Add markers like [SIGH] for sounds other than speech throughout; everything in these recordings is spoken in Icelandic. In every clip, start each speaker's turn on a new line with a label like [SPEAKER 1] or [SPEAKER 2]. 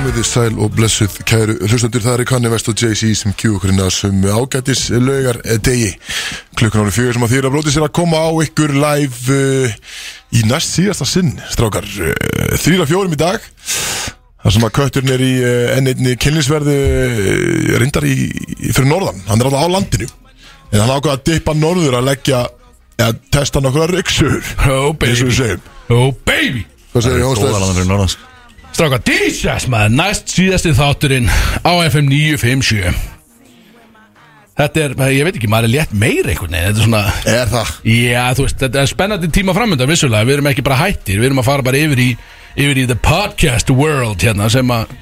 [SPEAKER 1] Verðið sæl og blessuð kæru hlustandur Það er Kanni Vest og Jay-Z sem kjú okkur inn að sem ágætis laugar degi Klukkan árið fjögur sem að þýra blótið sér að koma á ykkur live uh, í næst síðasta sinn Strákar, uh, þrýra fjórum í dag þar sem að kötturinn er í uh, N1 kynlisverðu uh, reyndar í, í, fyrir norðan Hann er alltaf á landinu En hann ákvað að dippa norður að leggja eða testa nokkra ryggsur
[SPEAKER 2] Oh
[SPEAKER 1] eins og við
[SPEAKER 2] baby
[SPEAKER 1] segjum
[SPEAKER 2] Oh baby
[SPEAKER 1] Hvað segir
[SPEAKER 3] Góðan
[SPEAKER 1] Jónsleif?
[SPEAKER 3] andur í norðans
[SPEAKER 2] Stráka Jesus maður Næst síðasti þátturinn Á FM 957 Þetta er, ég veit ekki, maður er létt meir einhvern veginn Þetta er svona
[SPEAKER 1] Er það?
[SPEAKER 2] Já, þú veist, þetta er spennandi tíma framönda Vissulega, við erum ekki bara hættir Við erum að fara bara yfir í Yfir í the podcast world hérna Sem að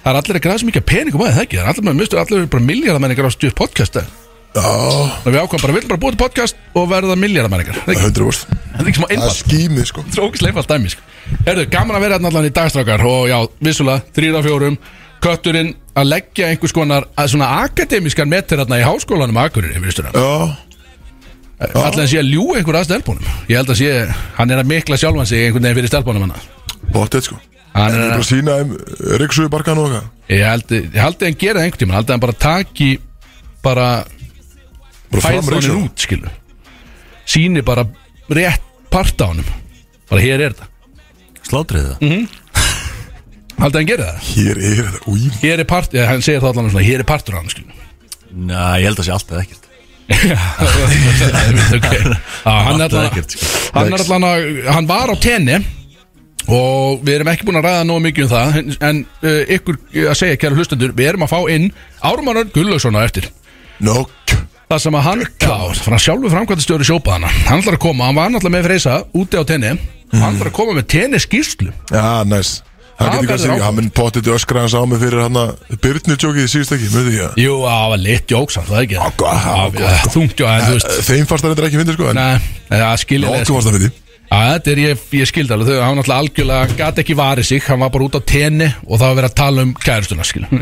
[SPEAKER 2] Það er allir að græða svo mikið peningum að það ekki Það er allir með mistur, allir eru bara miljardamenningar á stuð podcasta
[SPEAKER 1] Já,
[SPEAKER 2] Og við ákvæm bara, við viljum bara búið til podcast og verða miljardamenningar Það er ekki-
[SPEAKER 1] 100%
[SPEAKER 2] það er ekki smá
[SPEAKER 1] Það er
[SPEAKER 2] einfalt
[SPEAKER 1] skýmið sko
[SPEAKER 2] Þetta er ógislega einfalt dæmi sko. Herðu, gaman að vera hérna allan í dagstrákar Og já, vissulega, þrýra fjórum Kötturinn að leggja einhvers konar að Svona akademískan metir hérna í háskólanum á Akureyri, viðstu það
[SPEAKER 1] Já,
[SPEAKER 2] Allan sé að ljú einhver að stelpunum Ég held að sé, hann er að mikla sjálfan sig Einhvern veginn fyrir stelpunum hann
[SPEAKER 1] bóttið sko
[SPEAKER 2] Hann
[SPEAKER 1] En
[SPEAKER 2] er
[SPEAKER 1] ég bara
[SPEAKER 2] að,
[SPEAKER 1] sína þeim Riksuðu barkan og eitthvað
[SPEAKER 2] ég held ég held að hann gera það einhvern tímann, held að hann bara taki Bara
[SPEAKER 1] Bara fram
[SPEAKER 2] fæðstónin
[SPEAKER 1] Riksuðu
[SPEAKER 2] út, skilu Sýni bara rétt part á hann Bara hér er þetta
[SPEAKER 3] Slátrið það
[SPEAKER 2] Haldið hann gera það?
[SPEAKER 1] Hér er þetta Új
[SPEAKER 2] Hér er part, eða hann segir það allan svona Hér er partur á hann, skilu
[SPEAKER 3] Næ, ég held að sé alltaf ekkert
[SPEAKER 1] [LAUGHS]
[SPEAKER 2] okay. Já, hann, er
[SPEAKER 3] Alltaf
[SPEAKER 2] allan,
[SPEAKER 3] ekkert, sko.
[SPEAKER 2] hann er allan að hann var á tenni og við erum ekki búin að ræða nóg mikið um það en- en uh, ykkur að segja kæra hlustendur við erum að fá inn Ármannar Gullaugssona eftir
[SPEAKER 1] Nók
[SPEAKER 2] það sem að hann klár frá sjálfu framkvæmtastjóri sjópaðana hann ætlar að koma, hann var náttúrulega með freysa úti á tenni hann ætlar að koma með tenni skýrslu
[SPEAKER 1] Já, næs Hann
[SPEAKER 2] Já,
[SPEAKER 1] getur
[SPEAKER 2] verður
[SPEAKER 1] kannski
[SPEAKER 2] áfram.
[SPEAKER 1] Hann minn pottið öskra hans á mig fyrir hann að Byrnir tjókið í síðust ekki Möðu ekki
[SPEAKER 2] jú, það var lit jóks, það er ekki
[SPEAKER 1] Já, gott, já, gott,
[SPEAKER 2] Já, þungt, já, en þú veist
[SPEAKER 1] það Eh, Þeim fannst það reyndar ekki fyndi sko En
[SPEAKER 2] Nei, það skilja
[SPEAKER 1] okkur fannst það fyndi
[SPEAKER 2] Já, þetta er ég, ég skildi alveg, þau, hann náttúrulega algjörlega gæti ekki varið sig, hann var bara út á tenni og það var verið að tala um kærustuna, skil
[SPEAKER 1] [LAUGHS]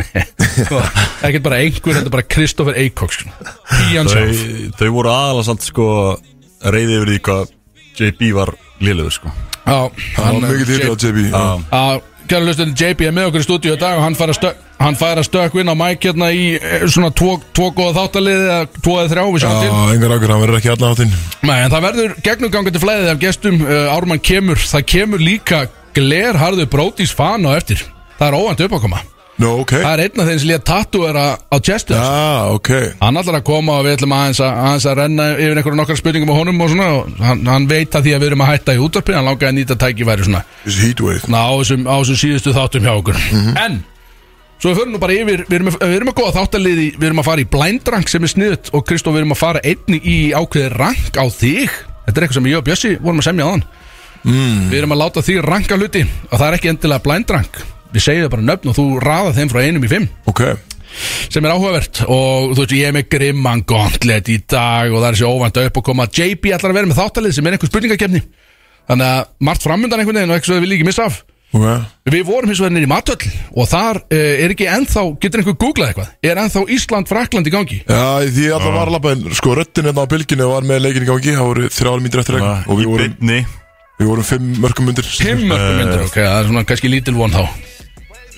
[SPEAKER 2] ekkert bara einhver, þetta er bara sko. Kristoffer Eikók, skil Ían sjálf,
[SPEAKER 3] Þau, þau voru aðalansamt sko reyðið yfir því hvað JB var liðlegur sko
[SPEAKER 2] já,
[SPEAKER 1] Það var mikið til á
[SPEAKER 2] J-
[SPEAKER 1] JB já.
[SPEAKER 2] Já, kæra lustin, JB er með okkur í stúdíu í dag og hann fær að stökk, hann fær að stökk inn á mæk hérna í eh, svona tvo, tvo góða þáttaliði eða tvo eða þrjá, við
[SPEAKER 1] Já,
[SPEAKER 2] sjáum til
[SPEAKER 1] engar ákveður Hann verður ekki allan áttinn
[SPEAKER 2] Nei, en það verður gegnumgangandi flæðið af gestum uh, Ármann kemur, það kemur líka glerharðu brótis fan á eftir það er óvænt uppákoma
[SPEAKER 1] Nó, ok
[SPEAKER 2] Það er einn af þeim sem líka tattúera á chestu
[SPEAKER 1] Já, ok
[SPEAKER 2] Hann ætlar að koma og við ætlum aðeins að, aðeins að renna yfir einhverjum nokkar spurningum á honum og svona og hann, hann veit að því að við erum að hætta í útvarpi hann langaði að nýta tækifæri svona
[SPEAKER 1] Þessi heatwave
[SPEAKER 2] svona á þessum, á þessum síðustu þáttum hjá okkur En, svo við förum nú bara yfir við erum, við erum að góða þáttaliði, við erum að fara í blindrang sem er sniðut og Kristof við erum að fara einni í ákveði rank á þig Þetta er eitthvað sem ég og Bjössi vorum að semja á mm. Við erum að láta þig ranka hluti og það er ekki endilega blindrang Við segjum bara nöfn og þú raða þeim frá einum í fimm
[SPEAKER 1] Ok
[SPEAKER 2] sem er áhugavert og þú veist ég er með grimman gauntlet í dag og það er sér óvænt að upp og koma JB ætlar að vera með þáttalið sem er einhver spurningakefni þannig að margt framundan einhvern veginn og eitthvað sem við líka missa af
[SPEAKER 1] Ok
[SPEAKER 2] við vorum hins vegar niður í matöll og þar uh, er ekki ennþá, getur einhver googlað eitthvað er ennþá Ísland Frakland í gangi
[SPEAKER 1] Já, því ég alltaf var að labba En sko, röttin hérna á bylginu var með leikin í gangi Það voru þrjálf mínir eftir regn Og
[SPEAKER 3] Og
[SPEAKER 1] við
[SPEAKER 3] í
[SPEAKER 1] vorum,
[SPEAKER 3] byrni
[SPEAKER 1] við vorum fimm mörgum undir
[SPEAKER 2] Fimm mörgum myndir, Eh, ok, það er svona kannski lítil von þá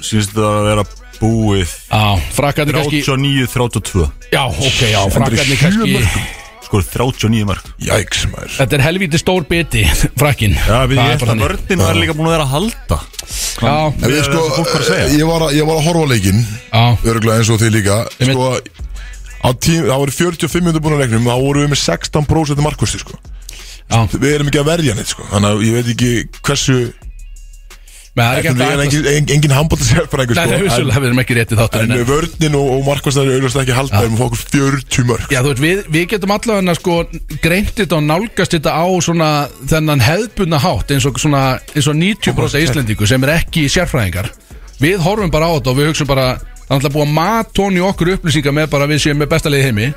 [SPEAKER 3] sínst þetta að vera búið
[SPEAKER 2] Já, frakarnir kannski
[SPEAKER 3] 39-32
[SPEAKER 2] Já, ok, já, frakarnir
[SPEAKER 1] sjö
[SPEAKER 2] kannski
[SPEAKER 1] mörkum.
[SPEAKER 3] Skor 39 mark
[SPEAKER 1] Jæks, maður
[SPEAKER 2] Þetta er helvíti stór biti, frakkin
[SPEAKER 3] Já, við ég eftir að
[SPEAKER 2] þannig.
[SPEAKER 3] vörðin var líka búin að vera að halda
[SPEAKER 2] Já,
[SPEAKER 1] En við
[SPEAKER 3] Miðað við
[SPEAKER 1] sko,
[SPEAKER 3] það sem fólk var að segja.
[SPEAKER 1] ég var að, ég var að horfa á leikinn
[SPEAKER 2] já,
[SPEAKER 1] Örgulega eins og þið líka
[SPEAKER 2] Ég veit-
[SPEAKER 1] Sko, á tím, það voru 45 minnur búin að leiknum þá vorum við með 16% markvösti sko.
[SPEAKER 2] já
[SPEAKER 1] Við erum ekki að verja neitt sko. Þannig að ég veit ekki hversu
[SPEAKER 2] Men það er ekki
[SPEAKER 1] Við
[SPEAKER 2] hægt
[SPEAKER 1] erum
[SPEAKER 2] að
[SPEAKER 1] engin, engin, engin handbóta sérfræðingur
[SPEAKER 2] Nei, nei,
[SPEAKER 1] sko.
[SPEAKER 2] vissulega, við erum ekki rétti
[SPEAKER 1] En,
[SPEAKER 2] þátturinn
[SPEAKER 1] en vörnin og, og markvöstaðar er auðvitað ekki að halda Við erum fókus 40 mörg
[SPEAKER 2] Já, þú veist, við, við getum allavega sko greint þetta og nálgast þetta á svona þennan hefðbunna hátt eins og svona, eins og 90% íslendingu sem er ekki sérfræðingar Við horfum bara á þetta og við hugsaum bara það er alltaf búið að matóni okkur upplýsingar með bara að við séum með besta leið heimi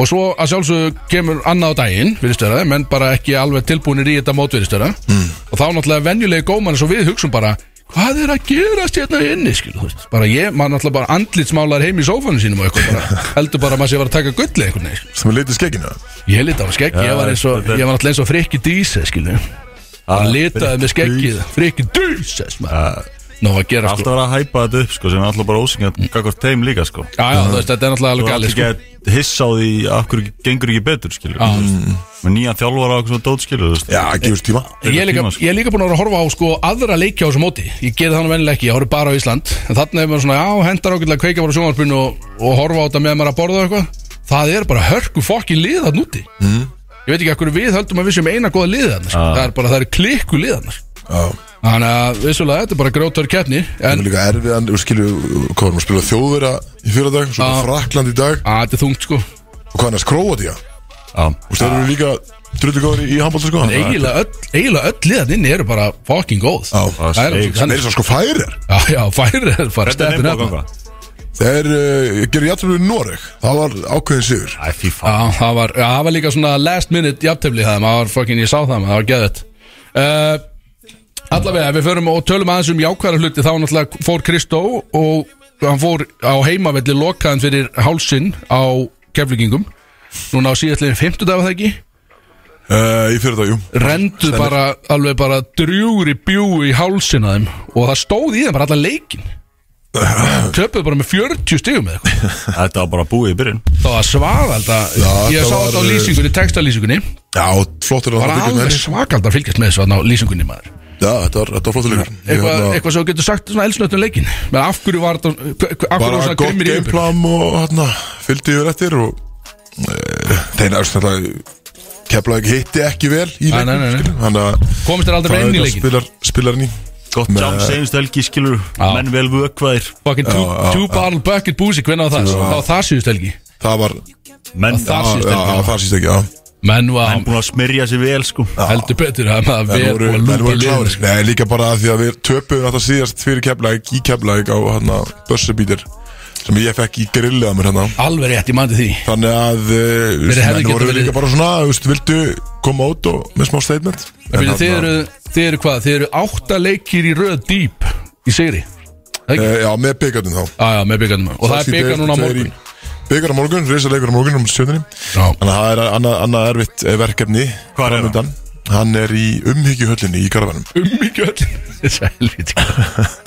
[SPEAKER 2] og svo að sjálfsögðu kemur annað á daginn virðistöra, menn bara ekki alveg tilbúinir í þetta mót virðistöra mm. og þá náttúrulega venjulegi góman eins og við hugsaum bara hvað er að gerast hérna inni skil, bara ég, maður náttúrulega bara andlitsmálar heim í sófanu sínum og
[SPEAKER 3] [LAUGHS]
[SPEAKER 2] eitthvað bara, heldur bara að maður sé að vera að taka gull eða eitthvað neins
[SPEAKER 1] Sem er litið skeggina
[SPEAKER 2] ég liti á mig skegg, ég var eins og
[SPEAKER 3] þetta er-
[SPEAKER 2] ég var náttúrulega eins og frikki dísa skilu hann litaði með skeggið frikki dísa
[SPEAKER 3] Uh,
[SPEAKER 2] Nó að gera
[SPEAKER 3] Alltaf
[SPEAKER 2] sko
[SPEAKER 3] verið að hæpa þetta upp sko sem er alltaf bara ósingað Gagvart teim líka sko
[SPEAKER 2] Já, já, þú veist, þetta er náttúrulega
[SPEAKER 3] Þú
[SPEAKER 2] alveg
[SPEAKER 3] er
[SPEAKER 2] galið
[SPEAKER 3] alltaf ekki
[SPEAKER 2] sko
[SPEAKER 3] að hissa á því af hverju gengur ekki betur skilur
[SPEAKER 2] Já.
[SPEAKER 3] mm. Með nýja þjálfara og okkur svona dót skilur þú veist.
[SPEAKER 1] Já, gefur tíma
[SPEAKER 2] Ég er, líka,
[SPEAKER 3] Tíma, sko.
[SPEAKER 2] ég er líka búin að vera að horfa á sko aðra leikja á þessu móti Ég gerði þannig vennilega ekki, ég horf bara á Ísland En þarna er maður svona, já, hendar ákveðlega að kveika bara á sjónvarpinu og, og horfa á þetta með maður að borða og eitthvað Það er bara hörku fokki lið þarna úti mm. Ég veit ekki að hverju við höldum að við séum eina góða lið þarna sko.
[SPEAKER 3] Já.
[SPEAKER 2] Það er bara, það eru klikku lið þarna sko.
[SPEAKER 1] Já,
[SPEAKER 2] Þannig að vissulega, þetta er bara grótar keppni
[SPEAKER 1] það
[SPEAKER 2] En
[SPEAKER 1] er líka erfiðan, þú skilju, hvað varum að spila þjóðverja í fyrra dag, svo
[SPEAKER 2] Já.
[SPEAKER 1] Frakland í dag
[SPEAKER 2] að þetta er þungt sko
[SPEAKER 1] og hvað annars Króatía
[SPEAKER 3] Já.
[SPEAKER 1] og þeir eru líka drullu góður í, í handbólta sko Þannig að-
[SPEAKER 2] Eiginlega öll, eiginlega öll liðan inni eru bara fucking góð
[SPEAKER 1] Já,
[SPEAKER 2] Það er alveg
[SPEAKER 3] steik.
[SPEAKER 1] Þeir
[SPEAKER 2] þannig.
[SPEAKER 1] eru svo sko færir
[SPEAKER 2] Já, já, færi er bara
[SPEAKER 3] Þetta er
[SPEAKER 2] stefnir
[SPEAKER 3] nefn
[SPEAKER 2] efna.
[SPEAKER 3] að ganga
[SPEAKER 1] Þeir uh, gerur játtrúið Noreg Það var ákveðin sigur
[SPEAKER 3] Æ, fífa
[SPEAKER 2] Já, það var, já, það var líka svona last minute jafntefli það, maður var fucking, ég sá það, maður var geðið uh, Allavega, við förum og tölum aðeins um jákvæðar hluti þá náttúrulega fór Kristó og hann fór á heimavelli lokaðan fyrir hálsin á keflingingum núna á síðastlegin 50 dag var það ekki
[SPEAKER 1] uh, Í fyrir dag, jú [CLEARS THROAT]
[SPEAKER 2] rendu bara, alveg bara drjúri bjú í hálsin að þeim og það stóð í þeim bara allan leikin töpuðu bara með 40 stigum eða eitthvað
[SPEAKER 3] Þetta var bara búið í byrjun
[SPEAKER 2] Það var svaðald að ég
[SPEAKER 1] þetta
[SPEAKER 2] sá
[SPEAKER 1] var,
[SPEAKER 2] þetta á
[SPEAKER 1] uh,
[SPEAKER 2] lýsingunni, textalýsingunni
[SPEAKER 1] Já, flottur að það
[SPEAKER 2] Bara
[SPEAKER 1] byggjum
[SPEAKER 2] alveg
[SPEAKER 1] henni
[SPEAKER 2] svakald að fylgjast með þessu þarna á lýsingunni maður
[SPEAKER 1] Já, þetta var, þetta var flottur leikur Ég
[SPEAKER 2] Eitthvað,
[SPEAKER 1] hérna-
[SPEAKER 2] eitthvað sem þú getur sagt svona elsnöttum leikin Men af hverju var þetta hver- hver- Af hverju var
[SPEAKER 1] Bara
[SPEAKER 2] svona
[SPEAKER 1] gott
[SPEAKER 2] grimmir í uppbyrjun
[SPEAKER 1] gameplan og hérna Fylgdi yfir eftir og uh, Þeir náttúrulega Keflaði ekki hitti ekki vel í
[SPEAKER 2] Nei, nei,
[SPEAKER 1] leikum
[SPEAKER 2] nei, nei.
[SPEAKER 1] Þannig að
[SPEAKER 2] Komist þér aldrei
[SPEAKER 1] það
[SPEAKER 2] bara inn í
[SPEAKER 1] auðvitað
[SPEAKER 2] leikin
[SPEAKER 1] spilar, spilar ný
[SPEAKER 3] Gott
[SPEAKER 1] Með-
[SPEAKER 3] jams einust helgi skilur
[SPEAKER 2] Já.
[SPEAKER 3] Menn vel vökvaðir
[SPEAKER 2] Fucking two, two barrel bucket búsi Hvernig var það? Það var það síðust helgi
[SPEAKER 1] Það var
[SPEAKER 3] Menn
[SPEAKER 2] Það
[SPEAKER 1] Já,
[SPEAKER 2] síðust
[SPEAKER 1] já,
[SPEAKER 2] helgi
[SPEAKER 1] það síst ekki, já
[SPEAKER 2] Menn var
[SPEAKER 3] Menn búin að smyrja sér vel sko
[SPEAKER 2] heldur betur að
[SPEAKER 1] Menn
[SPEAKER 2] maður vel
[SPEAKER 1] voru,
[SPEAKER 2] og
[SPEAKER 1] menn voru
[SPEAKER 2] lúpa
[SPEAKER 1] sko. klári
[SPEAKER 2] liðin
[SPEAKER 1] Nei, líka bara að því að við töpuðum þetta síðast fyrir keflaðið í keflaðið á hérna, bössubítir sem ég fekk í grillið að mér hérna
[SPEAKER 2] Alveg rétt, ég mandi því
[SPEAKER 1] Þannig að uh,
[SPEAKER 2] Þeir hefðu
[SPEAKER 1] menn
[SPEAKER 2] getað
[SPEAKER 1] voru
[SPEAKER 2] verið-
[SPEAKER 1] líka bara svona þú veist, Vildu koma út og með smá statement hérna,
[SPEAKER 2] En byrju, Þið eru, þið eru hvað? Þið eru átta leikir í röð dýp Í sigri
[SPEAKER 1] e, Já, með byggarnir þá
[SPEAKER 2] Já, já, með byggarnum Og það er byggar núna á morgun
[SPEAKER 1] Byggar á morgun, reysa leikur á morgun um sjöndinni
[SPEAKER 2] Já.
[SPEAKER 1] Þannig að það er annað, annað erfitt eh, verkefni
[SPEAKER 3] Hvar er hann?
[SPEAKER 1] framundan. Hann er í umhyggjuhöllinni í Garðanum
[SPEAKER 2] [LAUGHS] Ummikjöld Þessi helviti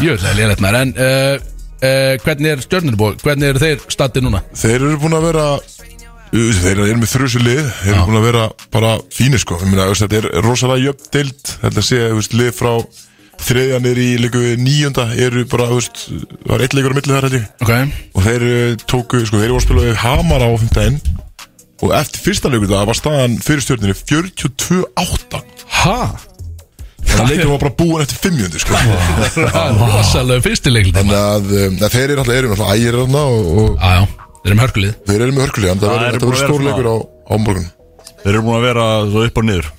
[SPEAKER 2] Ég vil að lélætt maður En uh, uh, hvernig er stjörnurbóð? Hvernig eru þeir statið núna?
[SPEAKER 1] Þeir eru búin að vera uh, Þeir eru með þrjusu lið Þeir eru búin að vera bara fínir sko Ég meina, þú veist, Þetta er rosalega jöfn deild Þetta sé þú veist, lið frá þriðja niður í líku níunda eru bara, þú veist, það var eitt leikur á milli þar held ég
[SPEAKER 2] Ok
[SPEAKER 1] og þeir uh, tóku, sko, þeir voru að spila við Hamar á 15 og eftir fyrsta leikur það var staðan fyrir stjórnir 42-8
[SPEAKER 2] [LAUGHS] Ha?
[SPEAKER 1] þannig að leikur var bara búin eftir 500 sko.
[SPEAKER 2] Rosalega fyrstileikli Já,
[SPEAKER 1] þannig að, um, að þeir eru alltaf, eru alltaf ægir þarna og, og
[SPEAKER 2] já Þeir eru með hörkulið
[SPEAKER 1] þeir eru með hörkulega
[SPEAKER 3] Það
[SPEAKER 1] það verður-
[SPEAKER 3] eru
[SPEAKER 1] þetta
[SPEAKER 3] búin
[SPEAKER 1] verður
[SPEAKER 3] að
[SPEAKER 1] stór
[SPEAKER 3] vera
[SPEAKER 1] leikur á, á morgun
[SPEAKER 3] Þeir eru búin að vera svo upp og niður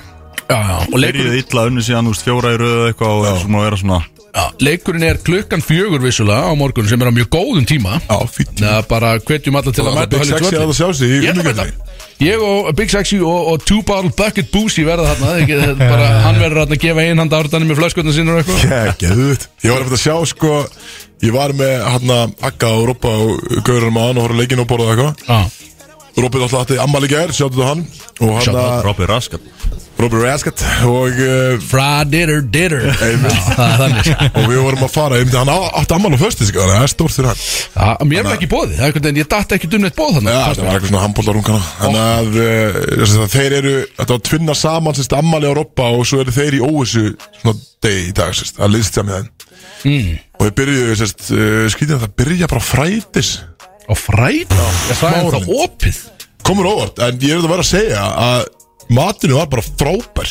[SPEAKER 2] Já, já Og leikurinn,
[SPEAKER 3] Byrjuð illa unni síðan úst fjóra í röðu eitthvað og er svo búin að vera svona
[SPEAKER 2] já, leikurinn er klukkan fjögur vissulega á morgun sem er á mjög góðum tíma
[SPEAKER 1] já, fýtt
[SPEAKER 2] Það er bara hvetjum alla til að
[SPEAKER 1] það er
[SPEAKER 2] mæta
[SPEAKER 1] bygg 6
[SPEAKER 2] Höllu Tvöllu.
[SPEAKER 1] að það sjá sig í
[SPEAKER 2] Ég ætla að
[SPEAKER 1] umhverfinni
[SPEAKER 2] mæta Ég og Big Sexy og, og Two Bottle Bucket Boozy verða þarna Þeir geta- bara, Hann verður þarna að gefa einhanda ártanum með flöskutna sínur og eitthvað [LAUGHS]
[SPEAKER 1] Gekkjaðut Ég var eftir að sjá sko Ég var með hérna Akka og Rópa og Gauran maðan og horfði á leikinn og borðaði eitthvað
[SPEAKER 2] Já,
[SPEAKER 1] Rópa er alltaf hætti ammali gær, sjáttu þú hann Og hann
[SPEAKER 2] Shout
[SPEAKER 1] að
[SPEAKER 3] Robby Raskat
[SPEAKER 1] Robert Raskat og, uh,
[SPEAKER 2] Fra ditter ditter
[SPEAKER 1] Einmitt.
[SPEAKER 2] Já, það er þannig sko.
[SPEAKER 1] og við vorum að fara um því hann á- átti ammál á föstu sko, þannig að það er stórt fyrir hann
[SPEAKER 2] Já, mér var ekki bóðið, það er einhvern veginn, ég datt ekki dumnett bóð þannig
[SPEAKER 1] Já, það var eitthvað svona handbóllarungana Þannig að eh, þess að þeir eru Þetta var að tvinna saman sérst ammali á Robba Og svo eru þeir í óvissu Svona degi í dag sérst, það liðst saman í þeim mm. Og þeir byrjuðu sérst uh, Skrítið að það byrja bara frætis
[SPEAKER 2] Og fræta, ég það er
[SPEAKER 1] smáralind.
[SPEAKER 2] það opið
[SPEAKER 1] Komur óvart, en ég er þetta bara að segja Að matinu var bara frábær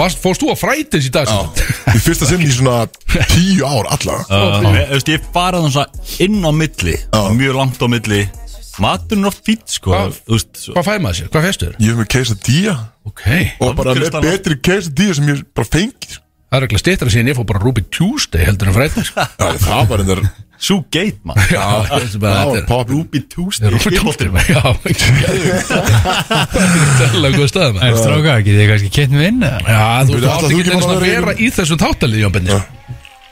[SPEAKER 2] Varst, Fórst þú að frætins í dag? Já
[SPEAKER 1] Í fyrsta sinn í svona tíu ár allavega
[SPEAKER 3] Þú veist, ég fara þannig að inn á milli Mjög langt á milli Maturinn er oft fýtt sko
[SPEAKER 2] Hvað?
[SPEAKER 3] Þú veist, svo-
[SPEAKER 2] [LAUGHS] Hvað fæði maður sér? Hvað festu þér?
[SPEAKER 1] Ég hef með keisa dýja
[SPEAKER 2] Ok Það
[SPEAKER 1] Og bara með
[SPEAKER 3] Kristallar.
[SPEAKER 1] betri keisa dýja sem ég bara fengi sko.
[SPEAKER 2] er ekki stýttra síðan ég fór bara Ruby Tuesday heldur en frætins Já,
[SPEAKER 1] [LAUGHS] Já, það var einhver
[SPEAKER 3] Sú geit maður
[SPEAKER 2] þetta er
[SPEAKER 1] Já,
[SPEAKER 2] bara þetta er
[SPEAKER 1] pappi
[SPEAKER 3] [LAUGHS] Rúbi Tuesday
[SPEAKER 2] Ruby Tuesday maður.
[SPEAKER 1] [LAUGHS]
[SPEAKER 2] Já, það er góð stað
[SPEAKER 4] En
[SPEAKER 2] maður
[SPEAKER 4] stráka, getið þið kannski kynnt með inn eða?
[SPEAKER 2] Já,
[SPEAKER 1] Veitu,
[SPEAKER 2] þú veist,
[SPEAKER 1] ætlar
[SPEAKER 2] átti
[SPEAKER 1] þú
[SPEAKER 2] ekki
[SPEAKER 1] ekki
[SPEAKER 2] eins
[SPEAKER 1] bara
[SPEAKER 2] að
[SPEAKER 1] að vera
[SPEAKER 2] vera í þessum tátalið, Jón Benni Já,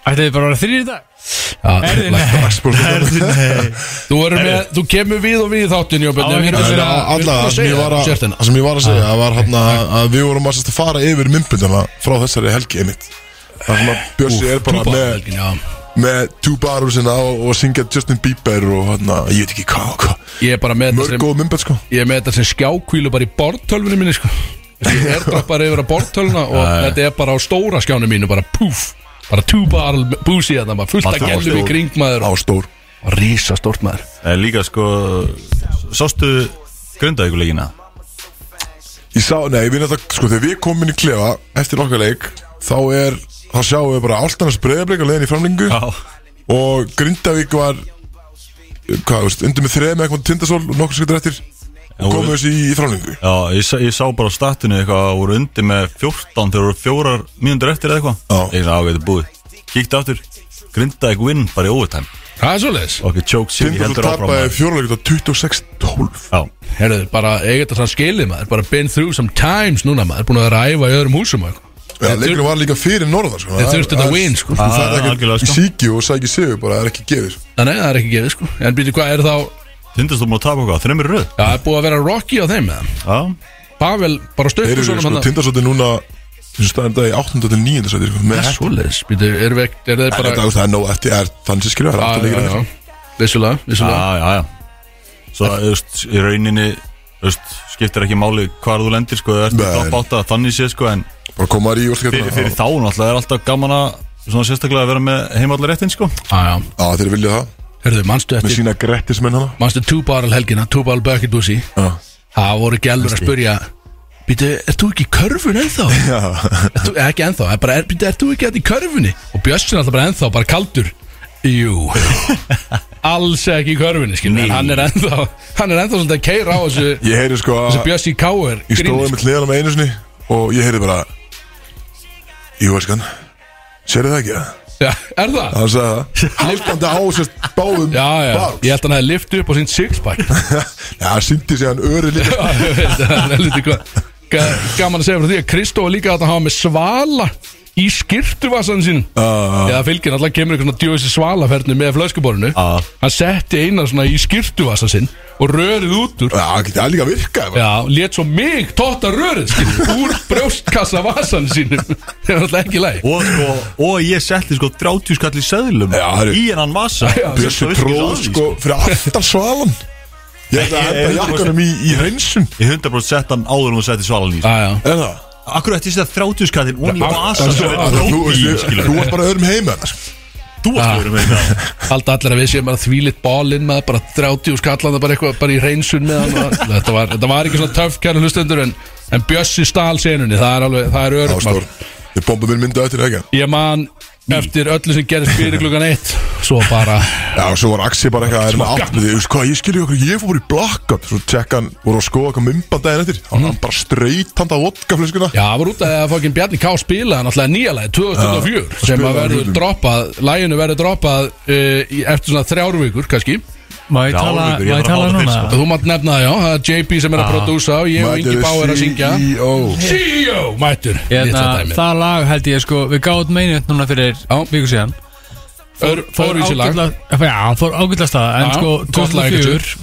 [SPEAKER 4] Ættu þið bara að vera þrýr í dag? Herðu,
[SPEAKER 2] náttúrulega.
[SPEAKER 4] nei.
[SPEAKER 2] Þú, erum með, þú kemur við og við í þáttin Jón Benni
[SPEAKER 4] Já,
[SPEAKER 2] við erum
[SPEAKER 4] en
[SPEAKER 2] að vera- við erum
[SPEAKER 1] Alla,
[SPEAKER 2] að
[SPEAKER 1] það sem ég
[SPEAKER 2] segja
[SPEAKER 1] var að
[SPEAKER 2] sértina.
[SPEAKER 1] Það sem ég var að segja Það var hann að að við vorum að sérst að fara yfir myndbundana Frá þessari helgi einmitt Það sem að Björsi er bara
[SPEAKER 2] Túpahelgin,
[SPEAKER 1] með
[SPEAKER 2] já.
[SPEAKER 1] með two barur sinna og, og syngja Justin Bieber og hann ég veit ekki hvað og hvað
[SPEAKER 2] Ég er bara með þetta
[SPEAKER 1] mörg
[SPEAKER 2] sem
[SPEAKER 1] góð mymbet sko
[SPEAKER 2] Ég er með þetta sem skjákvílu bara í bortölfunni minni sko
[SPEAKER 1] [LAUGHS]
[SPEAKER 2] Ég er droppar yfir að bortöluna og þetta er bara á stóra skjánu mínu bara púf bara tuba búsi að það maður fullt að
[SPEAKER 3] Bara
[SPEAKER 2] gælum í
[SPEAKER 3] stór.
[SPEAKER 2] kring maður
[SPEAKER 1] á stór
[SPEAKER 2] og rísa stort maður
[SPEAKER 3] En líka sko Sástu grundaðíkuleikina
[SPEAKER 1] Ég sá, nei, við náttúrulega, sko, þegar við komum inn í klefa eftir okkar leik, þá er þá sjáum við bara alltannars breyðablik að leiðin í framlingu og Grindavík var eh, hvað, þú veist, undir með þreð með eitthvað tindasól og nokkur skiltur eftir og komum þessi í, í framlingu
[SPEAKER 3] Já, ég, sá- ég sá bara á statinu eitthvað að voru undir með 14 þegar voru fjórar mínútur eftir
[SPEAKER 1] Já.
[SPEAKER 3] eða eitthvað Ég sagði ágæti búið Kíkti aftur Grindaðík vinn bara í overtime
[SPEAKER 2] Það er svoleiðis
[SPEAKER 3] Ok, Choke City
[SPEAKER 1] Tindasól
[SPEAKER 3] heldur áfram
[SPEAKER 1] tapaði
[SPEAKER 3] maður.
[SPEAKER 1] fjóruleikur á 26-12
[SPEAKER 3] Já,
[SPEAKER 2] Herðu, bara eigið þetta svona skilið maður Bara been through some times núna maður Búin að vera að æfa í öðrum húsum og eitthvað
[SPEAKER 1] Já, leikurinn var líka fyrir norðar, sko
[SPEAKER 2] Þeir þurftu þetta win, sko.
[SPEAKER 1] Þú
[SPEAKER 3] Ah,
[SPEAKER 1] færði
[SPEAKER 3] algjörlega,
[SPEAKER 1] ekki
[SPEAKER 3] sko.
[SPEAKER 1] í síkju og sækir sigur bara, það er ekki gefið sko.
[SPEAKER 2] Nei, það er ekki gefið sko En býtu hvað er þá Já,
[SPEAKER 3] Tindastóð múið að tapa eitthvað, þreymir í röð
[SPEAKER 2] það er búið að vera Rocky á þeim eða
[SPEAKER 3] Já,
[SPEAKER 2] Pavel
[SPEAKER 1] Þeir
[SPEAKER 2] bara stökkur
[SPEAKER 1] eru,
[SPEAKER 2] svona
[SPEAKER 1] sko,
[SPEAKER 2] manna
[SPEAKER 1] Tindasól er núna eins og staðan dag í 8.9. sæti, sko, með hættu
[SPEAKER 2] Svoleiðis, býtu, er við Er þeir
[SPEAKER 1] Það
[SPEAKER 2] bara
[SPEAKER 1] er- það er nóg eftir, er þannig skilja, það er alltaf leikir eftir.
[SPEAKER 2] Vissulega,
[SPEAKER 3] já,
[SPEAKER 2] vissulega
[SPEAKER 3] já, já Svo, þú veist, í rauninni þú veist, skiptir ekki máli hvar þú lendir sko, það ertu
[SPEAKER 1] Nei.
[SPEAKER 3] topp átta, þannig sé sko en
[SPEAKER 1] Bara koma þær í
[SPEAKER 3] fyrir,
[SPEAKER 1] úrstakefna
[SPEAKER 3] fyrir þá náttúrulega er alltaf gaman að svona sérstaklega að vera með heimallar réttin sko
[SPEAKER 2] Já, já
[SPEAKER 1] Já, þeir vilja það
[SPEAKER 2] Herðu, manstu
[SPEAKER 1] Með
[SPEAKER 2] eftir
[SPEAKER 1] sína grettismenn hana
[SPEAKER 2] Manstu two barrel helgina Two barrel bucket bussi
[SPEAKER 1] Já.
[SPEAKER 2] Það voru gælur að spurja Býtu, ert þú ekki í körfun [LAUGHS] ennþá?
[SPEAKER 1] Já,
[SPEAKER 2] Ert þú, eh, ekki ennþá, er bara, er, býttu, ert þú ekki þetta í körfunni? Og Björnsson er alltaf bara ennþá, bara kaldur Jú [LAUGHS] Alls ekki í körfunni, skilur En hann er ennþá, hann er ennþá svolítið að keira á þessu
[SPEAKER 1] ég heyri sko að
[SPEAKER 2] Þessu Björns í káur
[SPEAKER 1] Ég stóði með hliðanum einu sinni Og ég heyri bara Jú, elskan Sérðu það ekki?
[SPEAKER 2] Já, er það?
[SPEAKER 1] Hann sagði
[SPEAKER 2] [LAUGHS]
[SPEAKER 1] það Haldandi á sérst báðum sko.
[SPEAKER 2] Já, já,
[SPEAKER 1] báðs.
[SPEAKER 2] ég held að hann hefði lift upp á sín sixpack
[SPEAKER 1] Já, síndi sig hann öri líka
[SPEAKER 2] Já, ég veit, það er lítið hvað ga- Gaman að segja frá því að Kristó var líka þarna að hafa með svala í skirtuvasan sín
[SPEAKER 1] Já,
[SPEAKER 2] Já, fylgir alltaf kemur eitthvað svona djóðis svalaferðni með flöskuborinu
[SPEAKER 3] Já.
[SPEAKER 2] Hann setti eina svona í skirtuvasa sinn og rörið út úr
[SPEAKER 1] Já, geti það líka virkað bara.
[SPEAKER 2] Já, lét svo mig tóta rörið skilur, úr brjóstkassa vasan sínum [LAUGHS] Það er alltaf ekki læg
[SPEAKER 3] og, sko, og ég setti sko 30 skall í söðlum
[SPEAKER 1] Já, það eru-
[SPEAKER 3] í hennan vasa
[SPEAKER 2] Já,
[SPEAKER 3] Svo
[SPEAKER 1] Bjössi
[SPEAKER 3] vissi
[SPEAKER 1] tróð
[SPEAKER 3] ekki
[SPEAKER 1] sko Fyrir aftan svalan Ég ætla að
[SPEAKER 3] Nei,
[SPEAKER 1] henda
[SPEAKER 3] ég- ég-
[SPEAKER 1] jakkanum í, í hreinsun
[SPEAKER 3] það í. Ég 100% sett hann áður en hún setti svalan í sko.
[SPEAKER 2] Já,
[SPEAKER 1] Er það?
[SPEAKER 3] Akkur ætti þetta 30 skallin og í
[SPEAKER 2] Já,
[SPEAKER 3] vasa
[SPEAKER 1] Það
[SPEAKER 3] sem
[SPEAKER 1] er
[SPEAKER 3] er
[SPEAKER 1] svo-
[SPEAKER 3] tróð
[SPEAKER 1] Þú
[SPEAKER 3] í,
[SPEAKER 1] veist,
[SPEAKER 3] skilur.
[SPEAKER 1] þú varst bara öðrum heima sko.
[SPEAKER 3] Þú varst verið með það
[SPEAKER 2] haldi allir að við séum bara þvílitt bólinn með bara 30 og skallan bara eitthvað bara í reynsun með hann og- þetta var, þetta var ekki svona töff kæra hlustendur en, en Bjössi stál senunni, það er alveg, það er
[SPEAKER 1] Já,
[SPEAKER 2] örygg
[SPEAKER 1] stór Við bombum minn myndu eftir ekki
[SPEAKER 2] Ég man eftir öllu sem gerist fyrir klukkan eitt svo bara,
[SPEAKER 1] Já, og svo var Axi bara eitthvað að er með átt með því, veist hvað, ég skilja okkur, ég fór bara í blackout Svo tjekka hann, voru að skoða eitthvað mymbandaginn eftir
[SPEAKER 2] Mhm.
[SPEAKER 1] Hann mm. bara streit handa vodkaflöskuna
[SPEAKER 2] já, það var út af því að fokkin Bjarni K. spilaði hann alltaf nýja lagi 2004 sem að
[SPEAKER 1] spilaði
[SPEAKER 2] verður
[SPEAKER 1] hlutum.
[SPEAKER 2] droppað, læginu verður droppað uh, í- eftir svona þrjár vikur, kannski
[SPEAKER 4] Má ég
[SPEAKER 3] Já,
[SPEAKER 4] tala,
[SPEAKER 3] Álfur, ég var
[SPEAKER 4] má ég
[SPEAKER 3] að
[SPEAKER 4] tala
[SPEAKER 3] fá það
[SPEAKER 4] núna?
[SPEAKER 3] fyrst,
[SPEAKER 2] Þú mátt nefna það, já, það er JP sem er að
[SPEAKER 4] Ah.
[SPEAKER 2] prodúsa og ég og Ingi Bá er að syngja
[SPEAKER 1] CEO
[SPEAKER 2] CEO, mættur
[SPEAKER 4] Hérna, það lag held ég sko, við gáðum meinu núna fyrir
[SPEAKER 2] Já.
[SPEAKER 4] viku síðan
[SPEAKER 2] Fóru í sér lag
[SPEAKER 4] ágætlega- Já, fór ágætla stað, en
[SPEAKER 2] Já,
[SPEAKER 4] sko
[SPEAKER 2] gott lag,
[SPEAKER 4] 2004,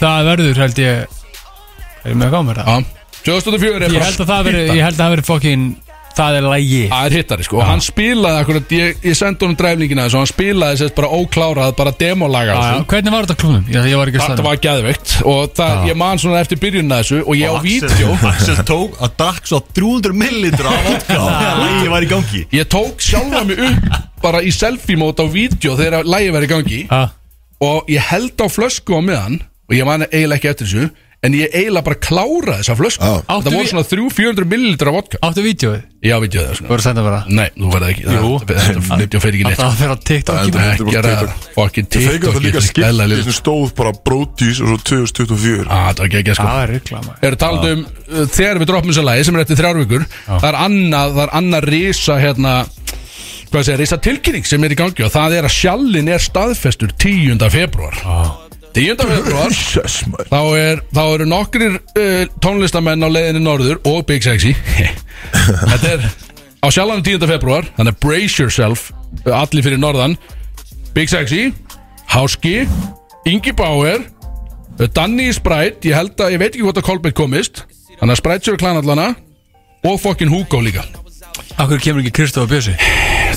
[SPEAKER 4] það verður held ég Er ég með að gáða mér það?
[SPEAKER 2] Já. 2004 er
[SPEAKER 4] Ég
[SPEAKER 2] bara
[SPEAKER 4] held að það veri,
[SPEAKER 2] hittari.
[SPEAKER 4] ég held að það veri fokkin, það er lagi
[SPEAKER 2] Það er hittari sko, og hann spilaði akkurat, ég, ég sendi honum dræflingina þessu og hann spilaði sérst bara óklárað, bara demolaga á
[SPEAKER 4] Já, já,
[SPEAKER 2] þessu.
[SPEAKER 4] Hvernig var þetta klúnum? Ég, ég var ekki að
[SPEAKER 2] Þetta
[SPEAKER 4] staðnum.
[SPEAKER 2] var gæðveikt og það, ég man svona eftir byrjunna þessu og ég á
[SPEAKER 3] Og Axel-
[SPEAKER 2] vídeo
[SPEAKER 3] [LAUGHS] Axel tók að drakk svo 300 millilitra af vodka Þegar ég var í gangi
[SPEAKER 2] Ég tók sjálfa mig upp bara í selfie mót á vídeo þegar að lægi verið í gangi
[SPEAKER 4] Já,
[SPEAKER 2] og ég held á flösku á meðan og ég man eiginlega ekki eftir þessu en ég eiginlega bara kláraði þessa flösku
[SPEAKER 1] Já.
[SPEAKER 2] þetta
[SPEAKER 4] Áttu
[SPEAKER 2] voru
[SPEAKER 4] við-
[SPEAKER 2] svona 300-400 millilitra vodka
[SPEAKER 4] Áttu vídjóið?
[SPEAKER 2] já, veit ég það
[SPEAKER 4] Þú
[SPEAKER 2] svona
[SPEAKER 4] voru að senda bara
[SPEAKER 2] nei, þú verði ekki
[SPEAKER 4] Jú.
[SPEAKER 2] þetta þetta- þetta fer ekki neitt
[SPEAKER 4] Það var að vera á
[SPEAKER 1] Það
[SPEAKER 4] TikTok
[SPEAKER 1] er
[SPEAKER 4] í
[SPEAKER 1] bara-
[SPEAKER 4] mig.
[SPEAKER 2] ekki að ræða fokkin
[SPEAKER 1] Þeir fengur
[SPEAKER 2] TikTok
[SPEAKER 1] það líka
[SPEAKER 2] ég ætla að
[SPEAKER 1] skilt
[SPEAKER 2] skella
[SPEAKER 1] Því
[SPEAKER 2] lið.
[SPEAKER 1] sem stóð bara brótís og svo 2024
[SPEAKER 2] Á, það var ekki ekki sko
[SPEAKER 4] Það er ruggla maður
[SPEAKER 2] Þegar talað um uh, þegar við droppum þessu lagi sem er eftir þrjár vikur það er annað, það er annað risa hérna hvað segja, risa tilkynning sem er í gangi og það er að sjallin er staðfestur 10. februar 10. februar
[SPEAKER 1] Jesus, maður
[SPEAKER 2] þá, er, þá eru nokkrir uh, tónlistamenn á leiðinni norður og Big Sexy [LAUGHS] Þetta er á sjálfanum 10. februar þannig að brace yourself uh, allir fyrir norðan Big Sexy, Háski Ingi Bauer uh, Danny Sprite, ég held að ég veit ekki hvort að Kolbett komist þannig að Sprite sér klanallana og fokkin Hugo líka
[SPEAKER 4] Akkur kemur ekki Kristof og Bjössi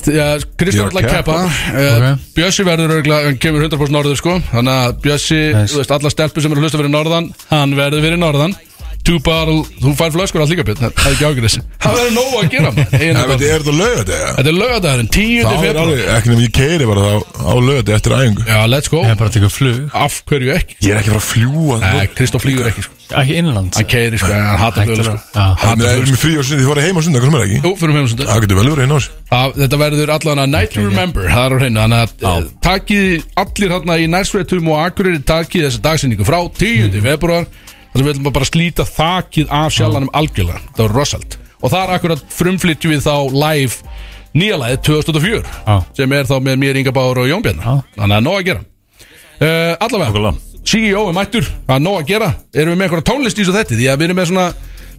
[SPEAKER 1] Ég er
[SPEAKER 2] Kristján
[SPEAKER 1] að
[SPEAKER 2] ætla að keppa okay. Bjössi verður örgulega, hann kemur 100% norður sko Þannig að Bjössi,
[SPEAKER 4] Nice.
[SPEAKER 2] þú veist, alla stelpur sem eru að hlusta fyrir norðan Hann verður fyrir norðan Two barrel, þú fær flöskur allt líka björn Það er ekki ágjörð þessi Það verður nóg að gera maður,
[SPEAKER 1] En
[SPEAKER 2] eiginlega
[SPEAKER 1] veit,
[SPEAKER 2] bara.
[SPEAKER 1] er þetta lögadega?
[SPEAKER 2] Þetta er lögadagurinn, 10.
[SPEAKER 1] Það er
[SPEAKER 2] februar
[SPEAKER 1] alveg, ekki nefnum ég keiri bara þá á lögadega eftir æfingu
[SPEAKER 2] Já, let's go
[SPEAKER 4] Það er bara að teka flug
[SPEAKER 2] Af hverju ekki?
[SPEAKER 1] Ég er ekki að fara að fljúa
[SPEAKER 2] Nei, Kristof flýgur ekki sko
[SPEAKER 4] Ekki innlands
[SPEAKER 2] Hann keiri sko, hann hatar
[SPEAKER 4] Hættur
[SPEAKER 2] fluglega
[SPEAKER 4] að-
[SPEAKER 2] sko
[SPEAKER 4] Já.
[SPEAKER 1] Það er mér frí á sundi, þið farið heim á sundi, hvað sem er ekki?
[SPEAKER 2] Jú, fyrir með
[SPEAKER 1] Það getur vel verið hérna á þessu
[SPEAKER 2] Það, þetta verður allan að Night to Remember Það er á hreinu Þannig að eh, takið allir hérna í nærsveitum og akkurir takið þessa dagsynningu frá 10. Mm. februar þar sem við ætlum að bara slíta þakið af sjallanum algjörlega Það var rosalt Og það er akkurat frumflytjum við þá live nýjalagið 2004
[SPEAKER 4] Já.
[SPEAKER 2] sem er þá með mér Inga Báur og Jón Bjarnar Þannig að nóg að gera uh, Allavega,
[SPEAKER 3] Nákvæmlega.
[SPEAKER 2] CEO er mættur Það er nóg að gera, erum við með einhverja tónlist í þessu þetta Því að við erum með svona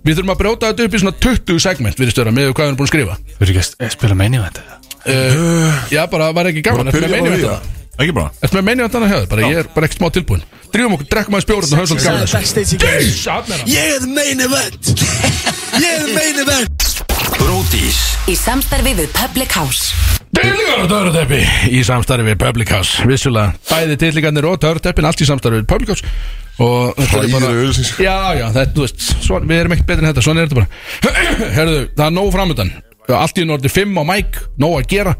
[SPEAKER 2] Við þurfum að brjóta þetta upp í svona 20 segment Við erum störa með hvað við erum búin að skrifa
[SPEAKER 4] Þú verður ekki að spila meini á þetta
[SPEAKER 2] Já, bara var ekki gaman
[SPEAKER 1] Bara
[SPEAKER 2] Ertu
[SPEAKER 1] byrja bara
[SPEAKER 2] með meinið
[SPEAKER 1] við
[SPEAKER 2] þetta?
[SPEAKER 1] það.
[SPEAKER 3] Ekki bara
[SPEAKER 2] Ertu með meinið þetta hér? Bara ég er bara ekkert smá tilbúin Drýfum okkur, drekkum aðeins bjóra Þetta höfum svolítið gaman þessu.
[SPEAKER 5] Backstage í gær.
[SPEAKER 2] Ís, þarna er hann.
[SPEAKER 5] Ég er the main event Ég er the main event
[SPEAKER 3] Bródís
[SPEAKER 6] Í samstarfi við Public House
[SPEAKER 2] Deiligar og töruteppi Í samstarfi við Public House Vissulega, bæði deiligarnir og töruteppin Allt í samstarfi við Public House Og þetta er bara-
[SPEAKER 1] Hræðileg auglýsing.
[SPEAKER 2] Já, já, þetta, þú veist svona, Við erum ekkert betri en þetta, svona er þetta bara [CLEARS THROAT] Herðu, það er nóg framöndan Allt í norti 5 á mæk, nóg að gera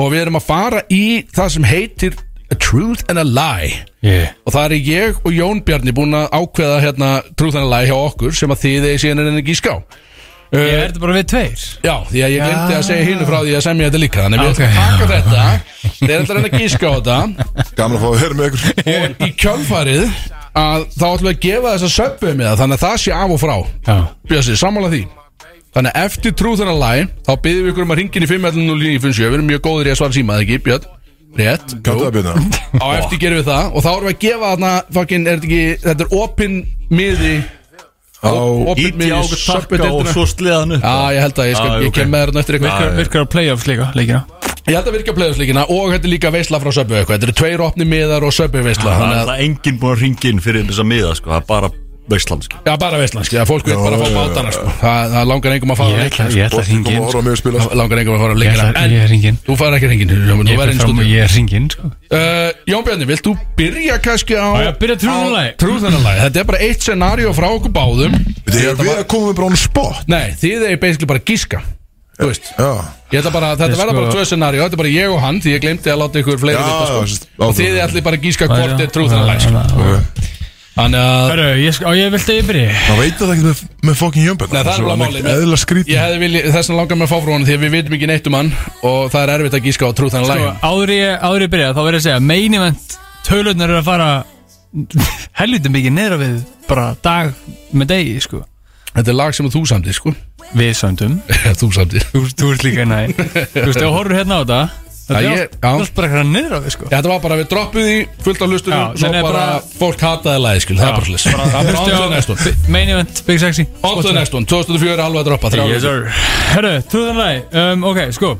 [SPEAKER 2] Og við erum að fara í það sem heitir A Truth and a Lie
[SPEAKER 4] Yeah
[SPEAKER 2] Og það er ég og Jón Bjarni búin að ákveða hérna trúðanlega hjá okkur sem að þið eigi síðan en ekki ská.
[SPEAKER 4] Ég er þetta bara við tveir
[SPEAKER 2] Já, því að ég glemdi að segja hínu frá því að semja þetta líka Þannig að við
[SPEAKER 4] Ok.
[SPEAKER 2] ætlum að taka þetta Þeir ætla að reyna að gíska á þetta
[SPEAKER 1] Gaman að fá að höra með ykkur
[SPEAKER 2] Og í kjölfarið að þá ætlum við að gefa þess að söpum með það Þannig að það sé af og frá
[SPEAKER 4] Já
[SPEAKER 2] Bjössi, sammála því Þannig að eftir trúðan að læg Þá byggjum við ykkur um að ringin í 5.09.57 Við erum mjög góðir í að svara síma, eða ekki, Björn? Rétt
[SPEAKER 1] Kantu það byrna?
[SPEAKER 2] á eftir gerum við það og þá erum við að gefa þarna fucking, er þetta ekki, þetta er opin miði
[SPEAKER 1] Á
[SPEAKER 2] opin
[SPEAKER 3] Íti
[SPEAKER 2] miði
[SPEAKER 3] á okkur
[SPEAKER 2] söppu
[SPEAKER 3] takka og
[SPEAKER 2] deildina.
[SPEAKER 3] svo sliðan upp
[SPEAKER 2] Já, ég held að ég, skal,
[SPEAKER 3] Ah,
[SPEAKER 2] ég
[SPEAKER 3] ok.
[SPEAKER 2] kem með þarna eftir eitthvað
[SPEAKER 4] Virkar- Virkar á playoffs líka, leikina
[SPEAKER 2] Ég held að virkja plöðusleikina og þetta er líka veisla frá söpbu eitthvað Þetta eru tveir opni miðar og söpbu veisla
[SPEAKER 3] Það er
[SPEAKER 2] Þannig að,
[SPEAKER 3] alltaf enginn búin að ringa inn fyrir þess að miða sko. Það er bara veistland sko.
[SPEAKER 2] já, bara veisla, skilja, fólk vil bara fá bátana sko. það, það langar engum að fara á
[SPEAKER 4] Ég
[SPEAKER 2] leikina
[SPEAKER 4] ætla
[SPEAKER 2] sko.
[SPEAKER 4] ég ætla
[SPEAKER 1] Koma
[SPEAKER 4] að ringin
[SPEAKER 1] að horfa með að spila
[SPEAKER 2] Það langar engum að fara á
[SPEAKER 4] Ég
[SPEAKER 2] leikina
[SPEAKER 4] ætla
[SPEAKER 2] En
[SPEAKER 4] ég er hringin
[SPEAKER 2] þú fara ekki hringin, þú verður
[SPEAKER 4] Ég fer
[SPEAKER 2] inn í
[SPEAKER 4] fram og
[SPEAKER 2] stúdíu
[SPEAKER 4] ég er hringin sko.
[SPEAKER 2] Uh, Jón Bjarni, vilt þú byrja kannski á
[SPEAKER 4] Á ég að byrja trúðanalagi?
[SPEAKER 2] á trúðanalagi. Þetta er bara eitt scenario frá okkur báðum
[SPEAKER 1] Þetta er við að koma með bara án spot
[SPEAKER 2] Nei, þið er basically bara að gíska Þú veist
[SPEAKER 1] Já,
[SPEAKER 2] Ég ætla bara, þetta
[SPEAKER 4] Ég
[SPEAKER 2] verða
[SPEAKER 4] sko-
[SPEAKER 2] bara tvö scenaríu Þetta er bara ég og hann, því ég glemdi að láta ykkur fleiri
[SPEAKER 1] Já,
[SPEAKER 2] vita sko.
[SPEAKER 1] já, sérst, á,
[SPEAKER 2] Og þið
[SPEAKER 1] þú-
[SPEAKER 2] er allir bara að gíska
[SPEAKER 4] Já,
[SPEAKER 2] hvort
[SPEAKER 4] já.
[SPEAKER 2] er trúðanlega
[SPEAKER 4] Já, já, já.
[SPEAKER 2] Þannig að
[SPEAKER 4] Hörru, sko. ég sk- á ég vildi að ég byrja
[SPEAKER 1] það veit það ekki með, með fucking jömbel
[SPEAKER 2] Nei, það er alveg málið.
[SPEAKER 1] Eðla skrítið
[SPEAKER 2] Ég hefði viljað, þess að langar með að fá frá hann Því að við vitum ekki neitt um hann Og það er erfitt að gíska á trúðanlega
[SPEAKER 4] Sko, áður ég, áður ég byrja þá verður ég að segja main event tölurnar eru að fara helviti mikið neðra við bara dag með degi sko
[SPEAKER 2] Þetta er lag sem þú samdir, sko [LAUGHS]
[SPEAKER 4] við söndum
[SPEAKER 2] Þú samdir
[SPEAKER 4] þú, þú ert líka næ þú veist ef þú horfur hérna á þetta þetta
[SPEAKER 2] Já, ég-
[SPEAKER 4] er allt-
[SPEAKER 2] já.
[SPEAKER 4] allt bara hérna neðra við sko
[SPEAKER 2] Já, Þetta var bara, við droppum því fullt af
[SPEAKER 4] Já,
[SPEAKER 2] lustunum Svo
[SPEAKER 4] nei, nei,
[SPEAKER 2] bara,
[SPEAKER 4] bara-
[SPEAKER 2] fólk hataði lagi, skil Það er bara slis [LAUGHS] Það er bara áttuð næstun
[SPEAKER 4] main event Big Sexy
[SPEAKER 2] Áttuð næstun, 2004 er alveg að droppa þrjár vikur.
[SPEAKER 4] sir herru trúðanlega um, ok sko [LAUGHS]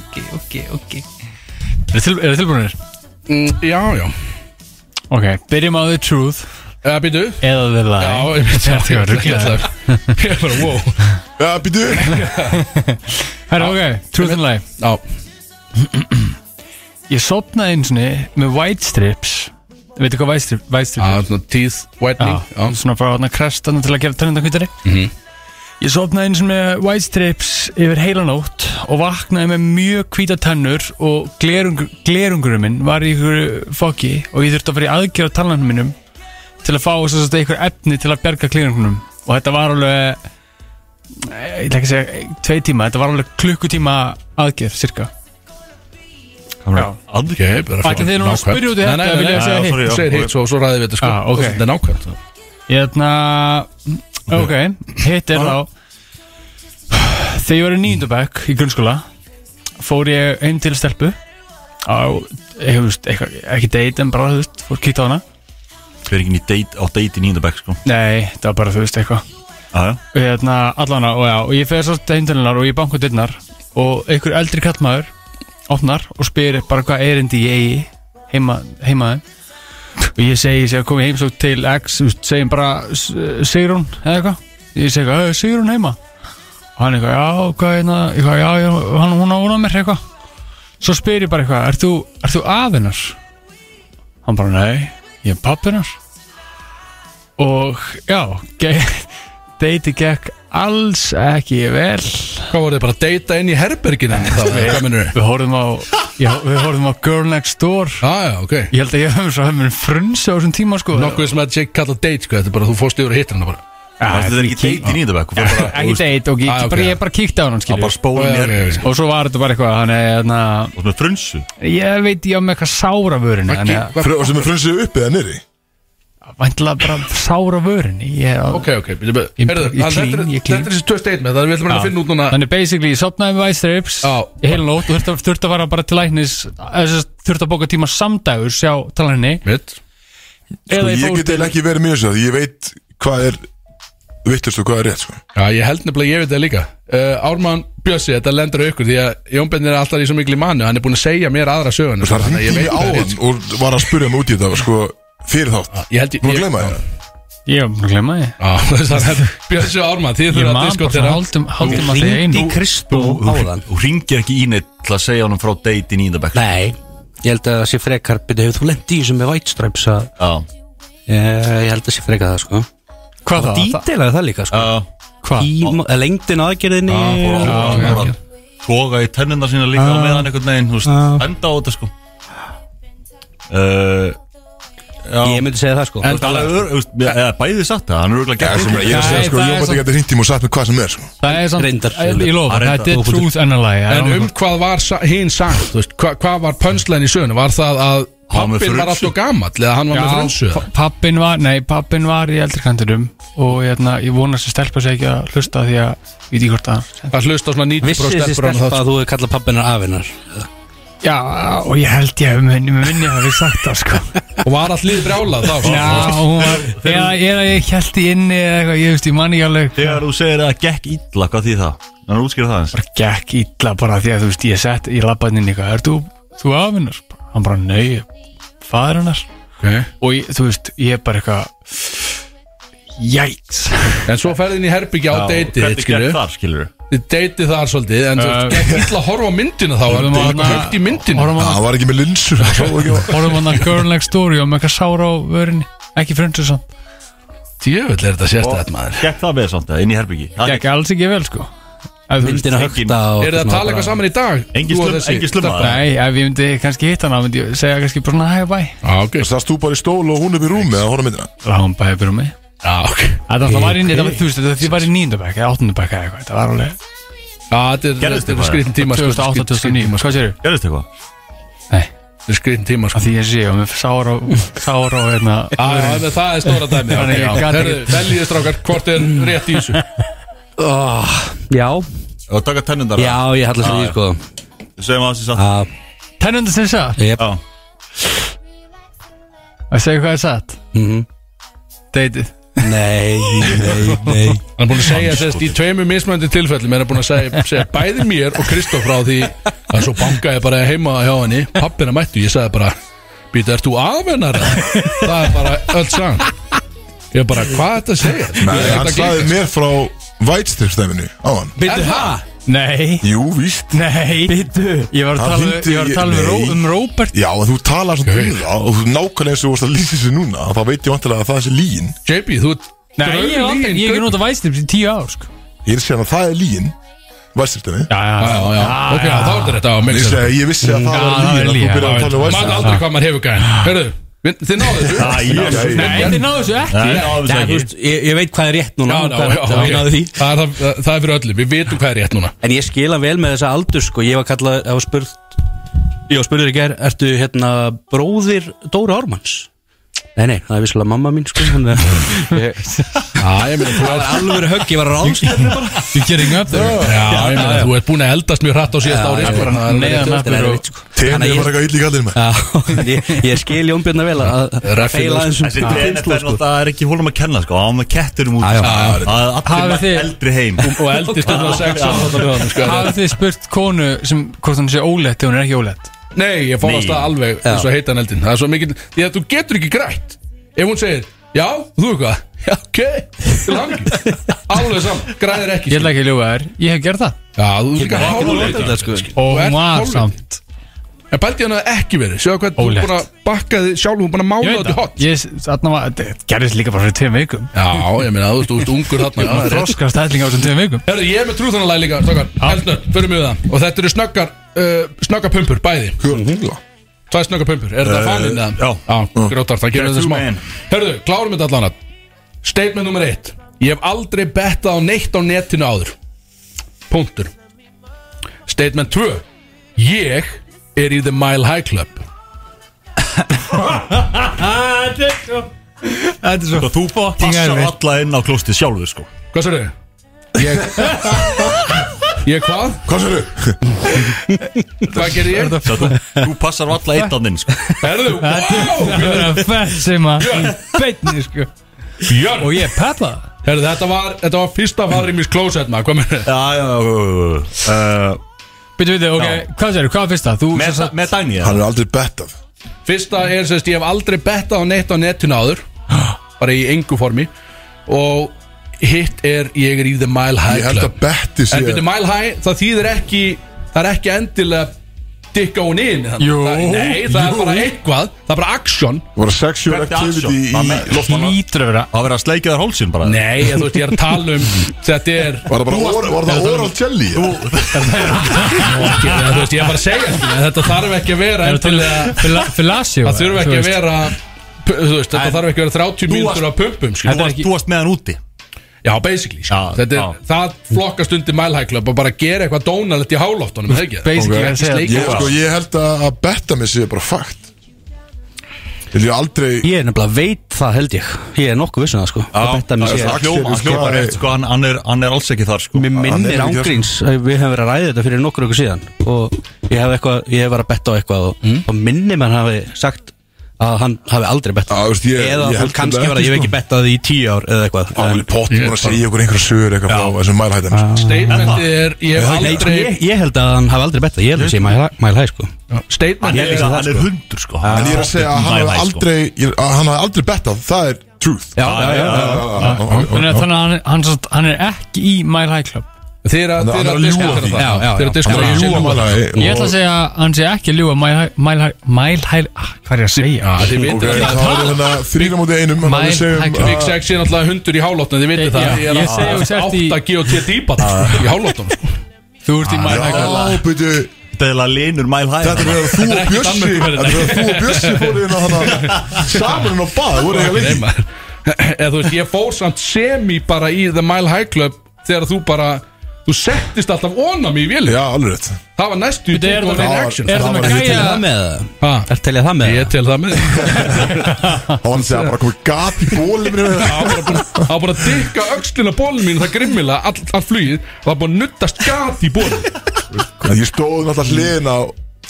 [SPEAKER 4] ok ok ok er það til, tilbúinir?
[SPEAKER 2] Mm, Já, já
[SPEAKER 4] ok byrjum á The Truth
[SPEAKER 2] Eða býtu
[SPEAKER 4] eða The Lie
[SPEAKER 2] Já, ég veit
[SPEAKER 4] Þetta var rugglaður.
[SPEAKER 2] Ég er bara, wow
[SPEAKER 1] Já, býtu
[SPEAKER 4] Herra, ok, truth and lie
[SPEAKER 2] Já,
[SPEAKER 4] Ég sopnaði eins og með white strips Veitu hvað white, strip, white strips
[SPEAKER 2] það
[SPEAKER 4] er?
[SPEAKER 2] er svona teeth whitening
[SPEAKER 4] Já, svona bara hann að kresta til að gefa tennindakvítari mm -hmm. Ég sopnaði eins og með white strips yfir heila nótt og vaknaði með mjög hvíta tennur og glerung, glerungurum minn var í ykkur fokki og ég þurfti að fara í aðgerð á tallanum minnum til að fá þess að ykkur efni til að bjarga glerungunum og þetta var alveg eh, ég ætla ekki að segja tvei tíma, þetta var alveg klukkutíma aðgerð cirka Já.
[SPEAKER 3] Aðgerð.
[SPEAKER 2] Ok, bara
[SPEAKER 4] Ætla þið nú að spyrja út í
[SPEAKER 2] Nei,
[SPEAKER 4] þetta,
[SPEAKER 2] nei, nei,
[SPEAKER 4] vilja
[SPEAKER 2] nei,
[SPEAKER 4] ég
[SPEAKER 2] nei,
[SPEAKER 4] segja
[SPEAKER 2] nei,
[SPEAKER 4] hitt?
[SPEAKER 2] sorry, já, segir hitt svo, svo ræðum við þetta sko
[SPEAKER 4] Ah, ok.
[SPEAKER 2] Þetta er nákvæmt
[SPEAKER 4] Hérna, ok, hitt er þá Þegar ég var í nýjöndabæk í grunnskóla Fór ég heim til stelpu Á, ég veist, eitthvað, ekki date en bara, þú veist, fór kýtt á hana
[SPEAKER 3] Fyrir ekki í date, á date í nýjunda bekk sko.
[SPEAKER 4] Nei, það var bara, þú veist, eitthvað
[SPEAKER 3] Já, já.
[SPEAKER 4] Og hérna, allan og já, og ég fer svo heim til hennar og ég banku dyrnar Og einhver eldri kallmaður opnar og spyr bara hvað erindi ég eigi heima, heima þeim Og ég segi, ég segi að komið heimsók til X, þú veist, segjum bara S- Sigrún eða eitthvað Ég segi eitthvað, sigur hún heima Og hann eitthvað, já, hvað hérna eitthvað, Já, já, hann, hún á hún á mér eitthvað Svo spyr ég bara eitthvað, ert þú, ert þú aðinnar? Hann bara, nei, ég er pappinar Og, já, ge Deiti gekk alls ekki vel
[SPEAKER 2] Hvað voru þið bara að deyta inn í herbergin henni þá? Hvað minnur þið?
[SPEAKER 4] Við horfum á já, Við horfum á Girl Next Door
[SPEAKER 2] Já, Ah, já, ok
[SPEAKER 4] Ég held að ég hefum svo hefum frunsa á þessum tíma sko
[SPEAKER 2] Nokkuð sem að Jake kalla date, sko Þetta er bara, þú fórst yfir að hitta hana bara
[SPEAKER 3] Það er ekki deitt í nýjöndabæk
[SPEAKER 4] Ekki deit og
[SPEAKER 2] Ah,
[SPEAKER 4] ég,
[SPEAKER 2] ok.
[SPEAKER 4] bara, ég bara kíkti á hann
[SPEAKER 3] Það
[SPEAKER 4] skilju
[SPEAKER 3] bara spólin
[SPEAKER 2] Já,
[SPEAKER 3] er
[SPEAKER 2] já, já.
[SPEAKER 4] Og svo var þetta bara eitthvað Þannig að hérna,
[SPEAKER 3] Og svona frunsu
[SPEAKER 4] ég veit ég á með eitthvað sára vörinu Þannig að
[SPEAKER 1] Fru- Og sem er frunsið uppið eða niðri
[SPEAKER 4] væntilega bara sára vörinu Ég,
[SPEAKER 2] Ok, ok, byrju, byrju.
[SPEAKER 4] Ég-
[SPEAKER 2] Heyrðu,
[SPEAKER 4] ég
[SPEAKER 2] hann- þetta er-
[SPEAKER 4] clean, ég clean.
[SPEAKER 2] Þetta er þessi tvö statement Það er við ætlum bara að
[SPEAKER 4] Já.
[SPEAKER 2] finna út núna
[SPEAKER 4] Þannig basically, ég sopnaði með White Stripes
[SPEAKER 2] Já.
[SPEAKER 4] Í heila nótt og þurfti, þurfti að fara bara til læknis eða sem sagt, Þurfti að bóka tíma samdægur Sjá talarni
[SPEAKER 2] Mitt
[SPEAKER 1] Sko ég get eða ekki verið mjög sér Ég veit hvað er vittust og hvað er rétt sko.
[SPEAKER 2] Já, ég held nefnilega, ég veit það líka uh, Ármann Bjössi, þetta lendur á ykkur Því að Jón Benni er alltaf í svo miklu mannu Hann er búin að segja mér aðra sko, sögun
[SPEAKER 1] Það ringdi ég á hann og var að spurja mig út í þetta sko, fyrir þátt
[SPEAKER 2] Ah, Ég held ég-
[SPEAKER 1] Nú að
[SPEAKER 2] ég-
[SPEAKER 1] gleyma þér
[SPEAKER 4] Ég var búin að glemma því
[SPEAKER 2] Já, [LAUGHS] þú veist, þannig að Bjössi og Ármann, þið
[SPEAKER 4] Ég
[SPEAKER 2] þurfa að
[SPEAKER 4] man bara
[SPEAKER 2] diskotera
[SPEAKER 4] svona haldum, haldum að því einu
[SPEAKER 7] Ringdi Kristó áðan
[SPEAKER 3] Þú ringir ekki í neitt til að segja honum frá deitt í nýjöndabæk
[SPEAKER 7] Nei, ég held að það sé frekar Byrja, hefur þú lent í þessum með White Stripes að
[SPEAKER 3] Já
[SPEAKER 7] Ég, ég held að sé frekar það sko
[SPEAKER 4] Hvað það?
[SPEAKER 7] Dítilaði það líka sko Ah,
[SPEAKER 4] Hvað?
[SPEAKER 7] Í ma- lengdin á aðgerðinni
[SPEAKER 3] Bara Toga í tennina sína líka á meðan einhvern veginn Þú veist, enda á þetta sko Uh,
[SPEAKER 7] Ég myndi segja það sko
[SPEAKER 3] þú veist, alveg Eh, ör- þú veist, Eða bæðið satt það, hann er örgulega
[SPEAKER 1] Já,
[SPEAKER 3] gert
[SPEAKER 1] sem Ég er að segja sko,
[SPEAKER 4] Nei,
[SPEAKER 1] ég
[SPEAKER 4] það er
[SPEAKER 1] mátti ekki að ringt í mig og sagt mig hvað sem er sko.
[SPEAKER 4] Það er samt,
[SPEAKER 7] Reyndar.
[SPEAKER 4] ég lofa,
[SPEAKER 3] Reyndar.
[SPEAKER 4] þetta er truth and a lie
[SPEAKER 2] En um hvað var sa- hinn sagt, þú veist, hva, hvað var pönslæðin í sögunu? Var það að
[SPEAKER 3] Hann
[SPEAKER 2] pappin
[SPEAKER 3] var með
[SPEAKER 2] var
[SPEAKER 3] frunsu.
[SPEAKER 2] alltaf gamall eða hann var með frunsu? eða?
[SPEAKER 4] pappin var, nei, pappin var í eldri kantinum og hérna, ég vonast að stelpa sig ekki að hlusta því að, ég veit ekki hvort að
[SPEAKER 2] Það hlusta á svona 90%
[SPEAKER 7] Vissi þessi
[SPEAKER 2] stelpur á
[SPEAKER 7] stelpa
[SPEAKER 2] hann
[SPEAKER 7] að þú hefur kallað pappinar afinnar
[SPEAKER 4] Já, og ég held ég að minni, minni að við sagt það, sko
[SPEAKER 2] þá. og var allir brjálað þá
[SPEAKER 4] Já, hún var, eða, eða ég held ég inni eða eitthvað, ég veist, ég man ekki alveg
[SPEAKER 3] Þegar þú segir að það gekk illa, hvað því það? Þannig að útskýra það eins
[SPEAKER 4] bara gekk illa bara því að þú veist, ég sett, ég labbaði inn í eitthvað, er þú, þú afinnar? Hann bara, nei, fadir hennar
[SPEAKER 2] okay.
[SPEAKER 4] og ég, þú veist, ég er bara eitthvað Jæks
[SPEAKER 2] En svo ferðin í herbyggja á deitið þitt,
[SPEAKER 3] Hvernig
[SPEAKER 2] skilju
[SPEAKER 3] gekk þar, skilur við?
[SPEAKER 2] Þið deitið þar svolítið En þú
[SPEAKER 4] Eh,
[SPEAKER 2] veist, gekk illa að horfa á myndina þá Það
[SPEAKER 4] Horfum á
[SPEAKER 2] var
[SPEAKER 4] hana-
[SPEAKER 2] högt í myndinu
[SPEAKER 4] Horfum á
[SPEAKER 1] Það var ekki með sko. linsur það var ekki-
[SPEAKER 4] Horfum hann að Girl Next Story og með eitthvað sára á vörinni Ekki frundu samt
[SPEAKER 2] Djöfull er þetta sérstætt maður
[SPEAKER 3] Gekk það með samt að inn í herbyggi Það
[SPEAKER 4] Gekk alls ekki vel sko ef, þú veist-
[SPEAKER 7] Myndin að
[SPEAKER 3] engin-
[SPEAKER 7] högta og
[SPEAKER 2] Er það að tala
[SPEAKER 7] svona bara-
[SPEAKER 2] eitthvað saman í dag?
[SPEAKER 3] Engin
[SPEAKER 2] Þú og
[SPEAKER 3] slum-
[SPEAKER 2] þessi
[SPEAKER 3] engin slumma.
[SPEAKER 2] stelpa?
[SPEAKER 4] Nei, ef ég myndi kannski hitta hana myndi ég segja kannski bara svona hæ bæ
[SPEAKER 2] Já, ok
[SPEAKER 1] Sast þú bara í stól og hún upp í rúmi að horfa á myndina
[SPEAKER 4] Ráðum bæði byrjum mig
[SPEAKER 2] Já, ok
[SPEAKER 4] Þetta alltaf var inn, þetta var- þú veist, þetta var í nýndabæk eða áttundabæk eða eitthvað, þetta var alveg
[SPEAKER 2] Já, þetta er-
[SPEAKER 3] Gerðist
[SPEAKER 2] þetta er
[SPEAKER 3] eitthvað?
[SPEAKER 2] skritin tíma sko,
[SPEAKER 4] 2008,
[SPEAKER 2] skrýtin- skrýtin
[SPEAKER 4] 2009,
[SPEAKER 2] tíma, sko.
[SPEAKER 4] hvað séru?
[SPEAKER 3] Gerðist eitthvað?
[SPEAKER 4] Nei,
[SPEAKER 2] Þetta er skritin tíma sko.
[SPEAKER 4] að því ég sé og með sára og sára og hérna
[SPEAKER 2] Já, já, en það er stóra dæmi
[SPEAKER 4] Þannig ég gat ekki-
[SPEAKER 2] Veljiði strákar, hvort er rétt í þessu
[SPEAKER 7] Oh, Já,
[SPEAKER 3] Og taka tennundar
[SPEAKER 7] já, ég hallast að því sko Ah,
[SPEAKER 3] Segum að þessi satt
[SPEAKER 7] Að-
[SPEAKER 4] Tennundur sem satt,
[SPEAKER 7] Jep.
[SPEAKER 3] Já.
[SPEAKER 4] að segja hvað er satt
[SPEAKER 7] Mhm.
[SPEAKER 4] Deitið
[SPEAKER 7] Nei, [LAUGHS] nei, nei
[SPEAKER 2] Hann er búin að segja þess í tveimur mismöndi tilfellum er hann búin að segja, segja bæði mér og Kristoff frá því að svo bankaði ég bara heima hjá henni pappina mættu, ég sagði bara býta, ert þú afennar? það er bara öll sann ég er bara, hvað er þetta að segja?
[SPEAKER 1] Nei,
[SPEAKER 2] Ég er
[SPEAKER 1] hann
[SPEAKER 2] þetta að
[SPEAKER 1] sagði
[SPEAKER 2] grínast.
[SPEAKER 1] mér frá vætstyrfstæminu á hann
[SPEAKER 2] Er það?
[SPEAKER 4] Nei
[SPEAKER 1] Jú, víst
[SPEAKER 4] Nei Bittu Ég var að
[SPEAKER 1] Það
[SPEAKER 4] tala,
[SPEAKER 1] hringdi
[SPEAKER 4] ég var að
[SPEAKER 1] ég-
[SPEAKER 4] tala um, Ró,
[SPEAKER 1] Nei.
[SPEAKER 4] um Robert
[SPEAKER 1] Já, en þú talar svona um það og þú nákvæmlega eins og þú varst að lýsa þessu núna þá veit ég vantilega að það er þessi líin
[SPEAKER 2] JB, þú ert-
[SPEAKER 4] Nei,
[SPEAKER 2] þú ert
[SPEAKER 4] ég, hef
[SPEAKER 2] öðru lygin,
[SPEAKER 4] aldrei- ég er ekki
[SPEAKER 2] Gaukur.
[SPEAKER 4] notað væstir í tíu ár sko.
[SPEAKER 1] Ég er að segja hann að það er líin Vætstyrfstæmi
[SPEAKER 4] Já, Ah, já,
[SPEAKER 2] Já, já, ok, þá er þetta rétt á
[SPEAKER 1] Ég
[SPEAKER 2] mig
[SPEAKER 1] segi, ég vissi að það
[SPEAKER 4] Já,
[SPEAKER 1] var líin að
[SPEAKER 4] það er
[SPEAKER 1] þú
[SPEAKER 4] lygin,
[SPEAKER 1] byrjar
[SPEAKER 4] já,
[SPEAKER 1] að tala um
[SPEAKER 2] maður veit
[SPEAKER 1] vætstyrfstæmi
[SPEAKER 2] aldrei hvað maður hefur gæðin Hörðu, við- þið náðu þessu
[SPEAKER 1] ég-
[SPEAKER 2] Nei,
[SPEAKER 4] Nei, þið náðu þessu ekki
[SPEAKER 3] Nei, náðu
[SPEAKER 7] Já,
[SPEAKER 3] þessu
[SPEAKER 7] þú
[SPEAKER 3] ekki
[SPEAKER 7] veist, ég, ég veit hvað er rétt núna
[SPEAKER 2] Já, já,
[SPEAKER 7] hvað-
[SPEAKER 2] já,
[SPEAKER 7] það náði því.
[SPEAKER 2] ok. það, er, það, það er fyrir öllum, við vitum hvað er rétt núna
[SPEAKER 7] En ég skila vel með þessa aldur sko Ég var kallað, það var spurt Ég var spurður í ger, ertu hérna bróðir Dóra Ármanns? Nei, nei, það er visslega mamma mín sko þannig að- Ég-
[SPEAKER 2] Já, ég meina, þú
[SPEAKER 7] Það var alveg högg, ég var ráðstöður bara
[SPEAKER 4] Þú gerir ekki upp þegar
[SPEAKER 2] Já, ég meina, þú ert búin að eldast mjög hratt á síðast ári sko, þannig að-
[SPEAKER 4] Neðan
[SPEAKER 7] Þetta er
[SPEAKER 4] appur
[SPEAKER 7] erfitt,
[SPEAKER 4] og
[SPEAKER 7] sko.
[SPEAKER 1] Tenni
[SPEAKER 7] Þannig
[SPEAKER 1] var
[SPEAKER 7] að ég-
[SPEAKER 1] eitthvað ill í kallinu með
[SPEAKER 7] Já, ég- Ég skil Jón Björn vel að að
[SPEAKER 2] Reffi
[SPEAKER 7] feila
[SPEAKER 2] ljós.
[SPEAKER 7] þessum
[SPEAKER 3] Þessi TNF er
[SPEAKER 7] kynslu
[SPEAKER 3] náttúrulega er ekki hólum að kenna sko Hann var með ketturum út
[SPEAKER 7] Já, já.
[SPEAKER 3] Það er
[SPEAKER 4] Hafið
[SPEAKER 3] allir með
[SPEAKER 4] þið-
[SPEAKER 3] eldri heim
[SPEAKER 2] og eldist um það sex ára þarna með honum, sko.
[SPEAKER 4] Hafið þið spurt konu sem hvort hún sé ólett eða hún er ekki ólett
[SPEAKER 2] Nei, ég fór að
[SPEAKER 3] Nei.
[SPEAKER 2] stað alveg eins og heita hann eldin Það er svo mikil, því að þú getur ekki grætt Ef hún segir, já, og þú eitthvað Já, ok, til hangi Alveg saman, græðir ekki
[SPEAKER 4] Ég ætla ekki að ljúga þér, ég hef gert það
[SPEAKER 2] sko. Já, þú er líka
[SPEAKER 3] Hálfleita
[SPEAKER 2] hálfleita
[SPEAKER 3] þetta sko
[SPEAKER 4] Og
[SPEAKER 2] ert
[SPEAKER 4] hún var
[SPEAKER 2] hálfviti.
[SPEAKER 4] samt
[SPEAKER 2] En bælti hann að það ekki verið Sjáðu hvað þú er
[SPEAKER 4] Ólegt.
[SPEAKER 2] búin að bakka þig sjálf Hún er búin að mála
[SPEAKER 4] Ég
[SPEAKER 2] þetta
[SPEAKER 4] veit
[SPEAKER 2] í hot
[SPEAKER 4] það, Ég- þarna var- þetta gerðist líka bara fyrir tveim vikum
[SPEAKER 2] Já, ég meina, þú veist, þú ert ungur þarna Já, það er rétt.
[SPEAKER 4] Þroskast ætling á þessum tveim vikum
[SPEAKER 2] Herðu, ég er með trúþanalæg líka, stokkar Eldnöð, förum við það Og þetta eru snöggar, uh, snöggar pumpur, bæði
[SPEAKER 1] Hvað er það?
[SPEAKER 2] Tvær snöggar pumpur, er
[SPEAKER 1] Eh,
[SPEAKER 2] þetta faninn eða?
[SPEAKER 3] já.
[SPEAKER 2] Já, grótart, það gerum
[SPEAKER 3] Get
[SPEAKER 2] þetta smá
[SPEAKER 3] you man.
[SPEAKER 2] Herðu, klárum þetta allan að Statement nummer eitt Ég hef aldrei bettað á neitt á netinu áður Punktur Statement 2 Ég er í The Mile High Club
[SPEAKER 4] Þetta er svo
[SPEAKER 3] Sko, Þú passar
[SPEAKER 4] erfitt.
[SPEAKER 3] alla inn á klósti sjálfur sko
[SPEAKER 2] Hvað sér þið? Ég
[SPEAKER 4] [LAUGHS]
[SPEAKER 2] Ég hvað?
[SPEAKER 1] Hvað sér þau?
[SPEAKER 2] Hvað gerði ég?
[SPEAKER 3] Svo Þú [LAUGHS] þú passar alla einn á þinn sko
[SPEAKER 2] Herðu, wow
[SPEAKER 4] Það er að fett sem [LAUGHS] að í beinni sko
[SPEAKER 2] Björn
[SPEAKER 4] Og ég pepla
[SPEAKER 2] Herðu, þetta var, þetta var fyrsta farið mís klósett maður, hvað með
[SPEAKER 3] Já, já, já
[SPEAKER 4] Býtu, býtu, ok, hvað sér, hvað er fyrsta? Þú sem
[SPEAKER 3] Með,
[SPEAKER 4] sagt-
[SPEAKER 3] með Dæni eða?
[SPEAKER 1] Hann er aldrei bettað
[SPEAKER 2] Fyrsta er, sérst, ég hef aldrei bettað á neitt á netinu áður Bara í engu formi Og hitt er, ég er í The Mile High
[SPEAKER 1] Ég held að
[SPEAKER 2] Club
[SPEAKER 1] betti sé
[SPEAKER 2] En byrju, Mile High, það þýðir ekki Það er ekki endilega dikka hún inn þannig.
[SPEAKER 4] Jú,
[SPEAKER 2] það, Nei, það er
[SPEAKER 4] jú.
[SPEAKER 2] bara eitthvað Það er bara action
[SPEAKER 1] Það var sexual
[SPEAKER 3] Hvert er
[SPEAKER 1] activity
[SPEAKER 3] action? Hvað með-
[SPEAKER 1] í
[SPEAKER 3] loftmanna?
[SPEAKER 4] Hlýtur að vera
[SPEAKER 3] Það verður að sleikja þær hólsinn bara
[SPEAKER 2] Nei, ég, þú veist, ég er að tala um Þetta er
[SPEAKER 1] Var það bara or- var það oral jelly?
[SPEAKER 2] Ég- Þú veist, ég er bara að segja skilja, Þetta þarf ekki að vera
[SPEAKER 4] um
[SPEAKER 2] endilega
[SPEAKER 4] Fila- Filasio
[SPEAKER 2] Það þurfa ekki
[SPEAKER 4] þú
[SPEAKER 2] að
[SPEAKER 4] veist.
[SPEAKER 2] vera pu- Þú veist, þetta þarf ekki að vera 30 mínútur
[SPEAKER 3] varst-
[SPEAKER 2] af pumpum
[SPEAKER 3] Þú
[SPEAKER 2] skilja.
[SPEAKER 4] Þetta er
[SPEAKER 3] varst-
[SPEAKER 4] ekki-
[SPEAKER 3] Þú varst með hann úti
[SPEAKER 2] Já, basically sko.
[SPEAKER 3] Já,
[SPEAKER 2] Þetta er,
[SPEAKER 3] já.
[SPEAKER 2] Það flokkast undir Mile High Club og bara gera eitthvað dónalett í hálóftunum Það ekki
[SPEAKER 4] Basically
[SPEAKER 1] Ok.
[SPEAKER 4] að segja
[SPEAKER 2] Ekki
[SPEAKER 1] Ég,
[SPEAKER 2] sleika.
[SPEAKER 1] sko, ég held að að betta mig sé bara fakt Vil ég aldrei
[SPEAKER 7] Ég er nefnilega veit það held ég Ég er nokkuð vissun það sko Að betta mér sé
[SPEAKER 1] það
[SPEAKER 3] Það
[SPEAKER 1] Axel,
[SPEAKER 3] hljóma-
[SPEAKER 1] sko,
[SPEAKER 3] hljóma
[SPEAKER 1] það er-
[SPEAKER 3] rétt sko hann- Hann er- hann er alls ekki þar sko
[SPEAKER 1] Hann
[SPEAKER 7] Mér
[SPEAKER 1] er
[SPEAKER 7] minnir
[SPEAKER 1] ekki
[SPEAKER 7] ángríns að Við hefum verið að ræða þetta fyrir nokkur okkur síðan Og ég hef, eitthvað, ég hef verið að betta á eitthvað Og,
[SPEAKER 1] Hmm?
[SPEAKER 7] og minnir mann hafi sagt Að hann hafi aldrei betta
[SPEAKER 1] Já, þú veist, ég-
[SPEAKER 7] Eða
[SPEAKER 1] ég held
[SPEAKER 7] hann kannski
[SPEAKER 1] þetta
[SPEAKER 7] var að
[SPEAKER 1] ekki,
[SPEAKER 7] ég hef
[SPEAKER 1] sko.
[SPEAKER 7] ekki bettað í tíu ár Eða eitthvað
[SPEAKER 1] Áli
[SPEAKER 7] En-
[SPEAKER 1] pott bara að segja okkur einhverja sögur eitthvað frá þessum mælhættan
[SPEAKER 2] Statementið er Ég hef
[SPEAKER 7] Nei, sko,
[SPEAKER 2] aldrei
[SPEAKER 7] ég, ég held að hann hafi aldrei bettað Ég held að sé mæl hæg sko
[SPEAKER 3] Hann
[SPEAKER 2] Statementið
[SPEAKER 3] er
[SPEAKER 2] er
[SPEAKER 3] hann er hundur sko
[SPEAKER 1] En ég er að segja að hann hafi aldrei ég- að hann hafi aldrei bettað, það er truth
[SPEAKER 7] sko. Já, já, já, já.
[SPEAKER 4] Þannig að
[SPEAKER 1] Þannig
[SPEAKER 4] þannig að hann, hann, sagt- hann er ekki í Mile High Club
[SPEAKER 1] Hann
[SPEAKER 2] Þeir að
[SPEAKER 1] er- hann er að ljúga
[SPEAKER 2] diskutera
[SPEAKER 1] því.
[SPEAKER 7] Já,
[SPEAKER 2] það Þeir
[SPEAKER 7] já,
[SPEAKER 2] að
[SPEAKER 7] já.
[SPEAKER 1] að
[SPEAKER 2] diskutera
[SPEAKER 1] hann ljúga
[SPEAKER 2] það
[SPEAKER 1] mælhæ
[SPEAKER 4] Ég ætla að segja að hann sé ekki að ljúga Mile High, Mile High, Mile High ah, Hvað er ég að segja?
[SPEAKER 2] Já, Þið
[SPEAKER 1] Ok,
[SPEAKER 2] vitið
[SPEAKER 1] þá
[SPEAKER 2] það
[SPEAKER 1] er þannig að þrýra hérna móti einum Þannig að við
[SPEAKER 4] Mæl-
[SPEAKER 1] segjum
[SPEAKER 4] hægt-
[SPEAKER 1] að-
[SPEAKER 2] Big Sex er náttúrulega hundur í hálóttunum Þið vitið
[SPEAKER 4] Ég-
[SPEAKER 2] það
[SPEAKER 4] já,
[SPEAKER 2] Ég er
[SPEAKER 4] ég segi þú sért
[SPEAKER 2] að
[SPEAKER 4] í-
[SPEAKER 2] 8 GOT dýpat í sko. hálóttunum
[SPEAKER 4] Þú ert í Mile High Club
[SPEAKER 1] Já, byrju
[SPEAKER 3] Þetta er að linur mæl hæg
[SPEAKER 1] Þetta er verið að þú
[SPEAKER 2] Þetta
[SPEAKER 1] og
[SPEAKER 2] er ekki
[SPEAKER 1] Bjössi
[SPEAKER 2] Danmörku verið
[SPEAKER 1] Þetta er verið að þú og Bjössi fóru inn á [LAUGHS] hana Saman inn á bað, voru eitthvað lengi
[SPEAKER 2] Eða þú veist, ég fór samt semi bara í The Mile High Club þegar þú bara Þú settist alltaf onam í vili
[SPEAKER 1] Já, alveg rétt
[SPEAKER 2] Það var næstu í
[SPEAKER 4] Bíddu, er
[SPEAKER 2] Take
[SPEAKER 4] það-
[SPEAKER 2] One
[SPEAKER 4] er-
[SPEAKER 2] Action
[SPEAKER 4] Er það
[SPEAKER 1] var
[SPEAKER 4] með
[SPEAKER 1] ekki
[SPEAKER 7] Telja það
[SPEAKER 4] gæja
[SPEAKER 7] með
[SPEAKER 2] Ha?
[SPEAKER 7] Er telja það með
[SPEAKER 2] Ég tel það með
[SPEAKER 1] Það var hann að segja bara komið gat í bólum
[SPEAKER 2] Það var bara búin- það var bara að dykka öxlina bólum mín Það grimmilega all, all flugið Það var bara að nuttast gat í bólum
[SPEAKER 1] En ég stóð náttúrulega hliðin á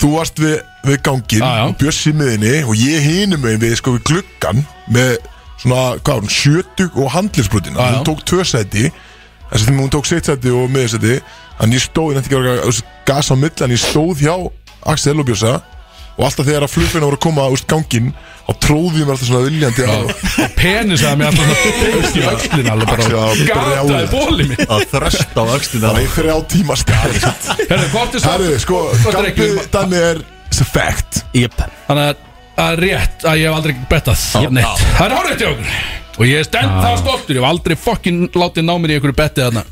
[SPEAKER 1] Þú varst við, við gangin
[SPEAKER 2] Já, já.
[SPEAKER 1] og Bjössi miðinni og ég hinum megin við sko við gluggan með svona, hvað var hún, sjötug og handlisbrutina
[SPEAKER 2] já.
[SPEAKER 1] hún tók tvö sæti þess að hún tók sitt sæti og miðursæti en ég stóð, ég nætti ekki að vera gas á milli en ég stóð hjá Axel og Bjössa og alltaf þegar að flugfinna voru að koma úr gangin og tróði ég mér alltaf svona viljandi á
[SPEAKER 2] Og penis að mér alltaf að dykka í öxlina Alveg bara
[SPEAKER 1] Axel,
[SPEAKER 2] gataði
[SPEAKER 1] brjálaður.
[SPEAKER 2] bólum mín
[SPEAKER 3] að þrösta á öxtina
[SPEAKER 1] þannig í þrjá tíma skali
[SPEAKER 2] Herðu, hvort er það?
[SPEAKER 1] Herru, sko,
[SPEAKER 2] Hvort er ekki
[SPEAKER 1] gambið dæmi er it's a fact
[SPEAKER 7] Jep
[SPEAKER 2] Þannig að að rétt að ég hef aldrei bettað Neitt. Það er hárið til okkur Og ég er stend það stoltur Ég hef aldrei fokkin látið ná mér í einhverju bettið þarna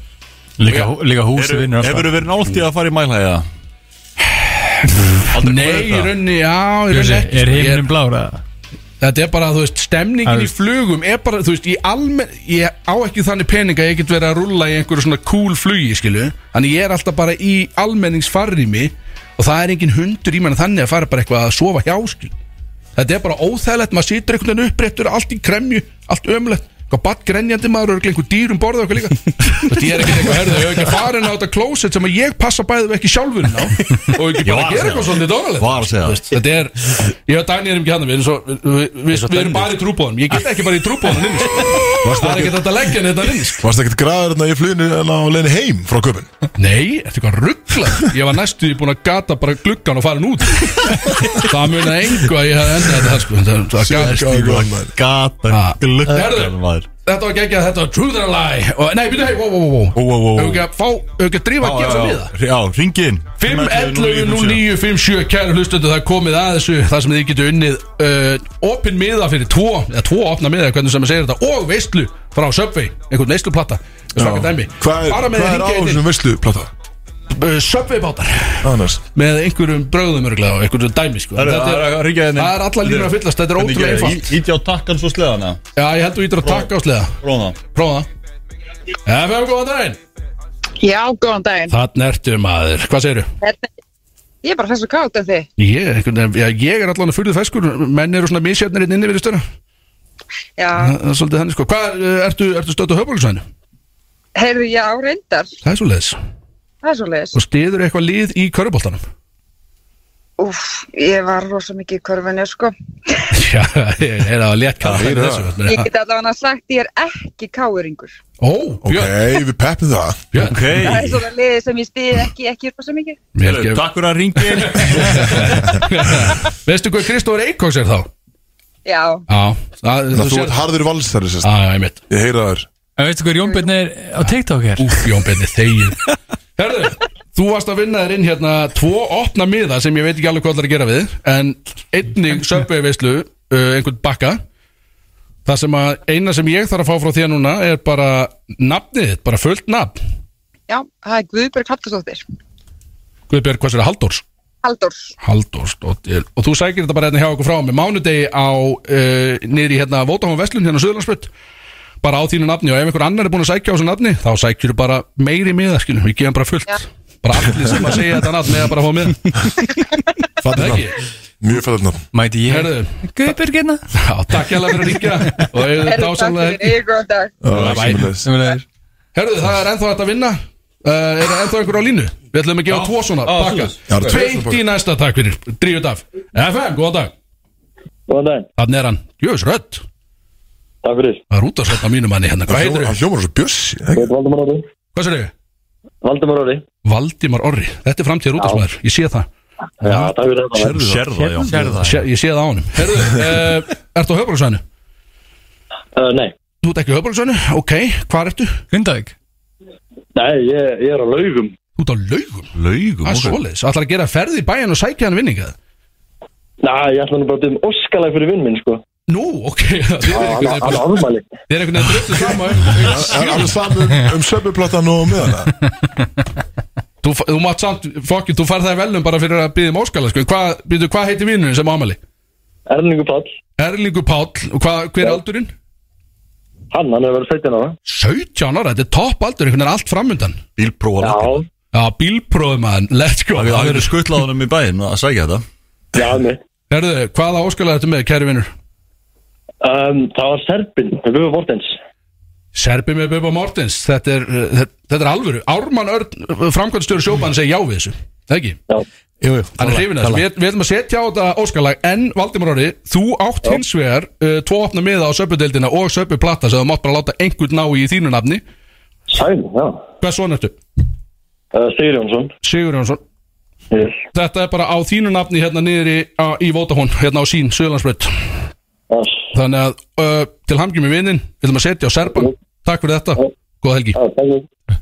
[SPEAKER 4] Líka, líka húsi vinnur alltaf
[SPEAKER 3] Hefur þú verið nált í að fara í mæl hæg
[SPEAKER 2] Nei, í rauninni, já, í rauninni
[SPEAKER 4] Bjössi,
[SPEAKER 2] ekki
[SPEAKER 4] Er
[SPEAKER 2] sko. Ég
[SPEAKER 4] heiminn blár eða?
[SPEAKER 2] Þetta er bara, þú veist, stemningin
[SPEAKER 4] Það
[SPEAKER 2] í
[SPEAKER 4] er-
[SPEAKER 2] flugum er bara, þú veist, í almen ég á ekki þannig pening að ég get verið að rulla í einhverju svona cool flugi, skilu þannig ég er alltaf bara í almenningsfarrimi og það er engin hundur í mann þannig að fara bara eitthvað að sofa hjá, skilu Þetta er bara óþægilegt, maður situr einhvern veginn uppréttur allt í kremju, allt ömulegt eitthvað badd grenjandi maður, örugglega einhver dýrum borða eitthvað
[SPEAKER 4] [LAUGHS]
[SPEAKER 2] líka Þú veist, ég er ekkert eitthvað herðu, ég hef ekki farin á þetta klósett sem að ég passa bæðið ekki sjálfurinn á og ekki bara að
[SPEAKER 3] Ég var að
[SPEAKER 4] [LAUGHS]
[SPEAKER 2] gera
[SPEAKER 3] segja
[SPEAKER 2] eitthvað svolítið dónalegt
[SPEAKER 3] Var að segja það.
[SPEAKER 2] Þetta er, ég og Dani erum ekki hann Við erum, svo, við, við, við erum bara í trúbóðanum Ég get ekki bara í trúbóðanum inn sko. Það er ekki þetta að leggja henni þetta inn sko.
[SPEAKER 1] Varst ekkert graður þarna í fluginu en á leiðinu heim frá köpun?
[SPEAKER 2] Nei, ertu eitthvað ruggla Ég var næstu búin að gata bara gluggan og farin út Það munið engu að ég hafði endað þetta sko. Það- Það
[SPEAKER 1] Gata
[SPEAKER 2] gatist
[SPEAKER 1] gluggan maður
[SPEAKER 3] Gata
[SPEAKER 2] Ah.
[SPEAKER 3] gluggan
[SPEAKER 2] Herðu.
[SPEAKER 3] maður
[SPEAKER 2] Þetta var geggjað, þetta var Truth and a Lie og, Nei, byrju, hei, wow, wow, wow
[SPEAKER 3] Ó, ó, ó, ó.
[SPEAKER 2] Hefur ekki að fá, hefur ekki að drífa að gefa svo miða
[SPEAKER 3] Já, ringin
[SPEAKER 2] 5.11.09.57 Kæra hlustundu, það er komið að þessu Það sem þið getur unnið uh, Opin miða fyrir tvo Eða tvo opna miða, hvernig sem að segja þetta Og veistlu frá Subway Einhvern veistluplata Svaka dæmi
[SPEAKER 1] Hvað er,
[SPEAKER 2] Bara
[SPEAKER 1] hvað
[SPEAKER 2] með
[SPEAKER 1] er á
[SPEAKER 2] hringið
[SPEAKER 1] þessum veislu, plata?
[SPEAKER 2] uh, Subway bátar
[SPEAKER 1] Annars
[SPEAKER 2] Með einhverjum bröðum örglega og einhverjum dæmi sko. Þetta er- Það er alla línur að fyllast Þetta er ótrúlega einfalt
[SPEAKER 3] Íti á takkan svo sleðana
[SPEAKER 2] Já, ég heldur ítur að taka á sleða
[SPEAKER 3] Róna
[SPEAKER 2] Prófa það FM, góðan daginn
[SPEAKER 8] Já, góðan daginn.
[SPEAKER 2] Þann ertu maður, hvað segirðu?
[SPEAKER 8] Hvernig- Ég er bara þessu kátt en þið.
[SPEAKER 2] Ég, einhvern veginn, já, ég er allan að furðu feskur Menn eru svona misjarnir inn inni við stöðna
[SPEAKER 8] Já,
[SPEAKER 2] Það er svolítið henni sko Hvað, eh, ertu, ertu stöðt á höfbólusvæðinu?
[SPEAKER 8] heyrðu, já, reyndar.
[SPEAKER 2] Það er svo leiðis
[SPEAKER 8] Það er svo leiðis.
[SPEAKER 2] Og stiður eitthvað lið í körubóltanum
[SPEAKER 8] Úf, ég var rosa mikið í körfunni, sko.
[SPEAKER 2] Já, ég er það létt kallar
[SPEAKER 1] er
[SPEAKER 2] þessu
[SPEAKER 8] Ég
[SPEAKER 2] menn,
[SPEAKER 8] get allavega sagt, ég er ekki káuringur.
[SPEAKER 2] Ó,
[SPEAKER 1] Ok,
[SPEAKER 2] Björn,
[SPEAKER 1] við peppum það
[SPEAKER 2] Björn
[SPEAKER 3] Ok
[SPEAKER 8] Það er svona leiði sem ég stiði ekki, ekki rosa mikið.
[SPEAKER 2] Ég held
[SPEAKER 3] Takk fyrir að ringin
[SPEAKER 2] ekki- [LAUGHS] Veistu hvað Kristóður Eikóks er þá?
[SPEAKER 8] Já,
[SPEAKER 2] Já, það,
[SPEAKER 1] Þannig að þú
[SPEAKER 2] sér
[SPEAKER 1] ert harður valsari sérst
[SPEAKER 2] Já, ég mitt
[SPEAKER 1] Ég heyra þér
[SPEAKER 4] En veistu hver Jón Björn er á TikTok hér?
[SPEAKER 2] Úf, Jón Benni, þegið Herðu, þú varst að vinna þér inn hérna Tvo opna miða sem ég veit ekki alveg hvað það er að gera við En einnig söpveifislu uh, Einhvern bakka Það sem að eina sem ég þarf að fá frá þér núna Er bara nafnið þitt, bara fullt nafn
[SPEAKER 8] já, það er Guðbjörg Halldórsdóttir.
[SPEAKER 2] Guðbjörg, hvað sér það, Halldórs?
[SPEAKER 8] Halldórs.
[SPEAKER 2] Halldórsdóttir Og þú sækir þetta bara hérna hjá okkur frá með mánudegi á uh, Niðri hérna Vótafón Vestlun hérna á Suðurlandsbjörn Bara á þínu nafni og ef einhver annar er búin að sækja á þessu nafni Þá sækjur bara meiri miða skilum Við gefum bara fullt Bara allir sem að segja þetta nafn eða bara að fá miða Það
[SPEAKER 1] Fattir
[SPEAKER 2] ekki
[SPEAKER 1] nafn Mjög fattir nafn
[SPEAKER 4] Mæti ég
[SPEAKER 2] Herðu,
[SPEAKER 4] Guðbjörg hérna
[SPEAKER 2] já, takk hérlega fyrir að ringja Og ef þetta
[SPEAKER 8] Heyrðu, takk
[SPEAKER 2] ásamlega
[SPEAKER 8] fyrir, ég er góðan dag.
[SPEAKER 1] Já, sömuleiðis.
[SPEAKER 4] Sem er þeir
[SPEAKER 2] Herðu, það er ennþá þetta að vinna uh, Er það ennþá einhver á línu? Við ætlum að gefa tvo svona pakka
[SPEAKER 1] Já, það er tvo svona
[SPEAKER 2] Beint í næsta takk fyrir, drífut af FM, góðan dag
[SPEAKER 9] Góðan daginn,
[SPEAKER 2] Þannig er hann, jöfis rödd
[SPEAKER 9] takk fyrir.
[SPEAKER 2] Það er útarsöld á mínu manni hérna, hvað heitir
[SPEAKER 1] Hann
[SPEAKER 2] þau?
[SPEAKER 1] hljómar svo bjössi
[SPEAKER 9] Ég heit Valdimar Orri.
[SPEAKER 2] Hvað sér þau?
[SPEAKER 9] Valdimar Orri.
[SPEAKER 2] Valdimar Orri, þetta er framtíðar útarsmaður, ég sé það
[SPEAKER 9] Já, takk fyrir þetta. maður.
[SPEAKER 3] Sérða, já
[SPEAKER 4] Sérða
[SPEAKER 2] sé, Ég sé það á honum Herðu, uh, ertu á höfbruksvæðinu?
[SPEAKER 9] Uh, nei,
[SPEAKER 2] Þú ert ekki á höfbruksvæðinu, ok, hvað ertu?
[SPEAKER 4] Hundavík
[SPEAKER 9] nei, ég, ég er á laugum.
[SPEAKER 2] Þú ert á laugum,
[SPEAKER 3] Laugum
[SPEAKER 2] það er
[SPEAKER 3] ok.
[SPEAKER 2] svoleiðis Ætlar að gera ferð í bæin og sækja hann vinningað
[SPEAKER 9] Næ, ég ætla nú bara að byrja um óskalag fyrir vinn minn, sko.
[SPEAKER 2] Nú, ok, [LAUGHS] þið er
[SPEAKER 9] Hann hann á
[SPEAKER 2] einhvern
[SPEAKER 9] afmæli.
[SPEAKER 2] veginn að driftu fram á einhvern-
[SPEAKER 1] Það er alveg saman um söpuplattan og
[SPEAKER 2] [LAUGHS]
[SPEAKER 1] miðana
[SPEAKER 2] Þú, þú mátt samt, fokkin, þú færð það í velum bara fyrir að byggja um óskala, sko Hvað, býtu, hvað heitir vinnurinn sem ámali?
[SPEAKER 9] Erlingur Pall,
[SPEAKER 2] Erlingur Páll, og hvað, hver er aldurinn?
[SPEAKER 9] hann, hann er verið 17 ára.
[SPEAKER 2] 17 ára, þetta er topp aldur, einhvern veginn er allt framundan
[SPEAKER 3] Bílprófa
[SPEAKER 9] Já,
[SPEAKER 3] lokað.
[SPEAKER 2] Já, bílprófið maður, let's go
[SPEAKER 3] Það verður skuttlaðunum í bæinn að segja þetta
[SPEAKER 9] já, mig.
[SPEAKER 2] Herðu, hvaða óskalega þetta með, kæri vinnur?
[SPEAKER 9] Um, það var Serbin, við byrjum Vortens.
[SPEAKER 2] Serbi með Bubba Mortens, þetta er, uh, þetta- þetta er alvöru Ármann Örn, framkvæmstjóri sjópan, segir já við þessu Það ekki?
[SPEAKER 9] Já,
[SPEAKER 2] Jú, jú, Hann er hrifin að þessu, við, við ætlum að setja á þetta óskalag En Valdimar Orri, þú átt hins vegar uh, Tvo opna miða á söpudeldina og söpuplata Svo þú mátt bara láta einhvern ná í þínu nafni
[SPEAKER 9] sæl, já.
[SPEAKER 2] Hvað svona ertu?
[SPEAKER 9] Uh, Sigur Jónsson.
[SPEAKER 2] Sigur Jónsson
[SPEAKER 9] Yes.
[SPEAKER 2] Þetta er bara á þínu nafni hérna niður í, á, í Vótahón Hérna á sín, Suðlandsbröð
[SPEAKER 9] Yes.
[SPEAKER 2] Þannig að uh, til hamgjum í vinnin Við ætlum að setja á Serban Takk fyrir þetta, góða helgi
[SPEAKER 9] Já, takk fyrir.